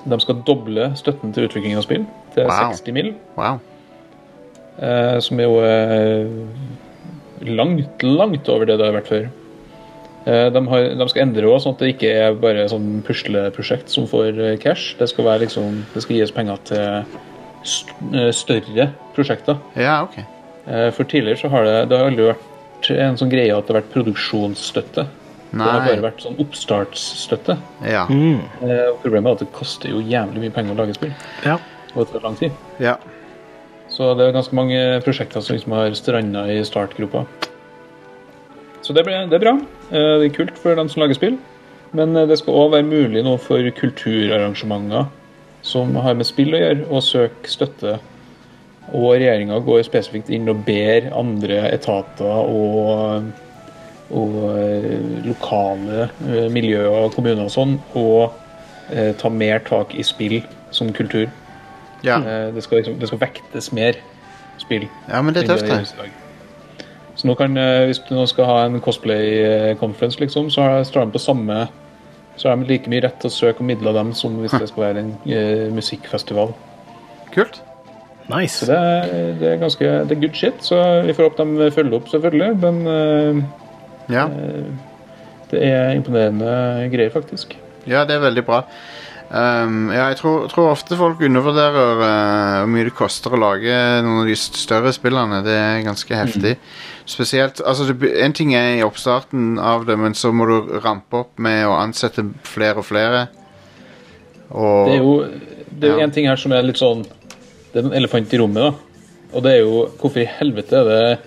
Speaker 3: De skal doble støtten til utvikling av spill til
Speaker 1: Wow.
Speaker 3: 60 mill.,
Speaker 1: Wow.
Speaker 3: eh, som er jo eh, langt, langt over det det har vært før. Eh, de, har, de skal endre også, sånn at det ikke er bare sånn pusleprosjekt som får eh, cash. Det skal, være liksom, det skal gis penger til st eh, større prosjekter.
Speaker 1: Ja, OK.
Speaker 3: Eh, for tidligere så har det, det har aldri vært en sånn greie at det har vært produksjonsstøtte. Det har bare
Speaker 1: Nei.
Speaker 3: vært sånn oppstartsstøtte.
Speaker 1: Ja.
Speaker 3: Eh, og Problemet er at det koster jo jævlig mye penger å lage spill.
Speaker 2: Ja.
Speaker 3: Og det tar lang tid.
Speaker 1: ja.
Speaker 3: Så det er ganske mange prosjekter som liksom har stranda i startgropa. Så det, ble, det er bra. Eh, Det er kult for dem som lager spill. Men eh, det skal òg være mulig nå for kulturarrangementer som har med spill å gjøre, å søke støtte. Og regjeringa går spesifikt inn og ber andre etater og, og eh, lokale eh, miljøer og kommuner og sånn å eh, ta mer tak i spill som kultur.
Speaker 1: Ja.
Speaker 3: Eh, Det skal, liksom, det skal vektes mer spill.
Speaker 1: ja, men det er tøft, det.
Speaker 3: Så nå kan, eh, hvis du nå skal ha en cosplay-conference, liksom, så har- står de på samme Så har de like mye rett til å søke om midler dem som hvis det skal være en eh, musikkfestival.
Speaker 1: Kult.
Speaker 3: Så
Speaker 2: Nice.
Speaker 3: det er, det er ganske det er good shit. Så vi får håpe de følger opp, selvfølgelig. Men eh,
Speaker 1: Ja.
Speaker 3: det er imponerende greier, faktisk.
Speaker 1: ja, det er veldig bra. Ehm, ja, jeg tror, tror ofte folk undervurderer eh, hvor mye det koster å lage noen av de st- større spillene. Det er ganske
Speaker 3: Mm.
Speaker 1: heftig. Spesielt, altså det, be- En ting er i oppstarten av det, men så må du rampe opp med å ansette flere og flere. Og
Speaker 3: Det er jo det er jo
Speaker 1: Ja.
Speaker 3: en ting her som er litt sånn Det er en elefant i rommet, da. Og det er jo hvorfor i helvete er det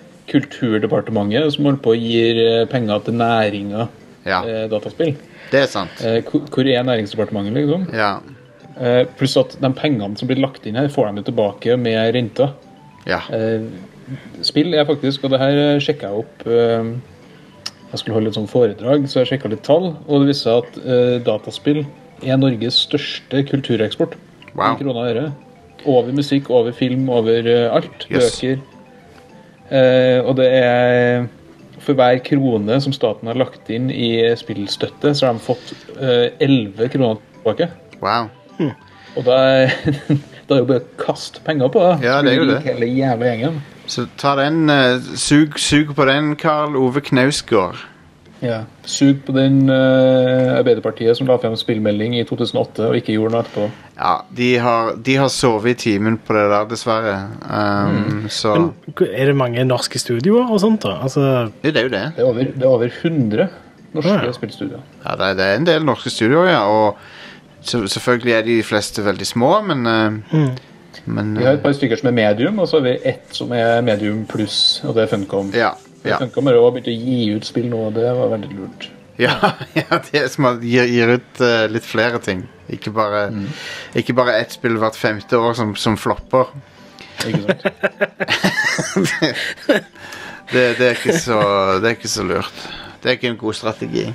Speaker 3: Kulturdepartementet som holder på å gi eh, penger til næringa
Speaker 1: Ja,
Speaker 3: eh, dataspill?
Speaker 1: det er sant.
Speaker 3: Eh, hvor- hvor er Næringsdepartementet, liksom?
Speaker 1: Ja.
Speaker 3: Eh, pluss at de pengene som blir lagt inn her, får de jo tilbake med renter.
Speaker 1: ja.
Speaker 3: Eh, spill er faktisk, og det her sjekka jeg opp eh, Jeg skulle holde et sånt foredrag, så jeg sjekka litt tall. Og det viste seg at eh, dataspill er Norges største kultureksport.
Speaker 1: Wow.
Speaker 3: I kroner og øre. Over musikk, over film, over eh, alt.
Speaker 1: Yes.
Speaker 3: Bøker. Eh, og det er For hver krone som staten har lagt inn i spillstøtte, så har de fått eh, elleve kroner tilbake.
Speaker 1: Wow.
Speaker 3: Og da er, da er jo bare å kaste penger på det.
Speaker 1: Ja, det er jo
Speaker 3: Blir
Speaker 1: det.
Speaker 3: rik Hele jævla gjengen.
Speaker 1: Så ta den eh, sug, sug på den, Karl Ove Knausgård.
Speaker 3: Ja. Sug på den eh, Arbeiderpartiet som la frem spillmelding i 2008 og ikke gjorde noe etterpå.
Speaker 1: Ja, de har, de har sovet i timen på det der, dessverre. Um,
Speaker 3: Mm.
Speaker 1: Så
Speaker 2: Men er det mange norske studioer og sånt, da? Altså,
Speaker 1: Jo, Det er jo det.
Speaker 3: Det er over, det er over 100 norske
Speaker 2: Ja.
Speaker 3: spillstudier.
Speaker 1: Ja, det, er- det er en del norske studioer, ja. Og se- selvfølgelig er de fleste veldig små, men eh, Men
Speaker 3: Vi har
Speaker 1: eh,
Speaker 3: et par stykker som er medium, og så har vi ett som er medium pluss, og det er Funcom.
Speaker 1: eh, ja, ja,
Speaker 3: Funcom har også begynt å gi ut spill nå, og det var veldig lurt.
Speaker 1: ja, ja, det er som at de gir, gir ut eh, litt flere ting. Ikke bare,
Speaker 3: Mm.
Speaker 1: ikke bare ett spill hvert femte år som, som flopper.
Speaker 3: Ikke sant?
Speaker 1: Det, det, er ikke så, det er ikke så lurt. Det er ikke en god strategi.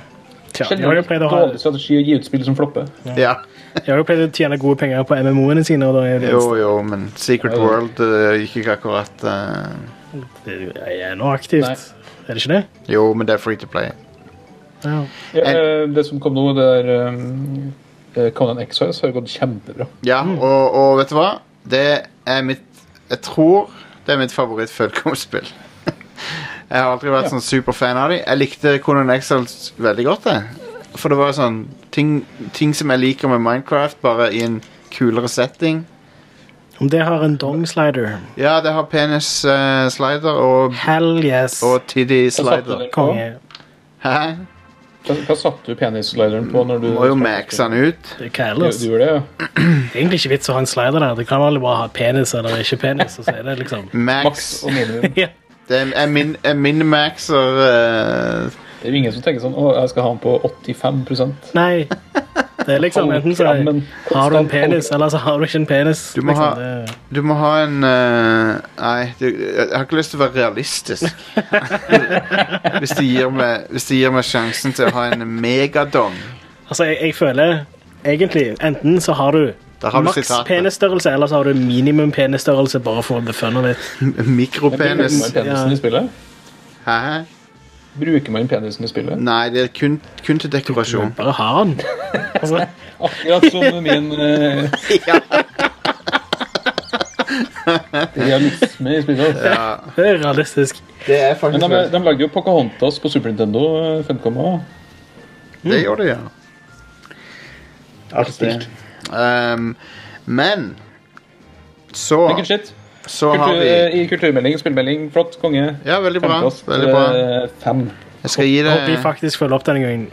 Speaker 2: tja, de har jo
Speaker 3: Generelt
Speaker 2: pleid å ha
Speaker 3: dårlig strategi å gi ut spill som flopper.
Speaker 1: Ja,
Speaker 2: De har jo pleid å tjene gode penger på MMO-ene sine. Og da er det,
Speaker 1: Jo, jo, men Secret
Speaker 3: Ja, jo.
Speaker 1: World eh, gikk ikke akkurat eh,
Speaker 2: det er noe aktivt. Er det ikke det?
Speaker 1: Jo, men det er free to play.
Speaker 2: Ja.
Speaker 3: Ja, eh, det som kom nå, det er eh, Conan Exiles har gått kjempebra.
Speaker 1: Ja, og, og vet du hva? Det er mitt Jeg tror det er mitt favoritt Fullcom-spill. jeg har aldri vært sånn superfan av dem. Jeg likte Conan Exiles veldig godt, jeg. For det var sånn ting, ting som jeg liker med Minecraft, bare i en kulere setting.
Speaker 2: Om det har en dongslider
Speaker 1: Ja, det har penis-slider og,
Speaker 2: Hell yes.
Speaker 1: og
Speaker 3: Hva satte du
Speaker 1: tiddy-slider.
Speaker 3: den på?
Speaker 2: Konge.
Speaker 1: Hæ?
Speaker 3: Hva, hva satte du penisslideren på når du
Speaker 1: Må jo maxe den ut.
Speaker 2: Det er ikke
Speaker 3: Du,
Speaker 2: ellers.
Speaker 3: du gjorde det, ja?
Speaker 2: Det er egentlig ikke vits å ha en slider der. Det kan være bare ha penis eller ikke penis. Og så er det liksom
Speaker 1: Max.
Speaker 3: Maks og minimum.
Speaker 2: ja.
Speaker 1: Det er, jeg min, jeg min-maxer eh,
Speaker 3: Det er jo ingen som tenker sånn Å, jeg skal ha den på 85
Speaker 2: Nei. Det er liksom enten så
Speaker 3: Ja, men-
Speaker 2: har du en penis, eller så har du ikke en penis.
Speaker 1: Du må
Speaker 2: liksom,
Speaker 1: ha-
Speaker 2: det-
Speaker 1: Du må ha en eh, Nei, du, jeg har ikke lyst til å være realistisk. hvis, de gir meg, hvis de gir meg sjansen til å ha en megadong.
Speaker 2: Altså, jeg, jeg føler egentlig Enten så har du
Speaker 1: Da har du
Speaker 2: maks
Speaker 1: sitatet.
Speaker 2: penisstørrelse, eller så har du minimum penisstørrelse, bare for the fun of it.
Speaker 3: Bruker
Speaker 1: Mikropenis.
Speaker 3: man penisen
Speaker 2: Ja.
Speaker 3: i spillet?
Speaker 1: Hæ?
Speaker 3: Bruker man penisen i spillet?
Speaker 1: Nei, det er kun, kun til dekorasjon.
Speaker 2: Bare har den. Altså,
Speaker 3: Akkurat som min eh, realisme i spillet.
Speaker 2: det er realistisk.
Speaker 1: Det er
Speaker 3: Men
Speaker 1: faktisk
Speaker 3: de, de lagde jo Pocahontas på Super Nintendo. eh, Funcom også.
Speaker 1: Det gjør det, ja. Alt det. Um, men så,
Speaker 3: Det er good shit.
Speaker 1: så har
Speaker 3: Kultur, eh,
Speaker 1: vi
Speaker 3: I kulturmelding, spillmelding, flott, konge.
Speaker 1: Ja, veldig bra.
Speaker 3: Terningkast,
Speaker 1: Veldig bra.
Speaker 3: eh, Fem.
Speaker 1: Jeg skal gi
Speaker 2: Håper de
Speaker 1: det
Speaker 2: faktisk følger opp denne gangen.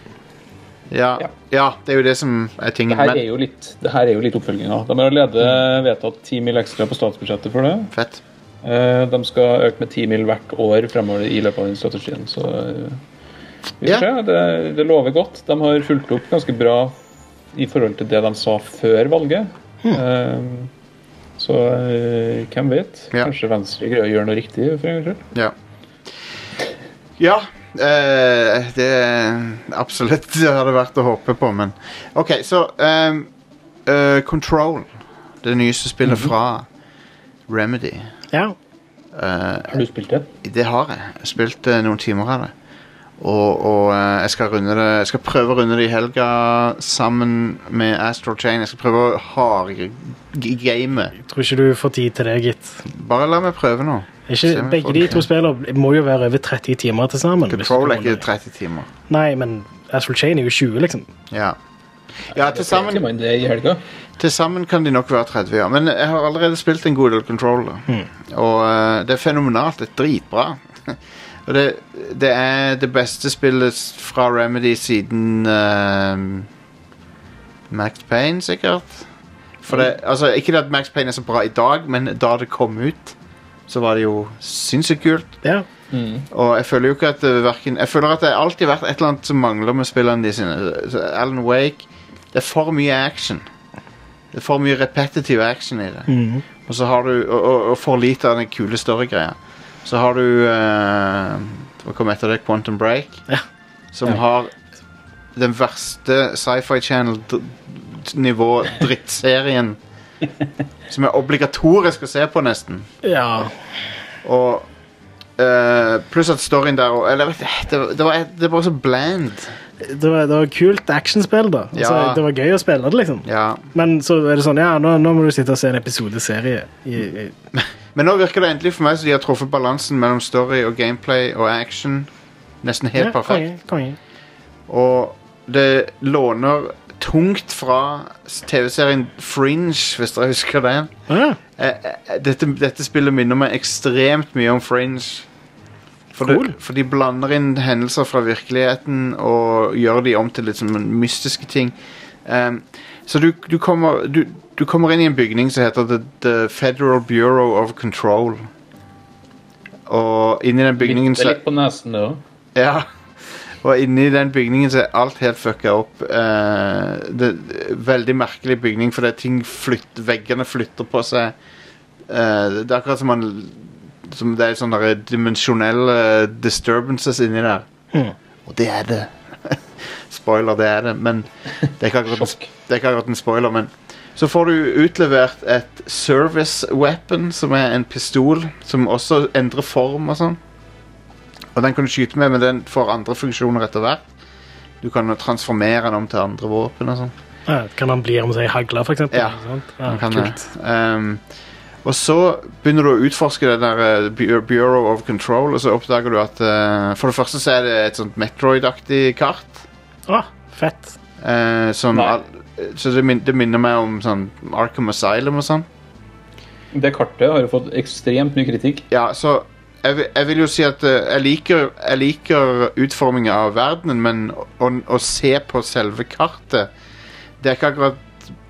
Speaker 1: Ja, ja det er jo det som er tingen.
Speaker 3: Det her
Speaker 1: Men
Speaker 3: er jo litt, det her er jo litt oppfølginga. De har allerede vedtatt 10 mill. ekstra på statsbudsjettet for det.
Speaker 1: fett.
Speaker 3: Eh, De skal øke med 10 mill. hvert år fremover i løpet av den strategien. Så eh,
Speaker 6: Vi får
Speaker 1: Ja.
Speaker 6: se. Det, det lover godt. De har fulgt opp ganske bra i forhold til det de sa før valget.
Speaker 1: Hmm.
Speaker 6: Eh, så eh, hvem vet?
Speaker 1: Ja.
Speaker 6: Kanskje Venstre greier å gjøre noe riktig for en gangs skyld.
Speaker 1: Ja. Ja. eh, det er absolutt det hadde vært å håpe på, men OK, så ehm, eh, Control. Det nyeste spillet fra Remedy.
Speaker 2: Ja.
Speaker 1: Eh,
Speaker 6: Har du spilt det?
Speaker 1: det har jeg. Jeg har spilt eh, noen timer av det. Og, og eh, jeg, skal runde det, jeg skal prøve å runde det i helga sammen med Astral Chain. Jeg skal prøve å hardgame.
Speaker 2: Tror ikke du får tid til det, gitt.
Speaker 1: Bare la meg prøve nå. Se om
Speaker 2: Ikke,
Speaker 1: jeg får
Speaker 2: begge de
Speaker 1: det.
Speaker 2: to spillene må jo være over 30 timer til sammen. hvis du
Speaker 1: Control er
Speaker 2: tror det.
Speaker 1: ikke 30 timer.
Speaker 2: Nei, men Astral Chain er jo 20, liksom.
Speaker 1: Ja, ja til sammen
Speaker 6: Sier man det i helga?
Speaker 1: Til sammen kan de nok være 30, ja. Men jeg har allerede spilt en god del controller. Og eh, det er fenomenalt. Det er dritbra. og det, det er det beste spillet s- fra Remedy siden eh, Max Payne, sikkert. For det, altså, ikke at Max Payne er så bra i dag, men da det kom ut, så var det jo sinnssykt kult.
Speaker 2: Ja.
Speaker 1: Og jeg føler jo ikke at det hverken, Jeg føler at det har alltid vært et eller annet som mangler med spillene de sine. Så Alan Wake Det er for mye action. Det er for mye repetitiv action i det. Og så har du Og, og, og for lite av den kule story-greia. Så har du eh, Hva kom etter det? Quantum Break.
Speaker 2: Ja.
Speaker 1: Som har den verste Sci-Fi Channel-nivå-drittserien som er obligatorisk å se på, nesten.
Speaker 2: ja.
Speaker 1: Og eh, Pluss at storyen der og, Eller jeg vet ikke, det, det, var, det var så bland.
Speaker 2: Det var, det var kult actionspill, da. Altså,
Speaker 1: Ja.
Speaker 2: Det var gøy å spille det, liksom.
Speaker 1: Ja.
Speaker 2: Men så er det sånn, ja, nå, nå må du sitte og se en episodeserie. I, i,
Speaker 1: Men nå virker det endelig for meg som de har truffet balansen mellom story og gameplay og action nesten helt
Speaker 2: ja,
Speaker 1: perfekt.
Speaker 2: Konge, konge.
Speaker 1: Og det låner tungt fra TV-serien Fringe, hvis dere husker den.
Speaker 2: Ja,
Speaker 1: Eh, eh, dette, dette spillet minner meg ekstremt mye om Fringe. For,
Speaker 2: Cool.
Speaker 1: det, for de blander inn hendelser fra virkeligheten og gjør de om til litt sånn mystiske ting. Ehm, så du, du, kommer, du, du kommer inn i en bygning som heter The, The Federal Bureau of Control. Og inni den
Speaker 6: Det
Speaker 1: bygningen
Speaker 6: er
Speaker 1: så
Speaker 6: litt på nesen, det òg.
Speaker 1: ja. Og inni den bygningen så er alt helt fucka opp. Eh, det er en Veldig merkelig bygning, fordi ting flytter, veggene flytter på seg. Eh, det er akkurat som man som Det er sånne der dimensjonelle eh, disturbances inni der. Og det er det. spoiler, det er det, men det er ikke akkurat en,
Speaker 6: Sjokk.
Speaker 1: det er ikke akkurat en spoiler. Men så får du utlevert et service weapon, som er en pistol som også endrer form og sånn. Og den kan du skyte med, men den får andre funksjoner etter hvert. Du kan transformere den om til andre våpen og sånn.
Speaker 2: ja. Kan han bli om seg hagla, for eksempel?
Speaker 1: Ja,
Speaker 2: ikke sant?
Speaker 1: Man kan
Speaker 2: kult.
Speaker 1: det. Ehm, og så begynner du å utforske det der eh, Bu- Bureau of Control, og så oppdager du at eh, For det første så er det et sånt Metroid-aktig kart.
Speaker 2: Å, fett.
Speaker 1: Eh, som
Speaker 6: Nei.
Speaker 1: all, så det, min, det minner meg om sånn Arkham Asylum og sånn.
Speaker 6: Det kartet har jo fått ekstremt mye kritikk.
Speaker 1: Ja, så jeg, vil- jeg vil jo si at eh, jeg liker, jeg liker utformingen av verdenen, men å, å, å se på selve kartet Det er ikke akkurat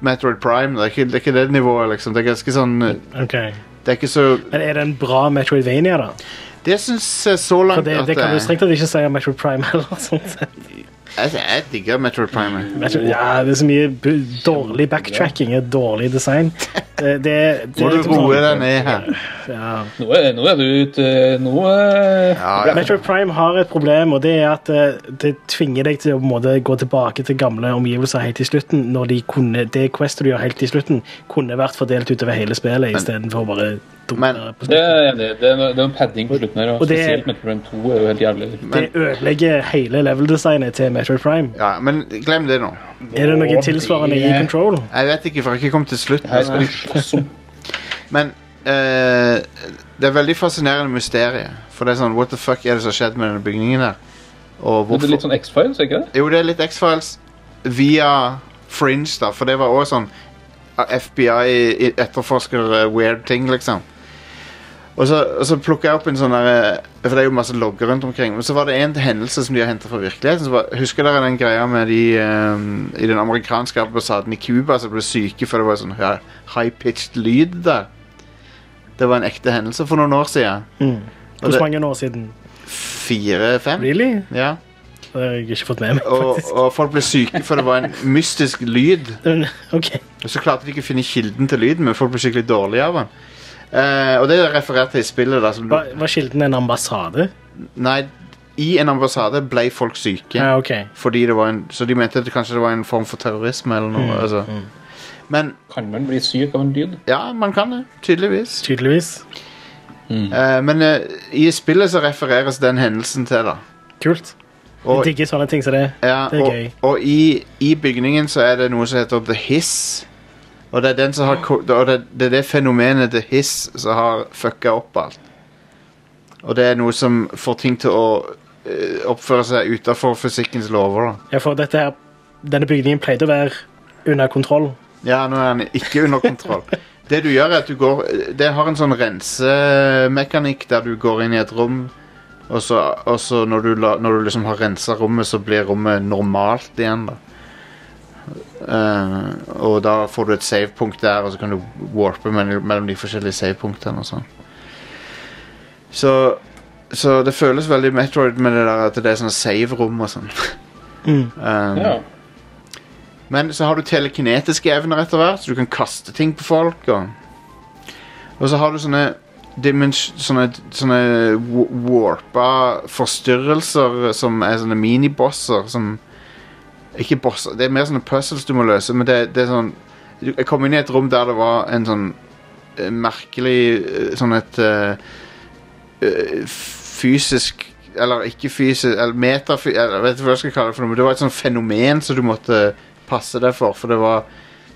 Speaker 1: Metroid Prime. Det er ikke det, er ikke det nivået, liksom. Det er ganske sånn eh,
Speaker 2: Ok.
Speaker 1: Det er ikke så
Speaker 2: Men er det en bra Metroidvania, da?
Speaker 1: Det syns jeg så
Speaker 2: For
Speaker 1: langt
Speaker 2: det,
Speaker 1: at
Speaker 2: det kan du
Speaker 1: jeg,
Speaker 2: strengt tatt ikke si om Metroid Prime heller. sånn sett.
Speaker 1: jeg, jeg digger Metroid Prime. jeg.
Speaker 2: Metroid, ja, det er så mye bu- dårlig backtracking og dårlig design. Det, det, det,
Speaker 1: Må
Speaker 2: er
Speaker 1: du
Speaker 2: liksom
Speaker 1: roe
Speaker 2: sånn-
Speaker 1: deg ned her.
Speaker 2: Ja.
Speaker 6: Nå er, nå er du ute Nå eh,
Speaker 1: Ja, ja.
Speaker 2: Metroid Prime har et problem, og det er at eh, det tvinger deg til å på en måte, gå tilbake til gamle omgivelser helt til slutten, når de kunne, det questet du gjør helt til slutten, kunne vært fordelt utover hele spillet istedenfor bare dumme
Speaker 1: men-
Speaker 2: på
Speaker 6: Det
Speaker 2: slutten.
Speaker 6: er jeg enig i. Det er noe- det er noe padding på slutten her. Og
Speaker 2: Og det-
Speaker 6: spesielt Metal Run 2 er jo helt jævlig.
Speaker 2: Det ødelegger hele level-designet til Metroid Prime.
Speaker 1: Ja, men glem det nå.
Speaker 2: Er det noe tilsvarende i
Speaker 6: det-
Speaker 2: Control?
Speaker 1: Jeg vet ikke, for jeg har ikke kommet til slutten.
Speaker 6: Her skal vi slåss om
Speaker 1: Men eh, det er veldig fascinerende mysterie. For det er sånn, what the fuck er det som har skjedd med denne bygningen der? Og
Speaker 6: Det
Speaker 1: hvorfor?
Speaker 6: er litt sånn X-Files, ikke det?
Speaker 1: Jo, det er litt X-Files via Fringe, da. For det var også sånn eh, FBI etterforsker eh, weird ting, liksom. Og så, og så plukker jeg opp en sånn der eh, For det er jo masse logger rundt omkring. Men så var det en hendelse som de har henta fra virkeligheten. Så var, husker dere den greia med de eh, i den amerikanske ambassaden i Cuba som ble syke for det var sånn hø- high-pitched lyd der? Det var en ekte hendelse for noen år siden.
Speaker 2: Mm.
Speaker 1: Og det-
Speaker 2: Hvor mange år siden?
Speaker 1: Fire-fem?
Speaker 2: Really?
Speaker 1: Ja.
Speaker 2: Det har jeg ikke fått med meg,
Speaker 1: Og,
Speaker 2: faktisk.
Speaker 1: og folk ble syke, for det var en mystisk lyd.
Speaker 2: OK.
Speaker 1: Og så klarte de ikke å finne kilden til lyden, men folk ble skikkelig dårlige av den. Eh, og det er referert til i spillet. da som du,
Speaker 2: Var, var kilden en ambassade?
Speaker 1: Nei, I en ambassade ble folk syke.
Speaker 2: Ja, OK.
Speaker 1: Fordi det var en, så de mente at det kanskje det var en form for terrorisme eller noe. altså. Men
Speaker 6: Kan man bli syk av en lyd?
Speaker 1: ja, man kan det. Tydeligvis.
Speaker 2: Tydeligvis.
Speaker 1: Eh, men eh, i spillet så refereres den hendelsen til, da.
Speaker 2: Kult. Jeg
Speaker 1: Og,
Speaker 2: digger sånne ting som det.
Speaker 1: ja,
Speaker 2: det er
Speaker 1: og,
Speaker 2: gøy.
Speaker 1: og i, i bygningen så er det noe som heter The Hiss. Og det er, den som har, ko- og det, det, er det fenomenet The Hiss som har fucka opp alt. Og det er noe som får ting til å eh, oppføre seg utafor fysikkens lover. da.
Speaker 2: Ja, for dette her, denne bygningen pleide å være under kontroll.
Speaker 1: Ja, nå er den ikke under kontroll. Det du gjør er at du går Det har en sånn rensemekanikk der du går inn i et rom, og så, og så når, du la, når du liksom har rensa rommet, så blir rommet normalt igjen, da. Eh, og da får du et savepunkt der, og så kan du warpe mellom, mellom de forskjellige savepunktene og sånn. Så, så det føles veldig Metroid med det der at det er sånn save-rom og sånn.
Speaker 2: Mm.
Speaker 1: Eh,
Speaker 6: Ja.
Speaker 1: men så har du telekinetiske evner etter hvert, så du kan kaste ting på folk. Og, og så har du sånne dimens... Sånne, sånne wa- warpa forstyrrelser som er sånne minibosser som Ikke bosser, det er mer sånne puzzles du må løse, men det, det er sånn du- Jeg kom inn i et rom der det var en sånn eh, merkelig eh, Sånn et eh, eh, fysisk Eller ikke fysisk Eller metafy... Jeg vet ikke hva jeg skal kalle det for noe, men det var et sånt fenomen som du måtte passe deg for, for det var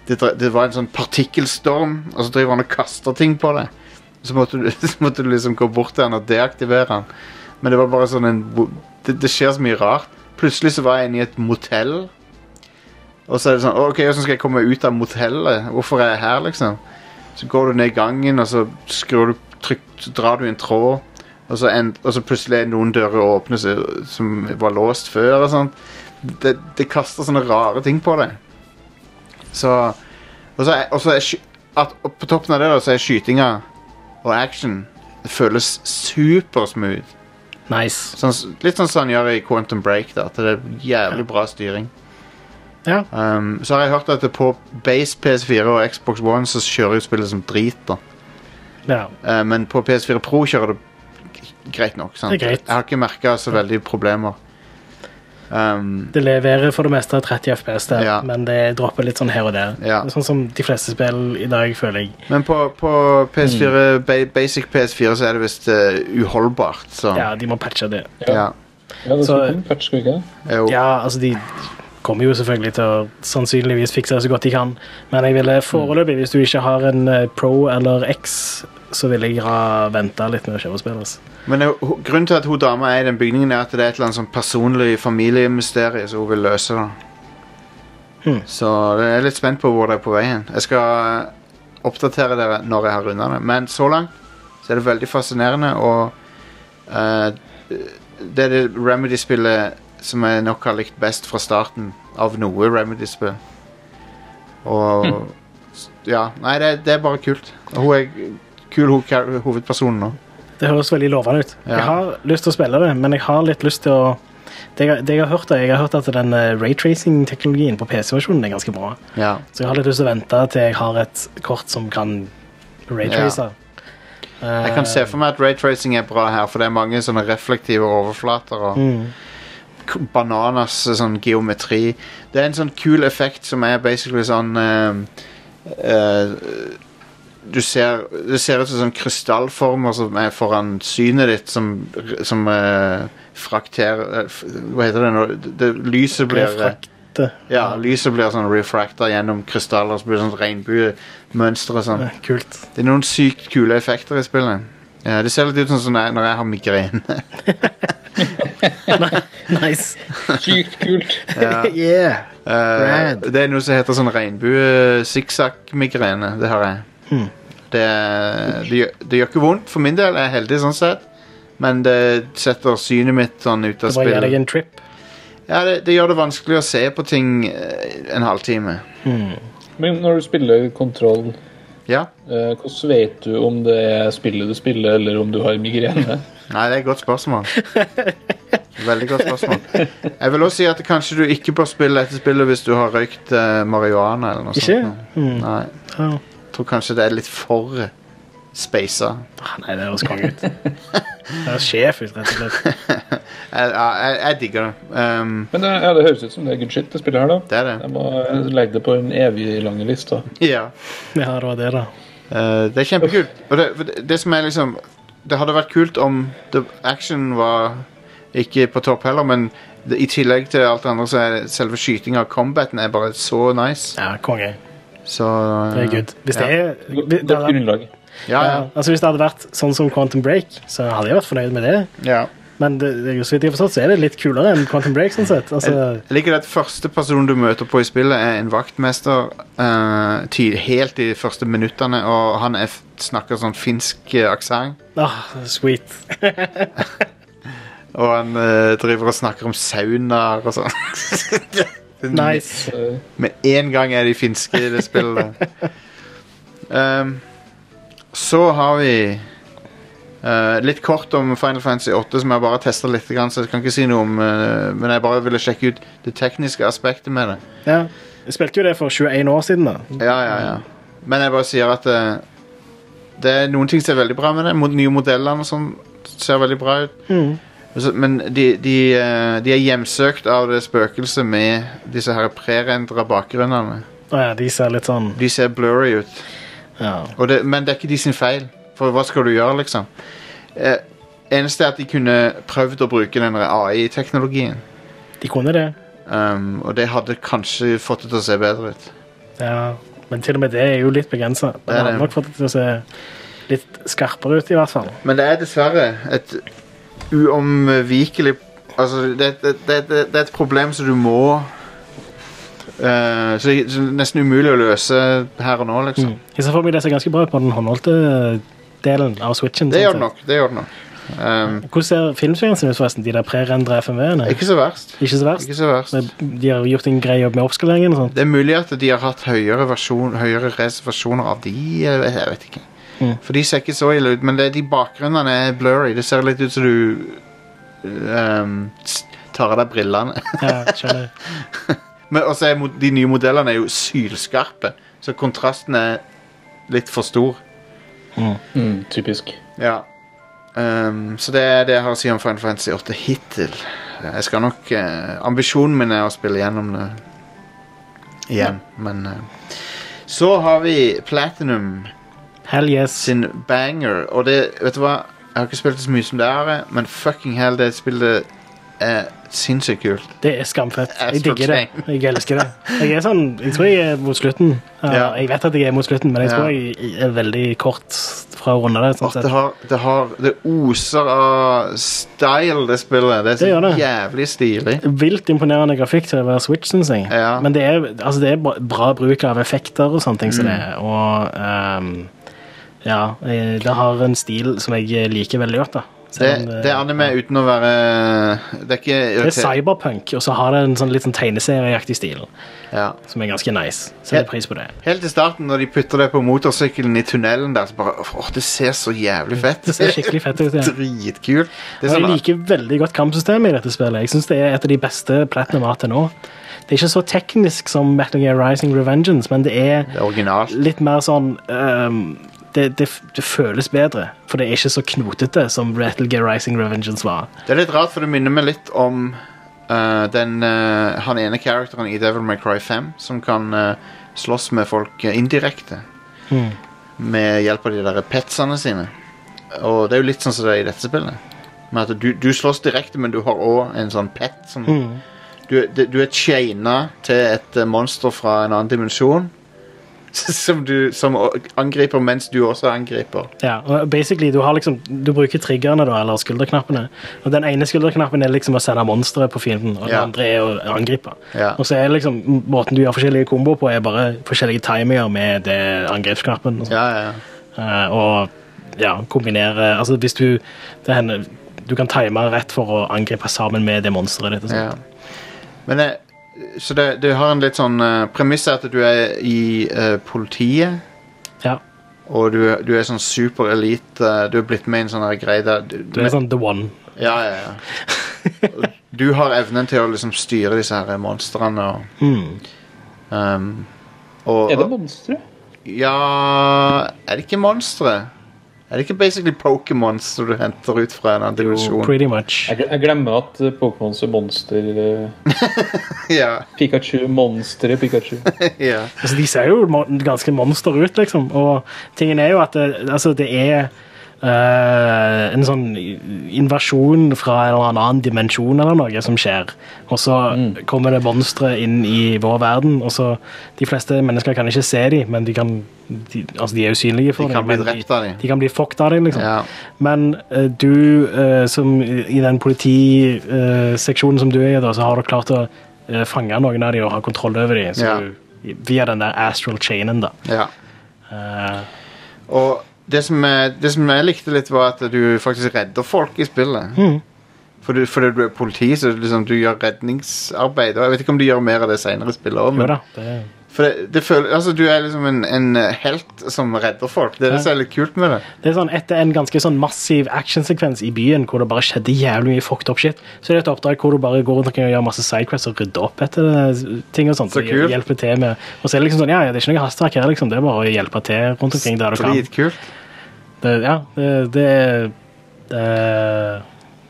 Speaker 1: det, dre- det var en sånn partikkelstorm, og så driver han og kaster ting på deg. Så måtte du, så måtte du liksom gå bort til han og deaktivere han. Men det var bare sånn en wo- det, det skjer så mye rart. Plutselig så var jeg inne i et motell. Og så er det sånn OK, hvordan skal jeg komme ut av motellet? Hvorfor er jeg her, liksom? Så går du ned gangen, og så skrur du trykk, så drar du i en tråd, og så, end, og så plutselig er noen dører åpne som- som var låst før og sånt det, det kaster sånne rare ting på deg. Så Og så er, og så er sky- at, og På toppen av det da, så er skytinga og action Det føles supersmooth.
Speaker 2: Nice.
Speaker 1: Sånn, s- litt sånn som han gjør i Quantum Break. da, At det er jævlig bra styring.
Speaker 2: Ja.
Speaker 1: Um, så har jeg hørt at det på base PS4 og Xbox One så kjører jo spillet som drit. da
Speaker 2: ja.
Speaker 1: Eh, Men på PS4 Pro kjører det g- greit nok. sant?
Speaker 2: Det er greit.
Speaker 1: Jeg har ikke merka så veldig problemer. Um,
Speaker 2: Det leverer for det meste 30 FPS der,
Speaker 1: Ja.
Speaker 2: men det dropper litt sånn her og der.
Speaker 1: Ja.
Speaker 2: Sånn som de fleste spill i dag, føler jeg.
Speaker 1: Men på, på PS4,
Speaker 2: Mm.
Speaker 1: ba- basic PS4 så er det visst eh, uholdbart. Så.
Speaker 2: Ja, de må patche det.
Speaker 1: Ja.
Speaker 6: Ja, det
Speaker 2: Så-
Speaker 6: skulle komme patch, skulle ikke det?
Speaker 1: Jo.
Speaker 2: Ja, altså, de kommer jo selvfølgelig til å sannsynligvis fikse det så godt de kan, men jeg ville foreløpig, hvis du ikke har en eh, Pro eller X, så ville jeg ha venta litt med å kjøpe spill. Altså.
Speaker 1: Men eh, ho- grunnen til at hun dama er i den bygningen, er at det er et eller annet sånn personlig familiemysterium som hun vil løse. da.
Speaker 2: Hmm.
Speaker 1: Så øh, jeg er litt spent på hvor det er på vei hen. Jeg skal eh, oppdatere dere når jeg har runda det. Men så langt så er det veldig fascinerende, og eh, det er det Remedy-spillet som jeg nok har likt best fra starten av noe Remedy-spill. Og s- Ja. Nei, det, det er bare kult. Og hun er kul, hun kar- hovedpersonen nå.
Speaker 2: Det høres veldig lovende ut.
Speaker 1: Ja.
Speaker 2: Jeg har lyst til å spille det, men jeg har litt lyst til å det jeg, det jeg har hørt er, jeg har hørt at den eh, raytracing-teknologien på PC-versjonen er ganske bra.
Speaker 1: Ja.
Speaker 2: Så jeg har litt lyst til å vente til jeg har et kort som kan Eh, raytrace.
Speaker 1: Jeg kan se for meg at raytracing er bra her, for det er mange sånne reflektive overflater og k- bananas sånn geometri. Det er en sånn kul effekt som er basically sånn eh, eh, Du ser Det ser ut som sånn krystallformer som er foran synet ditt, som, som eh, frakterer eh, f- Hva heter det når det, det, lyset blir eh,
Speaker 2: Refrakte.
Speaker 1: Ja, lyset blir sånn refrakta gjennom krystaller, så blir det sånn regnbuemønster og sånn.
Speaker 2: Eh, Kult.
Speaker 1: Det er noen sykt kule effekter i spillet. Eh, det ser litt ut som sånn når jeg har migrene.
Speaker 2: Nice.
Speaker 6: Sykt kult.
Speaker 2: yeah.
Speaker 1: Eh, det er noe som heter sånn regnbue-sikksakk-migrene. Det har jeg. Det, det, gjør, det gjør ikke vondt for min del. Jeg er heldig sånn sett. Men det setter synet mitt sånn ut av
Speaker 2: Det bare gir deg
Speaker 1: spill.
Speaker 2: en trip.
Speaker 1: Ja, det, det gjør det vanskelig å se på ting eh, en halvtime.
Speaker 6: Men når du spiller kontroll,
Speaker 1: Ja?
Speaker 6: eh, hvordan vet du om det er spillet du spiller, eller om du har migrene?
Speaker 1: Nei, det er et godt spørsmål. Veldig godt spørsmål. Jeg vil også si at kanskje du ikke bør spille dette spillet hvis du har røykt eh, marihuana eller noe
Speaker 2: Ikke?
Speaker 1: sånt. nå.
Speaker 2: Mm.
Speaker 1: Nei.
Speaker 2: Ja.
Speaker 1: Jeg tror kanskje det er litt for eh, speisa.
Speaker 2: Ah, nei, det høres konge ut. Det høres sjef ut, rett og slett.
Speaker 1: Jeg, jeg, jeg digger det. Um,
Speaker 6: Men det, ja, det høres ut som det er good shit, det spillet her, da.
Speaker 1: det er det.
Speaker 6: Jeg må eh, legge det på en evig lang liste.
Speaker 1: Ja.
Speaker 2: Ja, det var det, da.
Speaker 1: Eh, det er kjempekult. Og det, for det, det som er liksom Det hadde vært kult om the action var ikke på topp heller, men det, i tillegg til alt det andre, så er det- selve skytinga og combaten er bare så nice.
Speaker 2: Ja, konge.
Speaker 1: Så eh,
Speaker 2: Det er good. Hvis det er hvis
Speaker 6: Godt
Speaker 2: det hadde,
Speaker 6: grunnlag.
Speaker 1: Ja,
Speaker 2: ja,
Speaker 1: ja.
Speaker 2: altså Hvis det hadde vært sånn som Quantum Break, så hadde jeg vært fornøyd med det.
Speaker 1: ja.
Speaker 2: Men det, det, er jo så vidt jeg har forstått, så er det litt kulere enn Quantum Break. sånn sett. Altså,
Speaker 1: Jeg liker at første person du møter på i spillet, er en vaktmester eh, ty- helt i de første minuttene, og han er, f- snakker sånn finsk eh, aksent.
Speaker 2: ah, sweet.
Speaker 1: Og han eh, driver og snakker om saunaer og sånn.
Speaker 2: Nice.
Speaker 6: Eh,
Speaker 1: Med en gang er de finske i det spillet. Ehm, så har vi eh, litt kort om Final Fantasy 8, som jeg bare tester litt, grann, så jeg kan ikke si noe om eh, Men jeg bare ville sjekke ut det tekniske aspektet med det.
Speaker 2: Ja. Jeg spilte jo det for 21 år siden. da.
Speaker 1: Ja, ja, ja. Men jeg bare sier at eh, det er noen ting som er veldig bra med det. Mod nye modellene og sånn ser veldig bra ut. Altså, Men de, de, eh, de er hjemsøkt av det spøkelset med disse her prerendra bakgrunnene.
Speaker 2: Ah, ja, de ser litt sånn
Speaker 1: De ser blurry ut.
Speaker 2: ja.
Speaker 1: Og det, men det er ikke de sin feil. For hva skal du gjøre, liksom? Eh, eneste er at de kunne prøvd å bruke den AI-teknologien.
Speaker 2: De kunne det.
Speaker 1: Um, og det hadde kanskje fått det til å se bedre ut.
Speaker 2: Ja. Men til og med det er jo litt begrensa.
Speaker 1: Det er
Speaker 2: Det hadde
Speaker 1: det.
Speaker 2: nok fått det til å se litt skarpere ut, i hvert fall.
Speaker 1: Men det er dessverre et uomvikelig Altså, det, det, det, det det er et problem som du må eh, Så det er nesten umulig å løse her og nå, liksom.
Speaker 2: Jeg ser for meg det ser ganske bra ut på den håndholdte delen av switchen.
Speaker 1: Det
Speaker 2: sånn
Speaker 1: gjør det
Speaker 2: sett.
Speaker 1: nok. det gjør det nok um,
Speaker 2: Hvordan ser filmsvingen sin ut, forresten? De der prerendra FMV-ene?
Speaker 1: Ikke så verst.
Speaker 2: Ikke så verst?
Speaker 1: Ikke så verst.
Speaker 2: Men De har gjort en grei jobb med oppskaleringen og sånt.
Speaker 1: Det er mulig at de har hatt høyere, versjon, høyere reservasjoner av de, jeg vet, jeg vet ikke.
Speaker 2: Mm.
Speaker 1: For de ser ikke så ille ut, men det, de bakgrunnene er blurry. Det ser litt ut som du ehm, s- tar av deg brillene.
Speaker 2: Ja, skjønner.
Speaker 1: Men også er mo- de nye modellene er jo sylskarpe, så kontrasten er litt for stor.
Speaker 6: Mm, typisk.
Speaker 1: Ja. Ehm, så det er det jeg har å si om Final Fantasy 8 hittil. Jeg skal nok eh, Ambisjonen min er å spille gjennom det igjen, men eh, Så har vi Platinum
Speaker 2: Hell yes.
Speaker 1: sin banger, og det Vet du hva? Jeg har ikke spilt det så mye som det her, eh, men fucking hell, det spillet er sinnssykt kult.
Speaker 2: Det er skamfett. Jeg
Speaker 1: Astral
Speaker 2: digger det. Jeg elsker det. Jeg er sånn, jeg tror jeg er mot slutten. Ja,
Speaker 1: Ja.
Speaker 2: Jeg vet at jeg er mot slutten, men jeg tror
Speaker 1: Ja.
Speaker 2: jeg er veldig kort fra å runde det. Sånn
Speaker 1: Åh, det,
Speaker 2: sett.
Speaker 1: har, det, har, det oser av style, det spillet. Det er så
Speaker 2: Det gjør det.
Speaker 1: jævlig stilig.
Speaker 2: Vilt imponerende grafikk til å være Switch, syns jeg.
Speaker 1: Ja.
Speaker 2: Men det er, altså det er bra, bra bruk av effekter og sånne ting
Speaker 1: Mm.
Speaker 2: som det er. Og ehm, ja, eh, det har en stil som jeg liker veldig godt. da.
Speaker 1: Det,
Speaker 2: Selv om
Speaker 1: det er anime uten å være Det er ikke
Speaker 2: Sånn, eh, det er cyberpunk, og så har det en sånn litt sånn tegneserieaktig stil
Speaker 1: Ja.
Speaker 2: som er ganske nice. Setter
Speaker 1: Ja.
Speaker 2: pris på det.
Speaker 1: Helt i starten, når de putter det på motorsykkelen i tunnelen der, så bare Åh, det ser så jævlig fett
Speaker 2: Det ser skikkelig fett ut. Ja.
Speaker 1: Dritkult. Det er
Speaker 2: Og
Speaker 1: sånn
Speaker 2: jeg liker veldig godt kampsystemet i dette spillet. Jeg synes Det er et av de beste platinum har hatt til nå. Det er ikke så teknisk som Metal Gear Rising Revengeance, men det er
Speaker 1: det er originalt.
Speaker 2: litt mer sånn ehm, det, det, det føles bedre, for det er ikke så knotete som Metal Gear Rising Revengeance var.
Speaker 1: Det er litt rart, for det minner meg litt om eh, den eh, han ene characteren i Devil May Cry 5 som kan eh, slåss med folk eh, indirekte. Med hjelp av de der petsene sine. Og det er jo litt sånn som det er i dette spillet. Men at du, du slåss direkte, men du har òg en sånn pet som du, du du er chaina til et eh, monster fra en annen dimensjon. Som, du, som å- angriper mens du også angriper.
Speaker 2: Ja, og basically, Du har liksom, du bruker triggerne, da, eller skulderknappene. og Den ene skulderknappen er liksom å sende monsteret på fienden, og den
Speaker 1: Ja.
Speaker 2: andre er å angripe.
Speaker 1: Ja.
Speaker 2: Og så er liksom, Måten du gjør forskjellige komboer på, er bare forskjellige timinger med det angrepsknappen. og sånn. sånt.
Speaker 1: Ja, ja, ja.
Speaker 2: Eh, og ja, kombinere Altså hvis du det hender, Du kan time rett for å angripe sammen med det monsteret ditt. og sånt.
Speaker 1: Ja. Men eh, Så det, det har en litt sånn eh, premiss er at du er i eh, politiet,
Speaker 2: Ja.
Speaker 1: og du, du er sånn superelite. eh, du er blitt med i en sånn her greie der du,
Speaker 2: Du er sånn the one.
Speaker 1: Ja, ja, ja. Du har evnen til å liksom styre disse her monstrene og ehm, og,
Speaker 6: Er det
Speaker 1: og
Speaker 6: monstre?
Speaker 1: Ja Er det ikke monstre? Er det ikke basically Pokémons som du henter ut fra en annen dimensjon?
Speaker 2: Pretty much.
Speaker 6: Jeg gle- jeg glemmer at eh, Pokémons er monster. eh,
Speaker 1: Ja,
Speaker 6: Pikachu, monsteret Pikachu.
Speaker 1: ja.
Speaker 2: Altså, de ser jo mon- ganske monster ut, liksom. Og tingen er jo at det, altså, det er eh, en sånn invasjon fra en eller annen dimensjon eller noe som skjer. Og så kommer det monstre inn i vår verden, og så De fleste mennesker kan ikke se dem, men de kan de, Altså, de er usynlige for
Speaker 1: De kan
Speaker 2: deg,
Speaker 1: bli
Speaker 2: men
Speaker 1: drept av dem.
Speaker 2: De kan bli fucked av dem, liksom.
Speaker 1: Ja.
Speaker 2: Men eh, du eh, som i i den politiseksjonen som du er i, da, så har du klart å eh, fange noen av dem og ha kontroll over dem. Så
Speaker 1: Ja.
Speaker 2: du, via den der astral chainen, da.
Speaker 1: ja.
Speaker 2: Eh,
Speaker 1: Og det som, jeg, det som jeg likte litt, var at du faktisk redder folk i spillet.
Speaker 2: Mm.
Speaker 1: For du, fordi du er politi, så liksom, du gjør redningsarbeid. Og jeg vet ikke om du gjør mer av det senere i spillet også,
Speaker 2: jo
Speaker 1: men
Speaker 2: da, det,
Speaker 1: for det, det føler, altså, du er liksom en, en eh, helt som redder folk. Det er det som er litt kult med det.
Speaker 2: det er sånn Etter en ganske sånn massiv actionsekvens i byen hvor det bare skjedde jævlig mye fucked up shit, så er det et oppdrag hvor du bare går rundt og gjør masse sidequests og rydder opp etter det, ting og sånt.
Speaker 1: Så
Speaker 2: og
Speaker 1: kult.
Speaker 2: Hjelper til med Og så er det liksom sånn, ja, ja, det er ikke noe hastverk her, liksom. Det er bare å hjelpe til rundt omkring der du kan.
Speaker 1: Dritkult.
Speaker 2: Det, ja, det, det eh,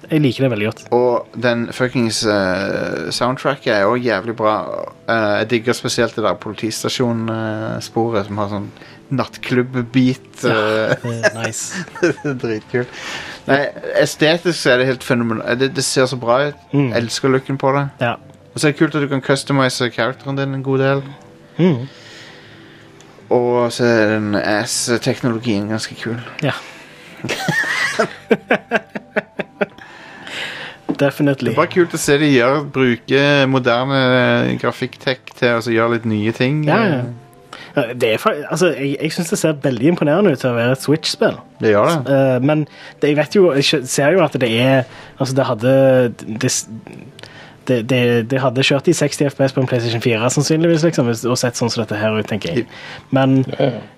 Speaker 2: Jeg liker det veldig godt.
Speaker 1: Og den fuckings eh, soundtracket er òg jævlig bra. Eh, jeg digger spesielt det der politistasjonsporet som har sånn nattklubb-beat. eh,
Speaker 2: Det er nice.
Speaker 1: Det er Dritkult. Nei, estetisk så er det helt fenomenalt. Det, det ser så bra ut.
Speaker 2: Mm.
Speaker 1: Jeg elsker looken på det.
Speaker 2: Ja.
Speaker 1: Og så er det kult at du kan customize characteren din en god del.
Speaker 2: Mm.
Speaker 1: Og så er den ass-teknologien ganske kul.
Speaker 2: ja. Definitely.
Speaker 1: Det er bare kult å se de gjør, bruke moderne eh, grafikktech til å altså, gjøre litt nye ting.
Speaker 2: Ja, ja. Ja, Det er, fa- altså, jeg jeg syns det ser veldig imponerende ut til å være et Switch-spill.
Speaker 1: Det gjør det.
Speaker 2: Eh, men det, jeg vet jo Jeg skjø- ser jo at det er Altså, det hadde Det, s- det, det, det hadde kjørt i 60 FPS på en PlayStation 4, sannsynligvis, liksom, hvis- og sett sånn som dette her ut, tenker jeg. Men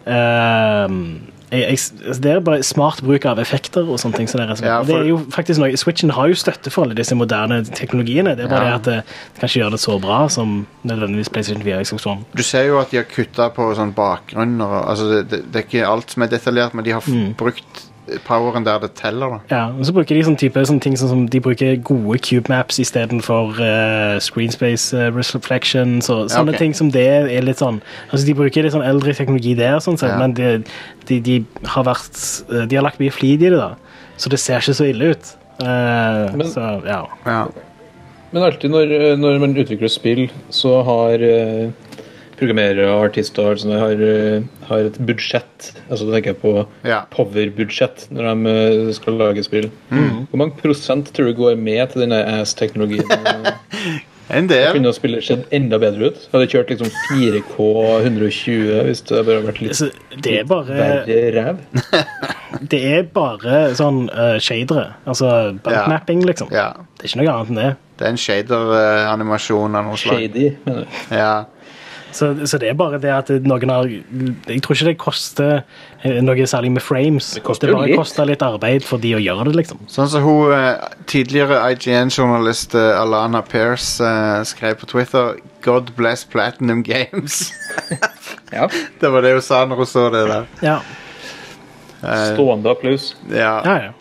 Speaker 2: Ehm, jeg, jeg, altså, det er bare smart bruk av effekter og sånne ting. som det, er,
Speaker 1: Ja, for-
Speaker 2: det er jo faktisk noe, Switchen har jo støtte for alle disse moderne teknologiene. Det er bare
Speaker 1: Ja.
Speaker 2: det at det, det kan ikke gjøre det så bra som nødvendigvis PlayStation 4 og Xbox One.
Speaker 1: Du ser jo at de har kutta på sånn bakgrunner. og- Altså, det, det, det er ikke alt som er detaljert, men de har f
Speaker 2: Mm.
Speaker 1: brukt poweren der det teller. da.
Speaker 2: Ja, og så bruker de sånn type sånne ting sånn som de bruker gode cube maps istedenfor uh, screen space eh, reflection. Så,
Speaker 1: Ja,
Speaker 2: sånne
Speaker 1: ok.
Speaker 2: ting som det er litt sånn Altså De bruker litt sånn eldre teknologi der, sånn sett,
Speaker 1: Ja.
Speaker 2: men de, de, de har vært eh, De har lagt mye flid i det, da. Så det ser ikke så ille ut. Eh,
Speaker 6: Men-
Speaker 2: så ja.
Speaker 1: Ja.
Speaker 6: Men alltid når, eh, når man utvikler spill, så har eh, programmerere og artister og alt sånt, har, eh, har et budsjett. Altså da tenker jeg på
Speaker 1: Ja.
Speaker 6: power-budsjett når de eh, skal lage spill. Hvor mange prosent tror du går med til denne ass-teknologien?
Speaker 1: En del.
Speaker 6: Kunne spillet sett enda bedre ut? Hadde kjørt liksom 4K 120 hvis det bare hadde vært litt
Speaker 2: Så det er bare
Speaker 6: verre ræv?
Speaker 2: Det er bare sånn eh, shadere. Altså bumpmapping, liksom.
Speaker 1: Ja.
Speaker 2: Det er ikke noe annet enn det.
Speaker 1: Det er en shader-animasjon av noe slag.
Speaker 6: Shady, mener du?
Speaker 1: Ja.
Speaker 2: Så, så det er bare det at noen har Jeg tror ikke det koster eh, noe særlig med frames. Det
Speaker 6: koster jo
Speaker 2: bare
Speaker 6: litt.
Speaker 2: koster litt arbeid for de å gjøre det, liksom.
Speaker 1: Sånn som hun eh, tidligere IGN-journalist eh, Alana Pearce eh, skrev på Twitter God bless Platinum Games.
Speaker 6: Ja.
Speaker 1: det var det hun sa når hun så det der.
Speaker 2: Ja,
Speaker 1: Eh,
Speaker 6: Stående applaus.
Speaker 1: ja.
Speaker 2: ja. ja.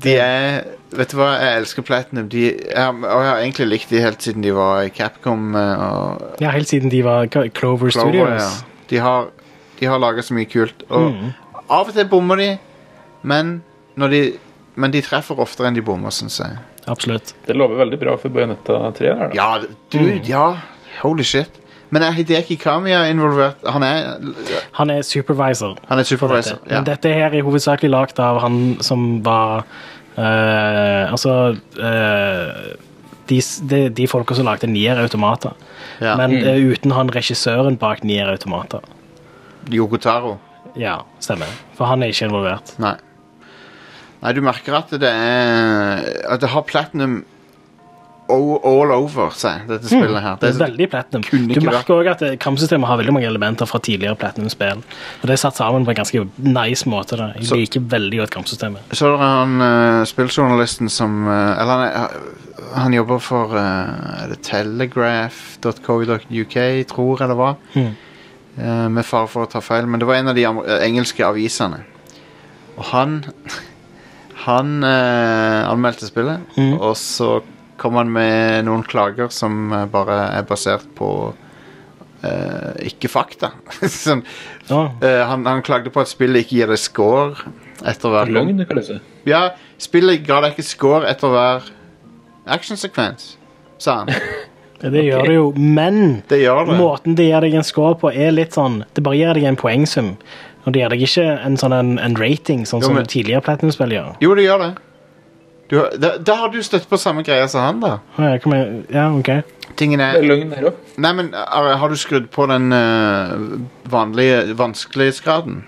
Speaker 1: De er Vet du hva, jeg elsker Platinum. De, jeg, har- og jeg har egentlig likt de helt siden de var i Capcom eh, og
Speaker 2: ja helt siden de var Clover,
Speaker 1: Clover.
Speaker 2: Clover
Speaker 1: Ja.
Speaker 2: Studios. Mm.
Speaker 1: De har, de har laga så mye kult. Og av og til bommer de, men, når de, men de treffer oftere enn de bommer, syns jeg.
Speaker 2: Absolutt.
Speaker 6: Det lover veldig bra for Bayonetta 3. Her, da.
Speaker 1: Ja, du, ja. Holy shit. Men er Hideki Kami er involvert? Han er,
Speaker 2: Han er supervisor.
Speaker 1: han er
Speaker 2: på
Speaker 1: supervisor.
Speaker 2: Dette.
Speaker 1: Ja.
Speaker 2: Men dette her er hovedsakelig lagd av han som var eh, Altså eh, De, s- de, de folka som lagde Nier Automata.
Speaker 1: Ja.
Speaker 2: Men eh, uten han regissøren bak Nier Automata.
Speaker 1: Yoko Taro.
Speaker 2: Ja, stemmer. For han er ikke involvert.
Speaker 1: Nei. Nei, du merker at det er At det har platinum o- all over seg, dette spillet her.
Speaker 2: Det
Speaker 1: Det
Speaker 2: er
Speaker 1: er så,
Speaker 2: veldig platinum.
Speaker 1: kunne
Speaker 2: Du
Speaker 1: ikke
Speaker 2: merker også at eh, kampsystemet har veldig mange elementer fra tidligere platinum-spill. Og det er satt sammen på en ganske nice måte. Da. Jeg
Speaker 1: Så-
Speaker 2: liker veldig godt kampsystemet.
Speaker 1: så er det han eh, spilljournalisten som eh, Eller han, er- han jobber for eh, er det telegraph.co.uk, tror jeg det var.
Speaker 2: Mhm.
Speaker 1: Eh, med fare for å ta feil, men det var en av de amer- eh, engelske avisene. Og han Han eh, anmeldte spillet,
Speaker 2: Mhm.
Speaker 1: og så kom han med noen klager som eh, bare er basert på eh, ikke fakta. sånn,
Speaker 2: Ja.
Speaker 1: Eh, han, han klagde på at spillet ikke gir deg score etter hver
Speaker 6: Logn, kalles det.
Speaker 1: Ja, spillet ga deg ikke score etter hver actionsekvens, sa han.
Speaker 2: Det gjør det jo, men
Speaker 1: Det gjør det.
Speaker 2: måten det gir deg en score på, er litt sånn Det bare gir deg en poengsum. Og det gir deg ikke en sånn en, en rating, sånn
Speaker 1: Jo,
Speaker 2: som
Speaker 1: men-
Speaker 2: tidligere platinum-spill gjør.
Speaker 1: Jo, det gjør det. Du, har- da, da har du støtt på samme greia som han, da.
Speaker 2: Å, Ja, kom igjen. ja, ok.
Speaker 1: Tingen
Speaker 6: Det er
Speaker 1: er
Speaker 6: løgn her òg.
Speaker 1: Nei, men Are, har du skrudd på den eh, vanlige vanskelighetsgraden?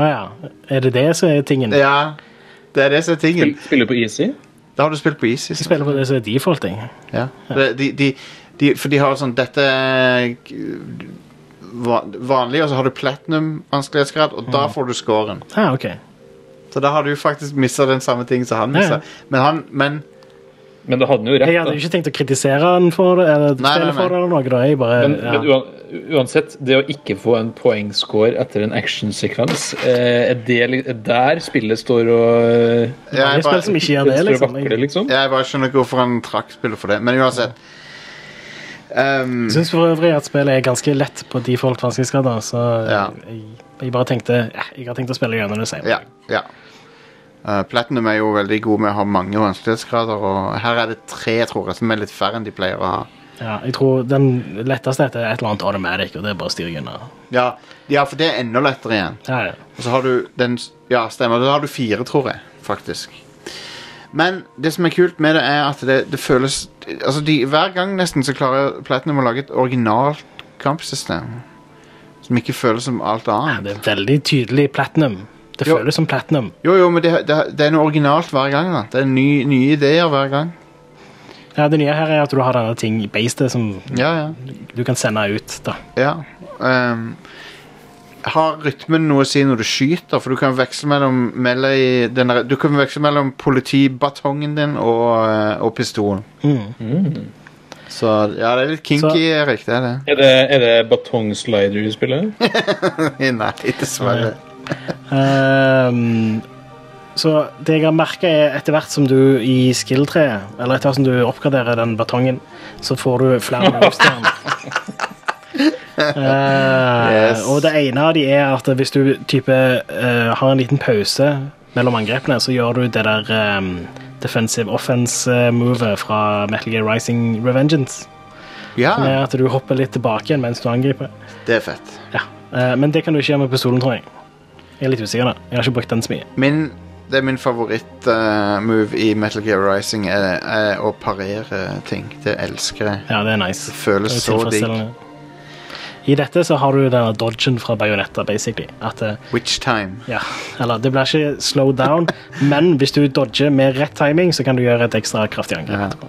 Speaker 2: Å ja. Er det det som er tingen?
Speaker 1: Ja, det er det som er tingen.
Speaker 6: Spiller på E easy.
Speaker 1: Da har du spilt på Easy.
Speaker 2: Jeg spiller på det som er defaulting.
Speaker 1: Ja. Det- De, de, de, for de har sånn Dette er k- va- vanlig, og så har du platinum vanskelighetsgrad, og da får du scoren.
Speaker 2: Ja, ok.
Speaker 1: Så da har du faktisk missa den samme tingen som han
Speaker 2: Ja,
Speaker 1: missa.
Speaker 2: ja.
Speaker 1: Men han Men
Speaker 6: Men det hadde han jo
Speaker 2: Jeg
Speaker 6: rett,
Speaker 2: hadde
Speaker 6: da.
Speaker 2: jo ikke tenkt å kritisere han for det, eller
Speaker 1: Nei, nei,
Speaker 2: spille
Speaker 1: nei.
Speaker 2: for det, eller noe. Da. Jeg bare,
Speaker 6: Men, men
Speaker 2: ja.
Speaker 6: uan- uansett, det å ikke få en poengscore etter en actionsekvens, eh, er det li- er der spillet står og eh,
Speaker 2: Det er
Speaker 1: jeg
Speaker 2: spill som
Speaker 1: bare,
Speaker 2: ikke gjør det,
Speaker 6: står og
Speaker 2: liksom.
Speaker 6: vakler,
Speaker 2: Jeg
Speaker 6: liksom?
Speaker 1: jeg bare skjønner ikke hvorfor han trakk spillet for det. Men uansett. Um,
Speaker 2: syns for øvrig at spillet er ganske lett på default vanskelighetsgrader, så
Speaker 1: Ja.
Speaker 2: jeg, jeg bare tenkte ja, Jeg har tenkt å spille gjennom det senere.
Speaker 1: ja. ja. Uh, Platinum er jo veldig god med å ha mange vanskelighetsgrader, og her er det tre tror jeg, som er litt færre enn de pleier å ha.
Speaker 2: Ja, jeg tror den letteste heter et eller annet automatic, og det er bare å styre unna.
Speaker 1: Ja, ja for det er enda lettere igjen.
Speaker 2: Ja, ja.
Speaker 1: Og så har du den Ja, stemmer. Da har du fire, tror jeg, faktisk. Men det som er kult med det, er at det, det føles Altså, de, hver gang nesten så klarer Platinum å lage et originalt kampsystem. Som ikke føles som alt
Speaker 2: Ja,
Speaker 1: annet.
Speaker 2: Det er veldig tydelig platinum. Det
Speaker 1: Jo.
Speaker 2: føles som platinum.
Speaker 1: Jo, jo, men det, det, det er noe originalt hver gang. da Det er ny, nye ideer hver gang.
Speaker 2: Ja, det nye her er at du har denne ting i beistet som
Speaker 1: Ja, ja.
Speaker 2: du kan sende ut. da.
Speaker 1: ja. Ehm, har rytmen noe å si når du skyter? For du kan veksle mellom melee, den der- Du kan veksle mellom politibatongen din og, eh, og pistolen.
Speaker 2: Mm.
Speaker 1: Så ja, det er litt kinky,
Speaker 2: Så-
Speaker 1: Erik. Det er det.
Speaker 6: Er det, er det batongslider du spiller?
Speaker 1: Nei, dessverre.
Speaker 2: Ehm, så det jeg har merka, er etter hvert som du i skill-treet, eller etter hvert som du oppgraderer den batongen, så får du flere moves til den. Eh,
Speaker 1: Yes.
Speaker 2: Og det ene av de er at hvis du type eh, har en liten pause mellom angrepene, så gjør du det der ehm, defensive offense-movet fra Metal Gear Rising Revengeance.
Speaker 1: Ja,
Speaker 2: Som er at du hopper litt tilbake igjen mens du angriper.
Speaker 1: det er fett.
Speaker 2: Ja, eh, Men det kan du ikke gjøre med pistolen, tror jeg. Jeg er litt usikker, da. Jeg har ikke brukt den så mye.
Speaker 1: Min, det er min favorittmove i Metal Gear Rising, er, er å parere ting. Det elsker jeg.
Speaker 2: Ja, det er nice.
Speaker 1: Det føles
Speaker 2: Det er
Speaker 1: så digg.
Speaker 2: tilfredsstillende. I dette så har du denne dodgen fra bajonetta, basically. At, eh,
Speaker 1: Witch time.
Speaker 2: ja, eller det blir ikke slow down, men hvis du dodger med rett timing, så kan du gjøre et ekstra kraftig angrep.
Speaker 1: Ja.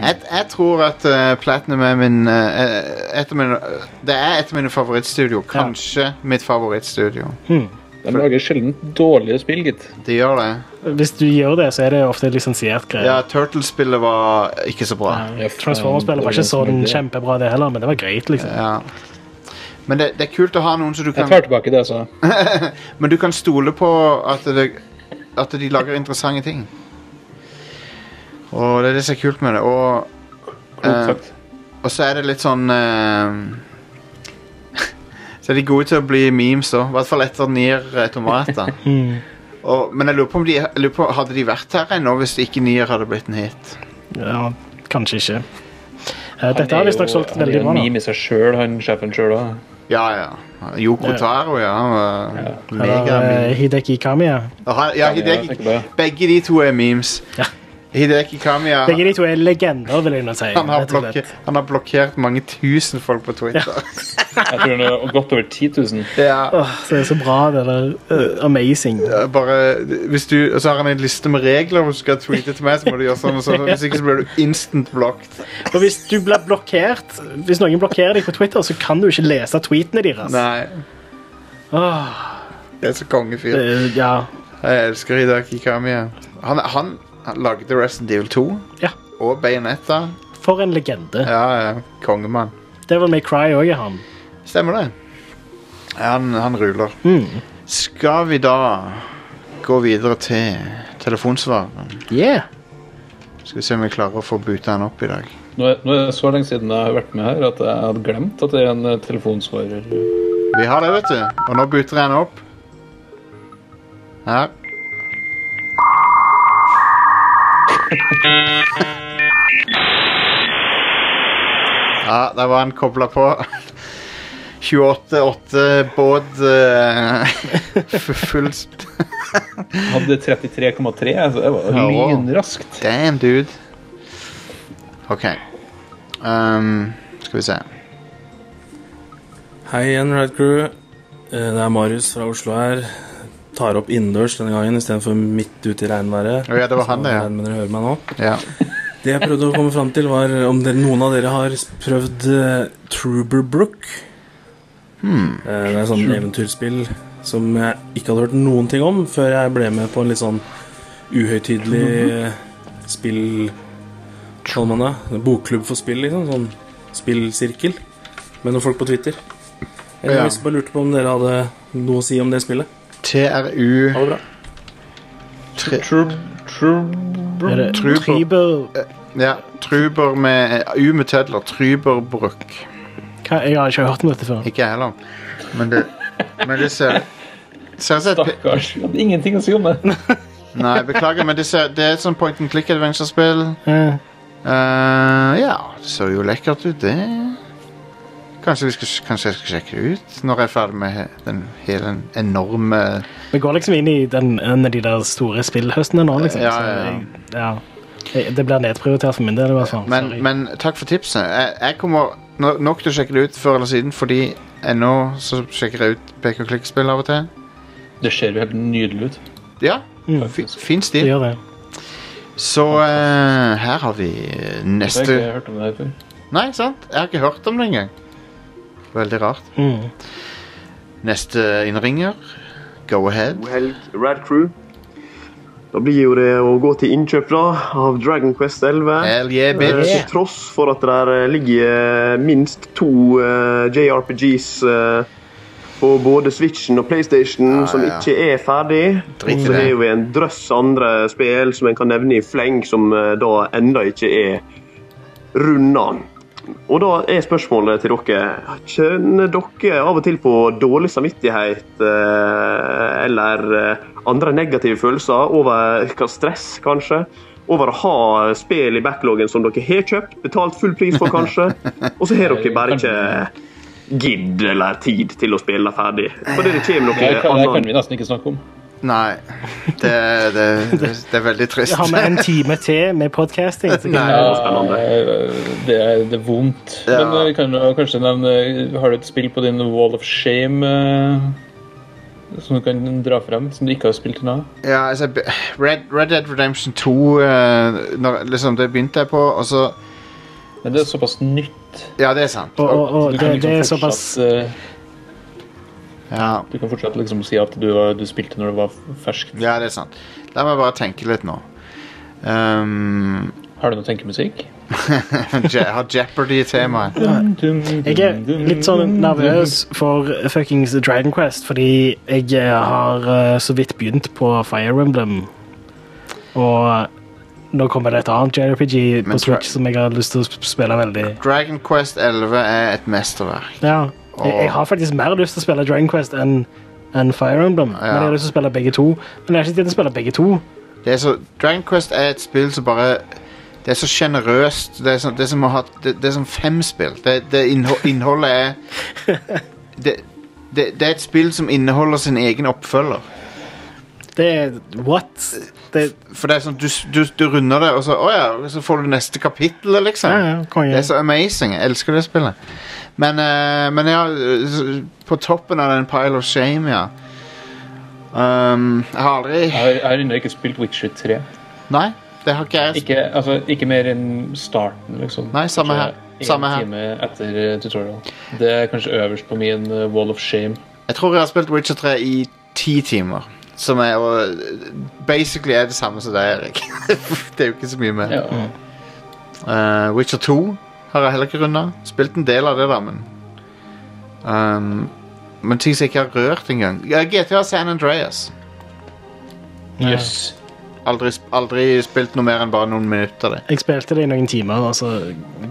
Speaker 1: Jeg, jeg tror at eh, Platinum er min, eh, et av mine Det er et av mine favorittstudio. Kanskje mitt favorittstudio.
Speaker 6: De lager sjelden dårlige spill, gitt.
Speaker 1: De gjør det.
Speaker 2: Hvis du gjør det, så er det ofte lisensiert
Speaker 1: Ja,
Speaker 2: greier.
Speaker 1: Turtles-spillet var ikke så bra.
Speaker 2: Ja, Transformers-spillet var ikke
Speaker 6: liksom
Speaker 2: sånn kjempebra, det heller, men det var greit, liksom.
Speaker 1: Ja. Men det, det er kult å ha noen som du
Speaker 6: Jeg
Speaker 1: kan
Speaker 6: tar tilbake det altså. jeg sa.
Speaker 1: Men du kan stole på at, det, at de lager interessante ting. Og det er det som er kult med det. Og,
Speaker 6: Klokt sagt.
Speaker 1: og så er det litt sånn eh, Så er de gode til å bli memes òg. I hvert fall etter Nier Automata.
Speaker 2: Mm.
Speaker 1: og, men jeg lurer på om de jeg lurer på, hadde de vært her ennå hvis ikke Nier hadde blitt en hit.
Speaker 2: Ja, kanskje ikke. Eh, Dette har visstnok solgt
Speaker 6: han er
Speaker 2: veldig
Speaker 6: jo
Speaker 2: bra.
Speaker 6: en
Speaker 2: da.
Speaker 6: meme i seg sjøl, han sjefen sjøl òg.
Speaker 1: Ja, ja. Yoko
Speaker 2: Ja.
Speaker 1: Taro, ja. han var Mega
Speaker 2: Eller eh,
Speaker 1: meme.
Speaker 2: Hideki Kamiya.
Speaker 1: Og han-
Speaker 6: Ja,
Speaker 1: Ja,
Speaker 6: jeg
Speaker 1: Hideki,
Speaker 6: tenker på det.
Speaker 1: begge de to er memes.
Speaker 2: Ja.
Speaker 1: Hideki Kamiya
Speaker 2: Begge de to er legender, vil jeg nå si.
Speaker 1: han har,
Speaker 2: rett og slett.
Speaker 1: blokke, han har blokkert mange tusen folk på Twitter.
Speaker 6: Jeg tror det er godt over 10 000.
Speaker 1: Ja.
Speaker 2: Åh, så det er så bra, det der. Øh, amazing.
Speaker 1: Bare, hvis du, og så har han en liste med regler hvor du skal tweete til meg. så må du gjøre sånn og sånn, Hvis ikke så blir du instant blocked.
Speaker 2: Og hvis du blir blokkert, hvis noen blokkerer deg på Twitter, så kan du ikke lese tweetene deres.
Speaker 1: Nei,
Speaker 2: Åh,
Speaker 1: det er så kongefyr.
Speaker 2: det- ja.
Speaker 1: Jeg elsker Hidaki Kamiya. Han, han, han lagde Resident Evil 2
Speaker 2: ja.
Speaker 1: og Bayonetta.
Speaker 2: For en legende.
Speaker 1: Ja, ja, kongemann.
Speaker 2: Devil May Cry òg er han.
Speaker 1: Stemmer det. Han, han ruler.
Speaker 2: Mm.
Speaker 1: Skal vi da gå videre til telefonsvareren?
Speaker 2: Yeah.
Speaker 1: Skal vi se om vi klarer å få buta han opp i dag.
Speaker 6: Nå er, nå er det så lenge siden jeg har vært med her at jeg hadde glemt at det er en eh, telefonsvarer.
Speaker 1: Vi har det, vet du. Og nå buter jeg han opp. Her. Ja, der var han kobla på. 28-8 båt eh, Full sp-
Speaker 6: Hadde 33,3, så altså, det var
Speaker 1: Ja, wow.
Speaker 6: lynraskt.
Speaker 1: Damn, dude. OK. Ehm, skal vi se.
Speaker 7: Hei igjen, Red Crew. Eh, Det er Marius fra Oslo her. Tar opp innendørs denne gangen istedenfor midt ute i regnværet.
Speaker 1: Å ja, det var han, det, ja.
Speaker 7: Så regner med dere hører meg nå.
Speaker 1: Ja.
Speaker 7: Det jeg prøvde å komme fram til, var om dere, noen av dere har prøvd eh, Truberbrook. Eh, Det er et sånt eventyrspill som jeg ikke hadde hørt noen ting om før jeg ble med på en litt sånn uhøytidelig eh, spill... hva kaller man det? En Bokklubb for spill, liksom. Sånn spillsirkel med noen folk på Twitter. Jeg
Speaker 1: Ja.
Speaker 7: ja. bare lurte på om dere hadde noe å si om det spillet.
Speaker 1: TRU
Speaker 7: Ha det bra.
Speaker 6: True,
Speaker 2: Er det
Speaker 1: Truber.
Speaker 2: Triber
Speaker 1: Ja, Truber med U med tødler. Truberbruk.
Speaker 2: Hva? Jeg har ikke hørt om dette før.
Speaker 1: Ikke jeg heller. Men det, men det ser Ser ut som et pi-
Speaker 6: stakkars. Jeg hadde ingenting å si om det.
Speaker 1: Nei, beklager, men det, ser, det er et sånn point and click adventure-spill.
Speaker 2: Eh,
Speaker 1: Eh, ja, det ser jo lekkert ut, det. Kanskje, vi skal, kanskje jeg skal sjekke det ut når jeg er ferdig med he- den hele enorme
Speaker 2: Vi går liksom inn i den, en av de der store spillhøstene nå, liksom.
Speaker 1: Ja, ja,
Speaker 2: så
Speaker 1: ja.
Speaker 2: jeg- ja. Jeg- Det blir nedprioritert for min del, i hvert fall.
Speaker 1: Men,
Speaker 2: Sorry.
Speaker 1: men takk for tipset. Jeg, jeg kommer no- nok til å sjekke det ut før eller siden, fordi ennå så sjekker jeg ut pek-og-klikk-spill av og til.
Speaker 6: Det ser jo helt nydelig ut.
Speaker 1: Ja,
Speaker 2: Mm.
Speaker 1: fi- fin
Speaker 2: Det
Speaker 1: stil.
Speaker 2: gjør det.
Speaker 1: Så eh, her har vi eh,
Speaker 6: Jeg har
Speaker 1: neste
Speaker 6: ikke hørt om det her før.
Speaker 1: Nei, sant? Jeg har ikke hørt om det engang. Veldig rart.
Speaker 2: Mm.
Speaker 1: Neste innringer. Go ahead.
Speaker 8: God helg, Rad Crew. Da blir jo det å gå til innkjøp da, av Dragon Quest 11.
Speaker 1: Hell yeah,
Speaker 8: Eh,
Speaker 1: bitch.
Speaker 8: Til tross for at det der eh, ligger eh, minst to eh, JRPGs eh, på både Switchen og PlayStation som
Speaker 1: ja.
Speaker 8: ikke er ferdig.
Speaker 1: Drit i
Speaker 8: Så det
Speaker 1: det.
Speaker 8: er jo en drøss andre spill som en kan nevne i fleng, som eh, da enda ikke er runda. Og da er spørsmålet til dere Kjenner dere av og til på dårlig samvittighet eh, eller eh, andre negative følelser over hva stress, kanskje? Over å ha spill i backloggen som dere har kjøpt, betalt full pris for, kanskje, og så har dere bare ikke gidd eller tid til å spille ferdig. Fordi det kommer
Speaker 6: Det her
Speaker 8: noe
Speaker 6: kan, det her kan
Speaker 8: annet.
Speaker 6: vi nesten ikke snakke om.
Speaker 1: Nei. Det, det, det, det er veldig trist.
Speaker 2: Har vi en time til med podcasting? så kan
Speaker 1: Nei.
Speaker 2: vi-
Speaker 8: spennende.
Speaker 6: Eh, Det er, det er vondt.
Speaker 1: Ja.
Speaker 6: Men eh, vi kan jo kanskje nevne eh, Har du et spill på din Wall of Shame eh, som du kan dra frem, som du ikke har spilt ennå?
Speaker 1: Ja, altså, be- Red, Red Dead Redemption 2 eh, når, liksom, Det begynte jeg på, og så
Speaker 6: Men det er såpass nytt.
Speaker 1: Ja, det er sant.
Speaker 2: Og, og, og
Speaker 6: Du kan
Speaker 2: det,
Speaker 6: liksom
Speaker 2: det er
Speaker 6: fortsatt,
Speaker 2: såpass
Speaker 6: eh,
Speaker 1: Ja,
Speaker 6: Du kan fortsatt liksom si at du, var- du spilte når du var fersk.
Speaker 1: ja det er sant. La meg bare tenke litt nå. Um,
Speaker 6: Har du noe tenkemusikk?
Speaker 1: Je- har Jeopardy i temaet?
Speaker 2: Jeg er litt sånn nervøs for fuckings Dragon Quest, fordi jeg eh, har eh, så vidt begynt på Fire Emblem. Og nå kommer det et annet JRPG
Speaker 1: Men tror
Speaker 2: på
Speaker 1: jeg-
Speaker 2: Switch som jeg har lyst til å sp- spille veldig.
Speaker 1: Dragon Quest 11 er et mesterverk.
Speaker 2: Ja, jeg, jeg har faktisk mer lyst til å spille Dragon Quest enn enn Fire Emblem. Men jeg har lyst til å spille begge to. Men jeg har ikke tid til å spille begge to.
Speaker 1: Det er så, Dragon Quest er et spill som bare Det er så sjenerøst. Det, er sånn- det, er som å ha- det, det er som fem spill. Det, det innho, innholdet er det, det, det er et spill som inneholder sin egen oppfølger.
Speaker 2: Det Det er What? Det,
Speaker 1: For det er sånn, du, du, du runder det, og så, å ja, så får du neste kapittel, liksom.
Speaker 2: ja, ja,
Speaker 1: Det
Speaker 2: konge.
Speaker 1: er så amazing. Jeg elsker det spillet. Men, eh, men ja, s- på toppen av den pile of shame, ja. Um, jeg har aldri
Speaker 3: Jeg har, jeg har ennå ikke spilt Witcher 3.
Speaker 1: Nei, det har ikke jeg.
Speaker 3: Ikke, altså, ikke mer enn starten, liksom.
Speaker 1: Nei, samme her.
Speaker 3: En
Speaker 1: Samme her.
Speaker 3: time etter eh, tutorial. Det er kanskje øverst på min eh, wall of shame.
Speaker 1: Jeg tror jeg har spilt Witcher 3 i ti timer. Som er og, Basically er det samme som deg, Erik. det er jo ikke så mye mer.
Speaker 3: Ja.
Speaker 1: Eh, Witcher 2 har jeg heller ikke runda. Spilt en del av det, da, men um, Men ting som jeg ikke har rørt engang. Ja, GTA San Andreas.
Speaker 3: Yes.
Speaker 1: Aldri, sp- aldri spilt noe mer enn bare noen minutter. det
Speaker 2: Jeg spilte det i noen timer, og så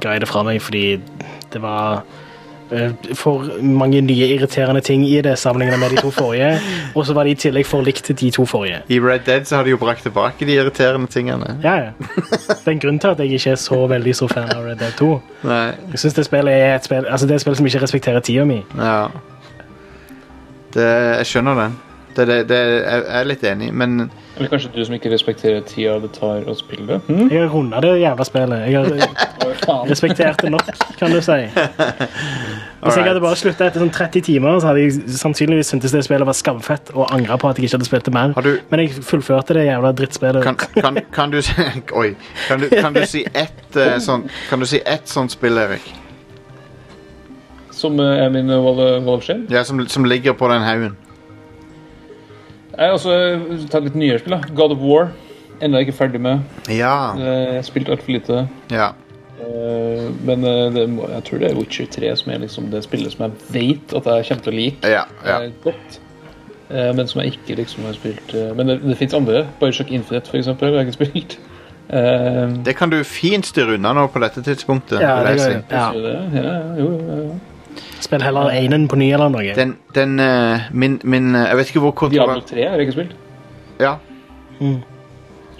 Speaker 2: ga jeg det fra meg fordi det var eh, for mange nye irriterende ting i det sammenlignet med de to forrige. Og så var det i tillegg for likt de to forrige.
Speaker 1: I Red Dead så har de jo brakt tilbake de irriterende tingene.
Speaker 2: Ja, ja. Det er en grunn til at jeg ikke er så veldig så fan av Red Dead 2.
Speaker 1: Nei,
Speaker 2: Jeg synes det spillet er et spill, altså det er et spill som ikke respekterer tida mi.
Speaker 1: ja det, Jeg skjønner den. Det, det, det, jeg jeg er litt enig, men
Speaker 3: Eller kanskje du som ikke respekterer tida det tar å spille det? Hm?
Speaker 2: Jeg har runda det jævla spillet. Jeg har
Speaker 3: Hva faen?
Speaker 2: respektert det nok, kan du si. Hvis jeg hadde bare slutta etter sånn 30 timer, så hadde jeg sannsynligvis syntes det spillet var skamfett og angra på at jeg ikke hadde spilt det mer.
Speaker 1: Har du-
Speaker 2: Men jeg fullførte det jævla drittspillet.
Speaker 1: kan, kan, kan du si Oi. Kan du, kan du si ett eh, sånn, Kan du si ett sånt spill, Erik?
Speaker 3: Som eh, er min eh, wall, wall of shame?
Speaker 1: Ja, som, som ligger på den haugen.
Speaker 3: Jeg har også eh, tatt litt nyere spill. da. God of War. Ennå ikke ferdig med.
Speaker 1: Ja.
Speaker 3: Eh, Spilt altfor lite.
Speaker 1: Ja.
Speaker 3: Eh, Men eh, det, må- jeg tror det er Witcher 3 som er liksom det spillet som jeg vet at jeg kommer til å like.
Speaker 1: ja, ja.
Speaker 3: eh, godt. Eh, Men som jeg ikke liksom har spilt eh, Men det, det fins andre. Bioshock Infinite, for eksempel, har jeg ikke spilt. Eh,
Speaker 1: Det kan du fint styre unna nå på dette tidspunktet.
Speaker 2: Ja,
Speaker 1: vil
Speaker 2: det
Speaker 1: jeg
Speaker 2: gjør jeg.
Speaker 1: si.
Speaker 2: Ja.
Speaker 3: så det, ja, ja, jo, ja, ja.
Speaker 2: Spill heller Einen på ny eller noe.
Speaker 1: Den, den eh, min, min eh, Jeg vet ikke hvor
Speaker 3: Diablo
Speaker 1: kontrovers...
Speaker 3: 3 har jeg ikke spilt.
Speaker 1: Ja.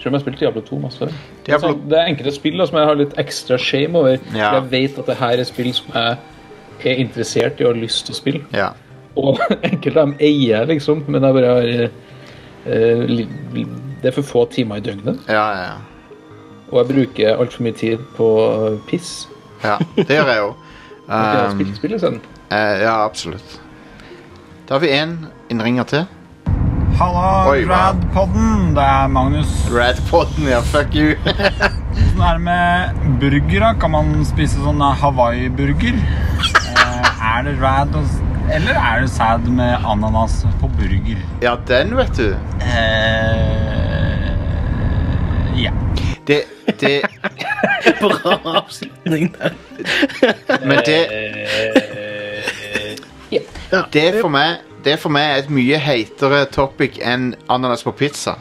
Speaker 3: Selv om jeg har spilt Diablo 2 masse. før. Det er,
Speaker 1: Diablo,
Speaker 3: sånn, det er enkelte spill da, som jeg har litt ekstra shame over.
Speaker 1: Ja.
Speaker 3: For jeg vet at det her er spill som jeg er interessert i og har lyst til å spille.
Speaker 1: ja.
Speaker 3: Og enkelte av dem eier jeg, liksom, men jeg bare har eh, li- li- Det er for få timer i døgnet,
Speaker 1: Ja, ja, ja.
Speaker 3: og jeg bruker altfor mye tid på eh, piss.
Speaker 1: ja. Det gjør jeg jo.
Speaker 3: Ikke jeg har
Speaker 1: Um,
Speaker 3: spilt spill i stedet.
Speaker 1: eh, ja, absolutt. Da har vi én innringer til.
Speaker 7: Halla,
Speaker 1: Oi, hva?
Speaker 7: Radpodden. Det er Magnus.
Speaker 1: Radpodden, ja. Fuck you.
Speaker 7: Hvordan er det med burger? da? Kan man spise sånn Hawaii-burger? Eh, Er det rad og Eller er det sad med ananas på burger?
Speaker 1: ja, den, vet du.
Speaker 7: Eh, Ja.
Speaker 1: Det, det
Speaker 2: Bra avslutning der.
Speaker 1: Men det Det for meg Det for meg er et mye heitere topic enn ananas på pizza.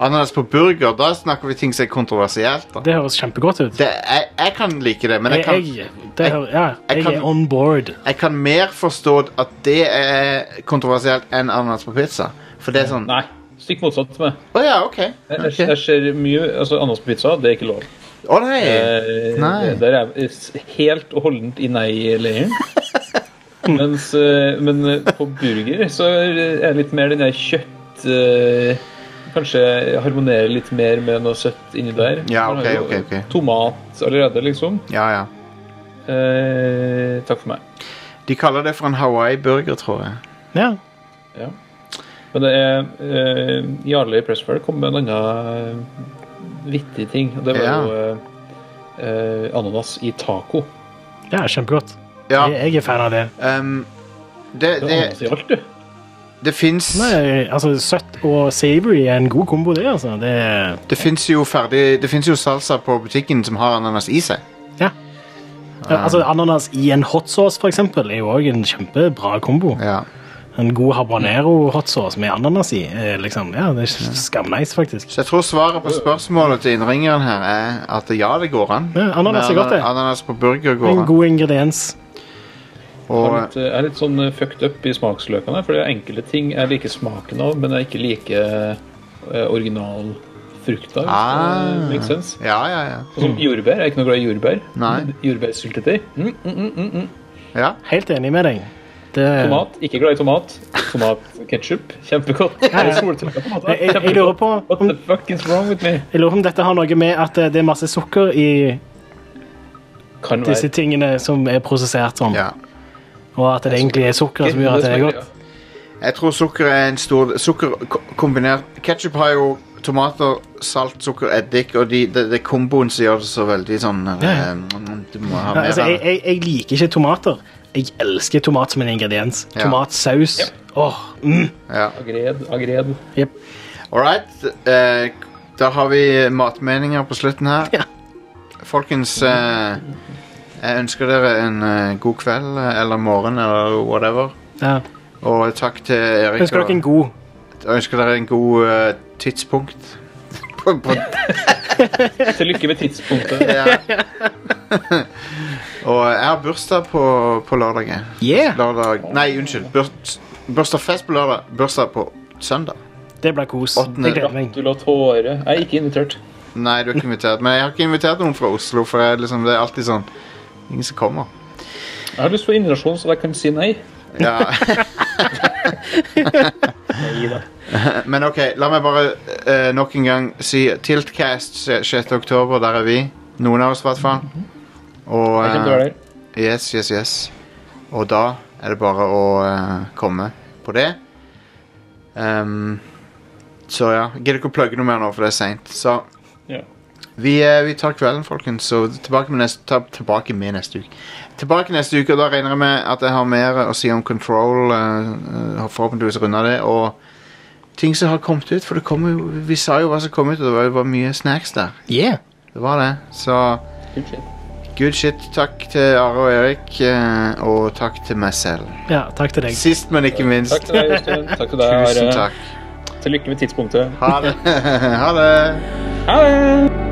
Speaker 1: Ananas på burger, da snakker vi ting som er kontroversielt. da
Speaker 2: Det høres kjempegodt ut.
Speaker 1: det, jeg, jeg kan like det, men jeg
Speaker 2: Jeg,
Speaker 1: kan,
Speaker 2: det hører, ja, jeg,
Speaker 1: kan-
Speaker 2: er on board.
Speaker 1: jeg kan mer forstå at det er kontroversielt enn ananas på pizza. For det er sånn Å
Speaker 3: Nei. Stikk motsatt til meg.
Speaker 1: ja, OK.
Speaker 3: Jeg, jeg,
Speaker 1: ok.
Speaker 3: jeg ser mye altså Ananas på pizza, det er ikke lov.
Speaker 1: Å nei!
Speaker 3: Eh,
Speaker 1: Nei.
Speaker 3: Der er jeg s- helt og holdent i nei-leiren. Mens eh, Men eh, på burger så er jeg litt mer den der kjøtt... eh, Kanskje harmonerer litt mer med noe søtt inni der.
Speaker 1: Ja,
Speaker 3: Man har jo
Speaker 1: ok, ok, ok.
Speaker 3: Tomat allerede, liksom.
Speaker 1: Ja, ja.
Speaker 3: Eh, takk for meg.
Speaker 1: De kaller det for en Hawaii-burger, tror jeg.
Speaker 2: Ja.
Speaker 3: Men det er eh, Jarle i Pressfire kom med en annen eh, vittig ting. Og det var
Speaker 1: Ja.
Speaker 3: jo eh, eh, ananas i taco.
Speaker 2: ja, kjempegodt.
Speaker 1: Ja,
Speaker 2: Jeg, jeg er fan av det.
Speaker 1: ehm, det,
Speaker 3: Det var
Speaker 1: det,
Speaker 3: ananas i alt, du.
Speaker 1: det fins
Speaker 2: Nei, altså, søtt og savory er en god kombo, det. altså. Det er
Speaker 1: Det fins jo ferdig Det finnes jo salsa på butikken som har ananas i seg.
Speaker 2: Ja, altså Ananas i en hot sauce for eksempel, er jo også en kjempebra kombo.
Speaker 1: Ja.
Speaker 2: En god habanero hot sauce med ananas i er liksom, ja, det er skamnice, faktisk.
Speaker 1: Så jeg tror svaret på spørsmålet til innringeren her er at ja, det går an.
Speaker 2: Ja, ananas er
Speaker 1: Men eh,
Speaker 2: godt, det.
Speaker 1: Ananas på burger går
Speaker 2: En
Speaker 1: an.
Speaker 2: god ingrediens.
Speaker 1: Og,
Speaker 3: Jeg er litt, jeg er litt sånn eh, fucked up i smaksløkene. For det er enkelte ting jeg liker smaken av, men jeg ikke liker eh, original frukt av.
Speaker 1: Ah.
Speaker 3: Makes sense.
Speaker 1: ja, ja, ja.
Speaker 3: Og som jordbær. Jeg er ikke noe glad i jordbær.
Speaker 1: Nei.
Speaker 3: Jordbærsyltetøy. Mm, mm, mm, mm.
Speaker 1: ja.
Speaker 2: Helt enig med deg. Det, jeg,
Speaker 6: Tomat. Ikke glad i tomat. Tomat ketchup. Kjempegodt. Soltørka tomater.
Speaker 2: jeg, jeg lurer på
Speaker 6: What
Speaker 2: om,
Speaker 6: the fuck is wrong with me?
Speaker 2: jeg lurer på om dette har noe med at eh, det er masse sukker i
Speaker 6: Kan
Speaker 2: disse
Speaker 6: være.
Speaker 2: tingene som er prosessert sånn,
Speaker 1: Ja.
Speaker 2: og at det egentlig er sukker som gjør at det er godt.
Speaker 1: Jeg tror sukker er en stor Sukker ko- kombinert Ketchup har jo tomater, salt, sukker, eddik, og de, det, det er komboen som gjør det så veldig sånn
Speaker 2: Ja.
Speaker 1: eh, mm, Du må ha
Speaker 2: Ja,
Speaker 1: mer
Speaker 2: altså,
Speaker 1: av
Speaker 2: jeg,
Speaker 1: det.
Speaker 2: jeg, jeg liker ikke tomater. Jeg elsker tomat som en ingrediens.
Speaker 1: Ja.
Speaker 2: Tomatsaus. Åh, mm.
Speaker 1: Ja.
Speaker 6: Agred, agred.
Speaker 1: All right. eh, da har vi matmeninger på slutten her.
Speaker 2: Ja.
Speaker 1: Folkens, eh, jeg ønsker dere en eh, god kveld eh, eller morgen eller whatever.
Speaker 2: Ja.
Speaker 1: Og takk til Erik.
Speaker 2: Ønsker dere en
Speaker 1: og-
Speaker 2: god
Speaker 1: Jeg ønsker dere en god eh, tidspunkt. på, på,
Speaker 6: Til lykke med tidspunktet.
Speaker 1: ja. og jeg har bursdag på, på lørdag. jeg.
Speaker 2: Yeah!
Speaker 1: lørdag Nei, unnskyld. Burs, bursdagsfest på lørdag. Bursdag på søndag.
Speaker 2: Det blir kos.
Speaker 1: Åttende.
Speaker 2: Jeg gleder meg.
Speaker 6: Gratulatore. Jeg er ikke invitert.
Speaker 1: Nei, du er ikke invitert. Men jeg har ikke invitert noen fra Oslo, for jeg, liksom, det er alltid sånn Ingen som kommer.
Speaker 6: Jeg har lyst på invitasjon, så jeg kan si nei.
Speaker 1: Ja. Men OK, la meg bare eh, nok en gang si Tiltcast 6. oktober. Der er vi. Noen av oss, i hvert fall. Og
Speaker 6: Jeg kan
Speaker 1: eh,
Speaker 6: dra der.
Speaker 1: Yes, yes, yes. Og da er det bare å eh, komme på det. Ehm, så ja. Gidder ikke å plugge noe mer nå, for det er seint. Så
Speaker 6: Ja.
Speaker 1: vi, eh, vi tar kvelden, folkens. Så tilbake med, neste, ta, tilbake med neste uke. Tilbake neste uke, og da regner jeg med at jeg har mer å si om Control. eh, eh, forhåpentligvis runda det. Og ting som har kommet ut. For det kommer jo Vi sa jo hva som kom ut, og det var, det var mye snacks der.
Speaker 2: Yeah!
Speaker 1: Det var det. Så
Speaker 6: Good shit.
Speaker 1: Good shit. Takk til Are og Erik, eh, og takk til meg selv.
Speaker 2: Ja, takk til deg.
Speaker 1: Sist, men ikke
Speaker 6: Takk
Speaker 1: minst.
Speaker 6: til deg, Jostein. Takk til deg,
Speaker 1: Tusen
Speaker 6: Are.
Speaker 1: takk.
Speaker 6: Til lykke med tidspunktet.
Speaker 1: Ha det. ha det.
Speaker 6: Ha det!